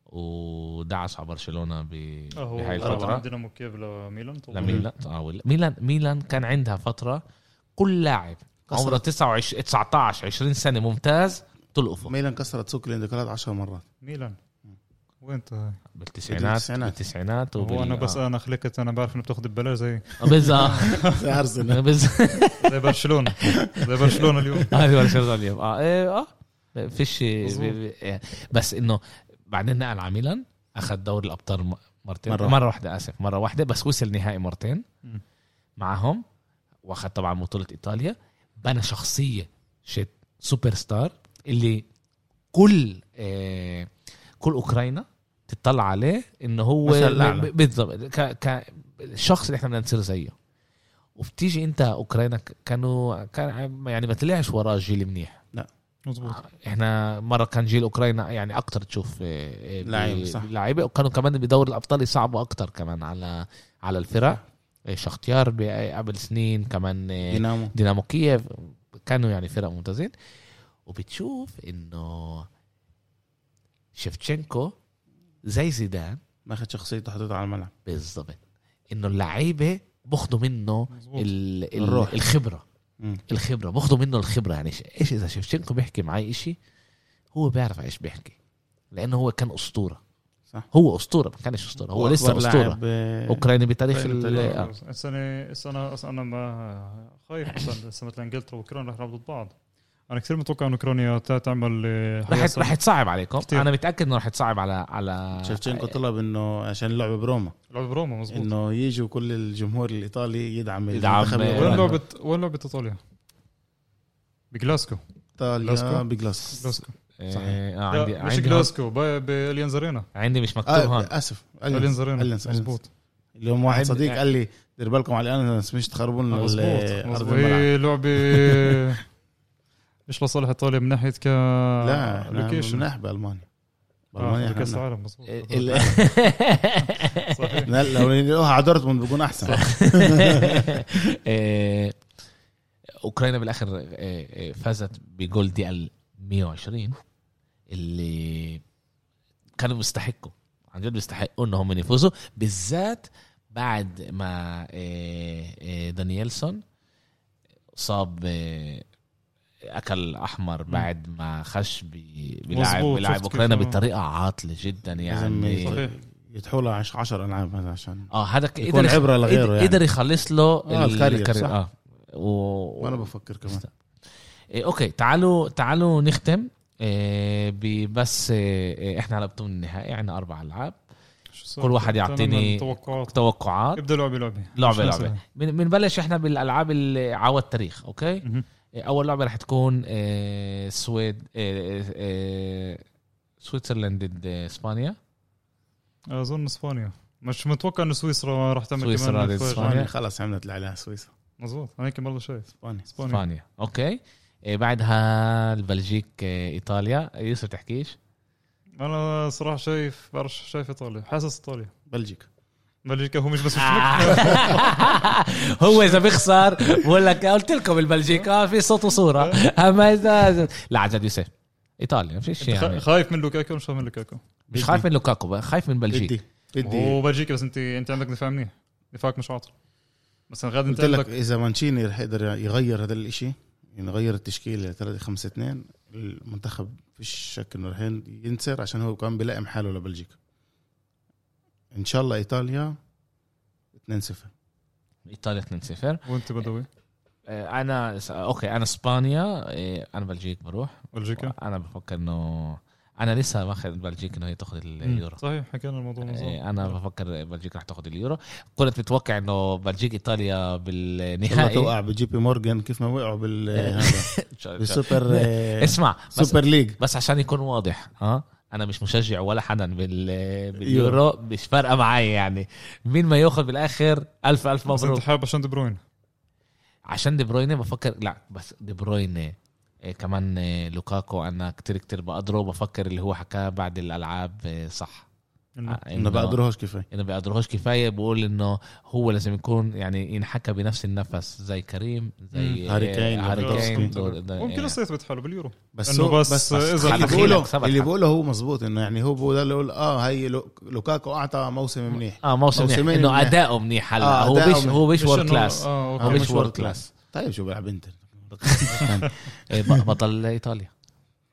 Speaker 1: ودعس على برشلونه ب...
Speaker 3: آه، هو
Speaker 1: بهاي
Speaker 3: طبعاً
Speaker 1: الفتره
Speaker 3: دينامو كييف لميلان طبعاً.
Speaker 1: لميلان آه، ولا- ميلان ميلان كان عندها فتره كل لاعب عمره 29 19 20 سنه ممتاز تلقفه
Speaker 2: ميلان كسرت سوق الاندكارات 10 مرات
Speaker 3: ميلان وين انت
Speaker 1: بالتسعينات
Speaker 2: بالتسعينات.
Speaker 1: بالتسعينات وبال...
Speaker 3: هو انا بس انا خلقت انا بعرف انه بتاخذ ببلاش زي
Speaker 1: آه، بالظبط
Speaker 2: ارسنال
Speaker 1: بالظبط
Speaker 3: زي برشلونه زي برشلونه اليوم
Speaker 1: هذه ولا شغله اليوم اه ايه اه فيش
Speaker 3: مظبوط.
Speaker 1: ب- ب- بس انه بعدين نقل على ميلان اخذ دوري الابطال م- مرتين مره,
Speaker 2: مرة واحدة.
Speaker 1: مرة واحده اسف مره واحده بس وصل نهائي مرتين
Speaker 3: مم.
Speaker 1: معهم واخذ طبعا بطوله ايطاليا بنى شخصيه شت سوبر ستار اللي كل آه كل اوكرانيا تطلع عليه انه هو
Speaker 2: مثل أعلى.
Speaker 1: ب- بالضبط ك- ك- الشخص اللي احنا بدنا نصير زيه وبتيجي انت اوكرانيا ك- كانوا كان يعني ما طلعش وراه جيل منيح
Speaker 3: مزبوط
Speaker 1: احنا مره كان جيل اوكرانيا يعني اكتر تشوف اه، اه، ب-
Speaker 2: لعيبة، صح.
Speaker 1: لعيبه وكانوا كمان بدور الابطال يصعبوا اكتر كمان على على الفرق اه، شختيار ب- آه، قبل سنين كمان اه،
Speaker 2: دينامو
Speaker 1: دينامو كييف كانوا يعني فرق ممتازين وبتشوف انه شفتشنكو زي زيدان
Speaker 2: ماخذ شخصيته حطيتها على الملعب
Speaker 1: بالضبط انه اللعيبه باخذوا منه
Speaker 3: مزبوط
Speaker 1: ال ال
Speaker 2: الروح.
Speaker 1: الخبره
Speaker 2: مم.
Speaker 1: الخبره باخذوا منه الخبره يعني إيش- ايش اذا شفتشنكو بيحكي معي إشي هو بيعرف ايش بيحكي لانه هو كان اسطوره
Speaker 2: صح.
Speaker 1: هو اسطوره ما كانش اسطوره هو
Speaker 2: وأكبر
Speaker 1: لسه اسطوره
Speaker 2: لاعب، آه،
Speaker 1: اوكراني بتاريخ
Speaker 2: أوكراني
Speaker 1: ال-
Speaker 2: بتاريخ.
Speaker 1: آه.
Speaker 3: السنه السنه اصلا انا ما خايف اصلا سنه انجلترا واوكرانيا رح يلعبوا ضد بعض انا كثير متوقع ان اوكرانيا تا- تعمل آه،
Speaker 1: رح
Speaker 3: حياة-
Speaker 1: رح تصعب عليكم
Speaker 3: كتير.
Speaker 1: انا متاكد انه رح تصعب على على
Speaker 2: شفتشنكو طلب انه عشان اللعبه بروما
Speaker 3: لعب روما مزبوط
Speaker 2: انه يجوا كل الجمهور الايطالي يدعم
Speaker 1: يدعم،
Speaker 2: المنتخب
Speaker 1: آه،
Speaker 3: وين
Speaker 1: روما.
Speaker 2: الأوكراني.
Speaker 3: لعبه وين لعبه ايطاليا؟ بجلاسكو
Speaker 2: ايطاليا
Speaker 3: جلاسكو؟
Speaker 2: بجلاسكو
Speaker 3: جلاسكو
Speaker 1: آه،
Speaker 2: صحيح.
Speaker 1: آه،
Speaker 3: لا،
Speaker 1: عندي
Speaker 3: مش
Speaker 1: عندي هون-
Speaker 3: جلاسكو با- باليانز ارينا
Speaker 1: عندي مش مكتوب
Speaker 2: آه
Speaker 1: هون
Speaker 2: اسف
Speaker 3: اليانز ارينا
Speaker 2: أليانز، أليانز.
Speaker 3: مزبوط
Speaker 2: اليوم واحد
Speaker 1: عند-
Speaker 2: صديق قال لي دير بالكم على الانس مش تخربون
Speaker 3: آه، مزبوط
Speaker 2: ال-
Speaker 3: مزبوط.
Speaker 2: ارض الملعب
Speaker 3: هي لعبه مش لصالح ايطاليا من ناحيه ك
Speaker 2: لا
Speaker 3: location.
Speaker 2: مناح بالمانيا
Speaker 3: اه
Speaker 2: بالمانيا
Speaker 3: بكاس
Speaker 2: إحنا
Speaker 3: العالم مزبوط
Speaker 2: آه،
Speaker 1: ال-
Speaker 3: صحيح
Speaker 2: مناح. لا، لو ينقلوها على دورتموند بكون احسن
Speaker 1: آه، اوكرانيا بالاخر آه، آه، فازت بجول دي ال 120 اللي كانوا بيستحقوا عن جد بيستحقوا ان هم يفوزوا بالذات بعد ما آه، آه، دانييلسون صاب آه، اكل احمر بعد ما خش ب- بلاعب
Speaker 3: مظبوط،
Speaker 1: بلاعب
Speaker 3: شفت كيف
Speaker 1: اوكرانيا
Speaker 3: أنا-
Speaker 1: بطريقه عاطله جدا
Speaker 2: لازم
Speaker 1: يعني
Speaker 3: صحيح.
Speaker 2: يدحولها 10 العاب هذا عشان
Speaker 1: اه هذا ك-
Speaker 2: يكون
Speaker 1: قدر يخ-
Speaker 2: عبره لغيره
Speaker 1: قدر- قدر
Speaker 2: يعني
Speaker 1: يخلص له
Speaker 2: آه، الكارير، صح.
Speaker 1: اه و...
Speaker 2: وانا بفكر كمان
Speaker 1: إيه اوكي تعالوا تعالوا نختم إيه ببس إيه إيه، احنا على بطولة النهائي عندنا اربع العاب
Speaker 3: شو صار؟
Speaker 1: كل واحد
Speaker 3: تعمل
Speaker 1: يعطيني
Speaker 3: توقعات
Speaker 1: توقعات
Speaker 3: ابدا لعبه لعبه
Speaker 1: لعبه
Speaker 3: عشان
Speaker 1: لعبه
Speaker 3: أسرع.
Speaker 1: بن- بنبلش احنا بالالعاب اللي عوى التاريخ اوكي
Speaker 3: مهم.
Speaker 1: إيه اول لعبه رح تكون إيه سويد إيه إيه سويسرلاند ضد إيه، اسبانيا
Speaker 3: اظن اسبانيا آه، مش متوقع انه سويسرا راح تعمل
Speaker 1: سويسرا
Speaker 3: كمان
Speaker 1: ضد
Speaker 3: مفاجأة.
Speaker 1: إسبانيا.
Speaker 2: خلاص عملت اللي عليها سويسرا
Speaker 3: مزبوط انا هيك برضه شايف
Speaker 2: اسبانيا
Speaker 3: اسبانيا
Speaker 1: اسبانيا اوكي إيه بعدها البلجيك إيه ايطاليا يوسف تحكيش
Speaker 3: انا صراحه شايف بعرف شايف ايطاليا حاسس ايطاليا
Speaker 2: بلجيكا
Speaker 3: بلجيكا هو مش بس
Speaker 1: آه، هو اذا بيخسر بقول لك قلت لكم البلجيكا في صوت وصوره اما اذا لا عن جد يوسف ايطاليا ما فيش يعني
Speaker 3: خايف من لوكاكو مش خايف من لوكاكو
Speaker 1: مش خايف من لوكاكو خايف من بلجيكا
Speaker 2: بدي بدي
Speaker 3: وبلجيكا بس انت انت عندك دفاع منيح دفاعك مش عاطل بس غادي انت
Speaker 2: قلت لك
Speaker 3: عندك
Speaker 2: اذا مانشيني رح يقدر يغير هذا الاشي يعني يغير التشكيله 3 5 2 المنتخب فيش شك انه رح ينسر عشان هو كمان بيلائم حاله لبلجيكا ان شاء الله ايطاليا 2 0
Speaker 1: ايطاليا 2-0
Speaker 3: وانت بدوي
Speaker 1: آه، انا س- اوكي انا اسبانيا آه، انا بلجيك بروح
Speaker 3: بلجيكا
Speaker 1: انا بفكر انه انا لسه واخد بلجيك انه هي تاخذ اليورو
Speaker 3: مم. صحيح حكينا الموضوع من زمان.
Speaker 1: آه، انا بفكر بلجيك رح تاخذ اليورو كنت متوقع انه بلجيك ايطاليا
Speaker 2: والله
Speaker 1: بالنهائي
Speaker 2: توقع بجي بي مورجان كيف ما وقعوا بال هذا بالسوبر آه،
Speaker 1: اسمع بس
Speaker 2: سوبر ليج
Speaker 1: بس عشان يكون واضح اه انا مش مشجع ولا حدا بال باليورو مش فارقه معي يعني مين ما ياخذ بالاخر الف الف
Speaker 3: بس انت
Speaker 1: مبروك
Speaker 3: حابب عشان دي بروين
Speaker 1: عشان دي بروينه بفكر لا بس دي بروينه إيه كمان إيه لوكاكو انا كتير كتير بقدره وبفكر اللي هو حكاه بعد الالعاب إيه صح آه،
Speaker 3: انه
Speaker 2: انه بقدروهاش كفايه
Speaker 1: انه بقدروهاش كفايه بقول انه هو لازم يكون يعني ينحكى بنفس النفس زي كريم زي
Speaker 2: مم. هاري
Speaker 1: إيه،
Speaker 2: كين
Speaker 1: هاري
Speaker 2: وليفاندوفسكي.
Speaker 1: كين دول- ده-
Speaker 3: ممكن
Speaker 1: إيه.
Speaker 3: لسه يثبت حاله باليورو
Speaker 2: بس
Speaker 3: إنه
Speaker 2: هو
Speaker 3: بس
Speaker 2: بس
Speaker 3: إذا
Speaker 2: اللي
Speaker 1: حدا
Speaker 2: بيقوله
Speaker 1: خيلك سبق
Speaker 2: اللي
Speaker 1: حدا.
Speaker 2: بيقوله هو مزبوط انه يعني هو بقول اللي يقول اه هي لو- لوكاكو اعطى موسم منيح
Speaker 1: اه موسم منيح
Speaker 2: موسمين
Speaker 1: انه
Speaker 2: منيح.
Speaker 1: اداؤه منيح هلا
Speaker 2: آه،
Speaker 1: هو
Speaker 2: أداؤه
Speaker 1: مش
Speaker 2: منيح.
Speaker 1: هو مش
Speaker 3: مش
Speaker 1: وورد
Speaker 3: إنه-
Speaker 1: كلاس
Speaker 3: اه
Speaker 2: هو
Speaker 1: آه،
Speaker 3: اوكي
Speaker 1: مش world class.
Speaker 2: طيب شو بيلعب انتر
Speaker 1: إيه، ب- بطل ايطاليا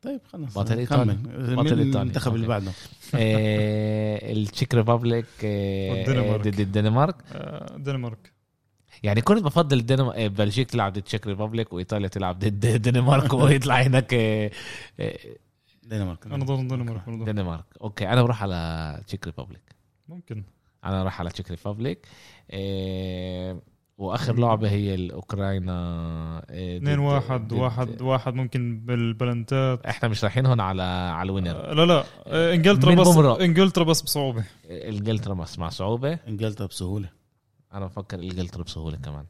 Speaker 2: طيب خلص
Speaker 1: بطل إيطاليا.
Speaker 2: كمل.
Speaker 1: بطل
Speaker 2: مين
Speaker 1: إيطاليا.
Speaker 2: المنتخب اللي
Speaker 1: أوكي.
Speaker 2: بعده
Speaker 1: إيه، التشيك ريبابليك إيه،
Speaker 3: والدنمارك.
Speaker 1: ضد الدنمارك
Speaker 3: آه، دنمارك
Speaker 1: يعني كنت بفضل الدنمارك إيه، بلجيك تلعب ضد تشيك ريبابليك وايطاليا تلعب ضد الدنمارك ويطلع هناك إيه، إيه،
Speaker 2: دنمارك
Speaker 3: انا ضد الدنمارك برضه.
Speaker 1: الدنمارك اوكي انا بروح على تشيك ريبابليك
Speaker 3: ممكن
Speaker 1: انا راح على تشيك ريبابليك إيه، واخر لعبه هي الاوكرانيا إيه، ضد-
Speaker 3: 2 1
Speaker 1: ضد-
Speaker 3: 1 1 ممكن بالبلنتات
Speaker 1: احنا مش رايحين هون على على الوينر
Speaker 3: آه، لا لا آه، انجلترا
Speaker 1: من
Speaker 3: بس
Speaker 1: بومرا.
Speaker 3: انجلترا بس بصعوبه
Speaker 1: انجلترا مع- مع صعوبه
Speaker 2: انجلترا بسهوله
Speaker 1: انا بفكر انجلترا بسهوله كمان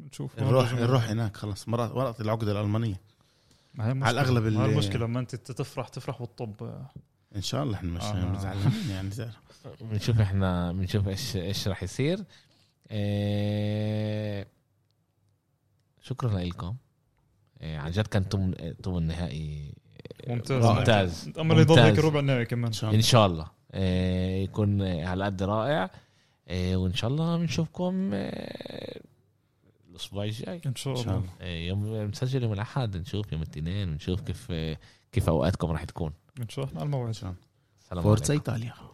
Speaker 3: نشوف
Speaker 2: نروح نروح هناك خلص مرات مرات العقده الالمانيه
Speaker 3: ما هي المشكلة.
Speaker 2: على الأغلب
Speaker 3: ما هي
Speaker 2: ال-
Speaker 3: المشكله لما انت تفرح تفرح والطب آه،
Speaker 2: ان شاء الله احنا مش
Speaker 3: آه.
Speaker 2: آه. زعلانين يعني تعرف.
Speaker 1: بنشوف احنا بنشوف ايش ايش راح يصير إيه شكرا لكم إيه عن جد كان توم توم النهائي
Speaker 3: ممتاز
Speaker 1: ممتاز
Speaker 3: امل يضل هيك
Speaker 1: ممتاز.
Speaker 3: الربع النهائي كمان
Speaker 2: ان شاء
Speaker 1: ان
Speaker 2: الله
Speaker 1: شاء الله إيه يكون على قد رائع إيه وان شاء الله بنشوفكم إيه الاسبوع الجاي
Speaker 2: ان
Speaker 3: ان شاء
Speaker 2: شاء
Speaker 3: الله
Speaker 2: الله
Speaker 1: إيه يوم مسجل يوم الاحد نشوف يوم الاثنين نشوف كيف إيه كيف اوقاتكم راح تكون
Speaker 3: ان شاء الله على الموعد
Speaker 2: ان شاء الله
Speaker 1: سلام
Speaker 2: فورتسا
Speaker 1: عليكم
Speaker 2: ايطاليا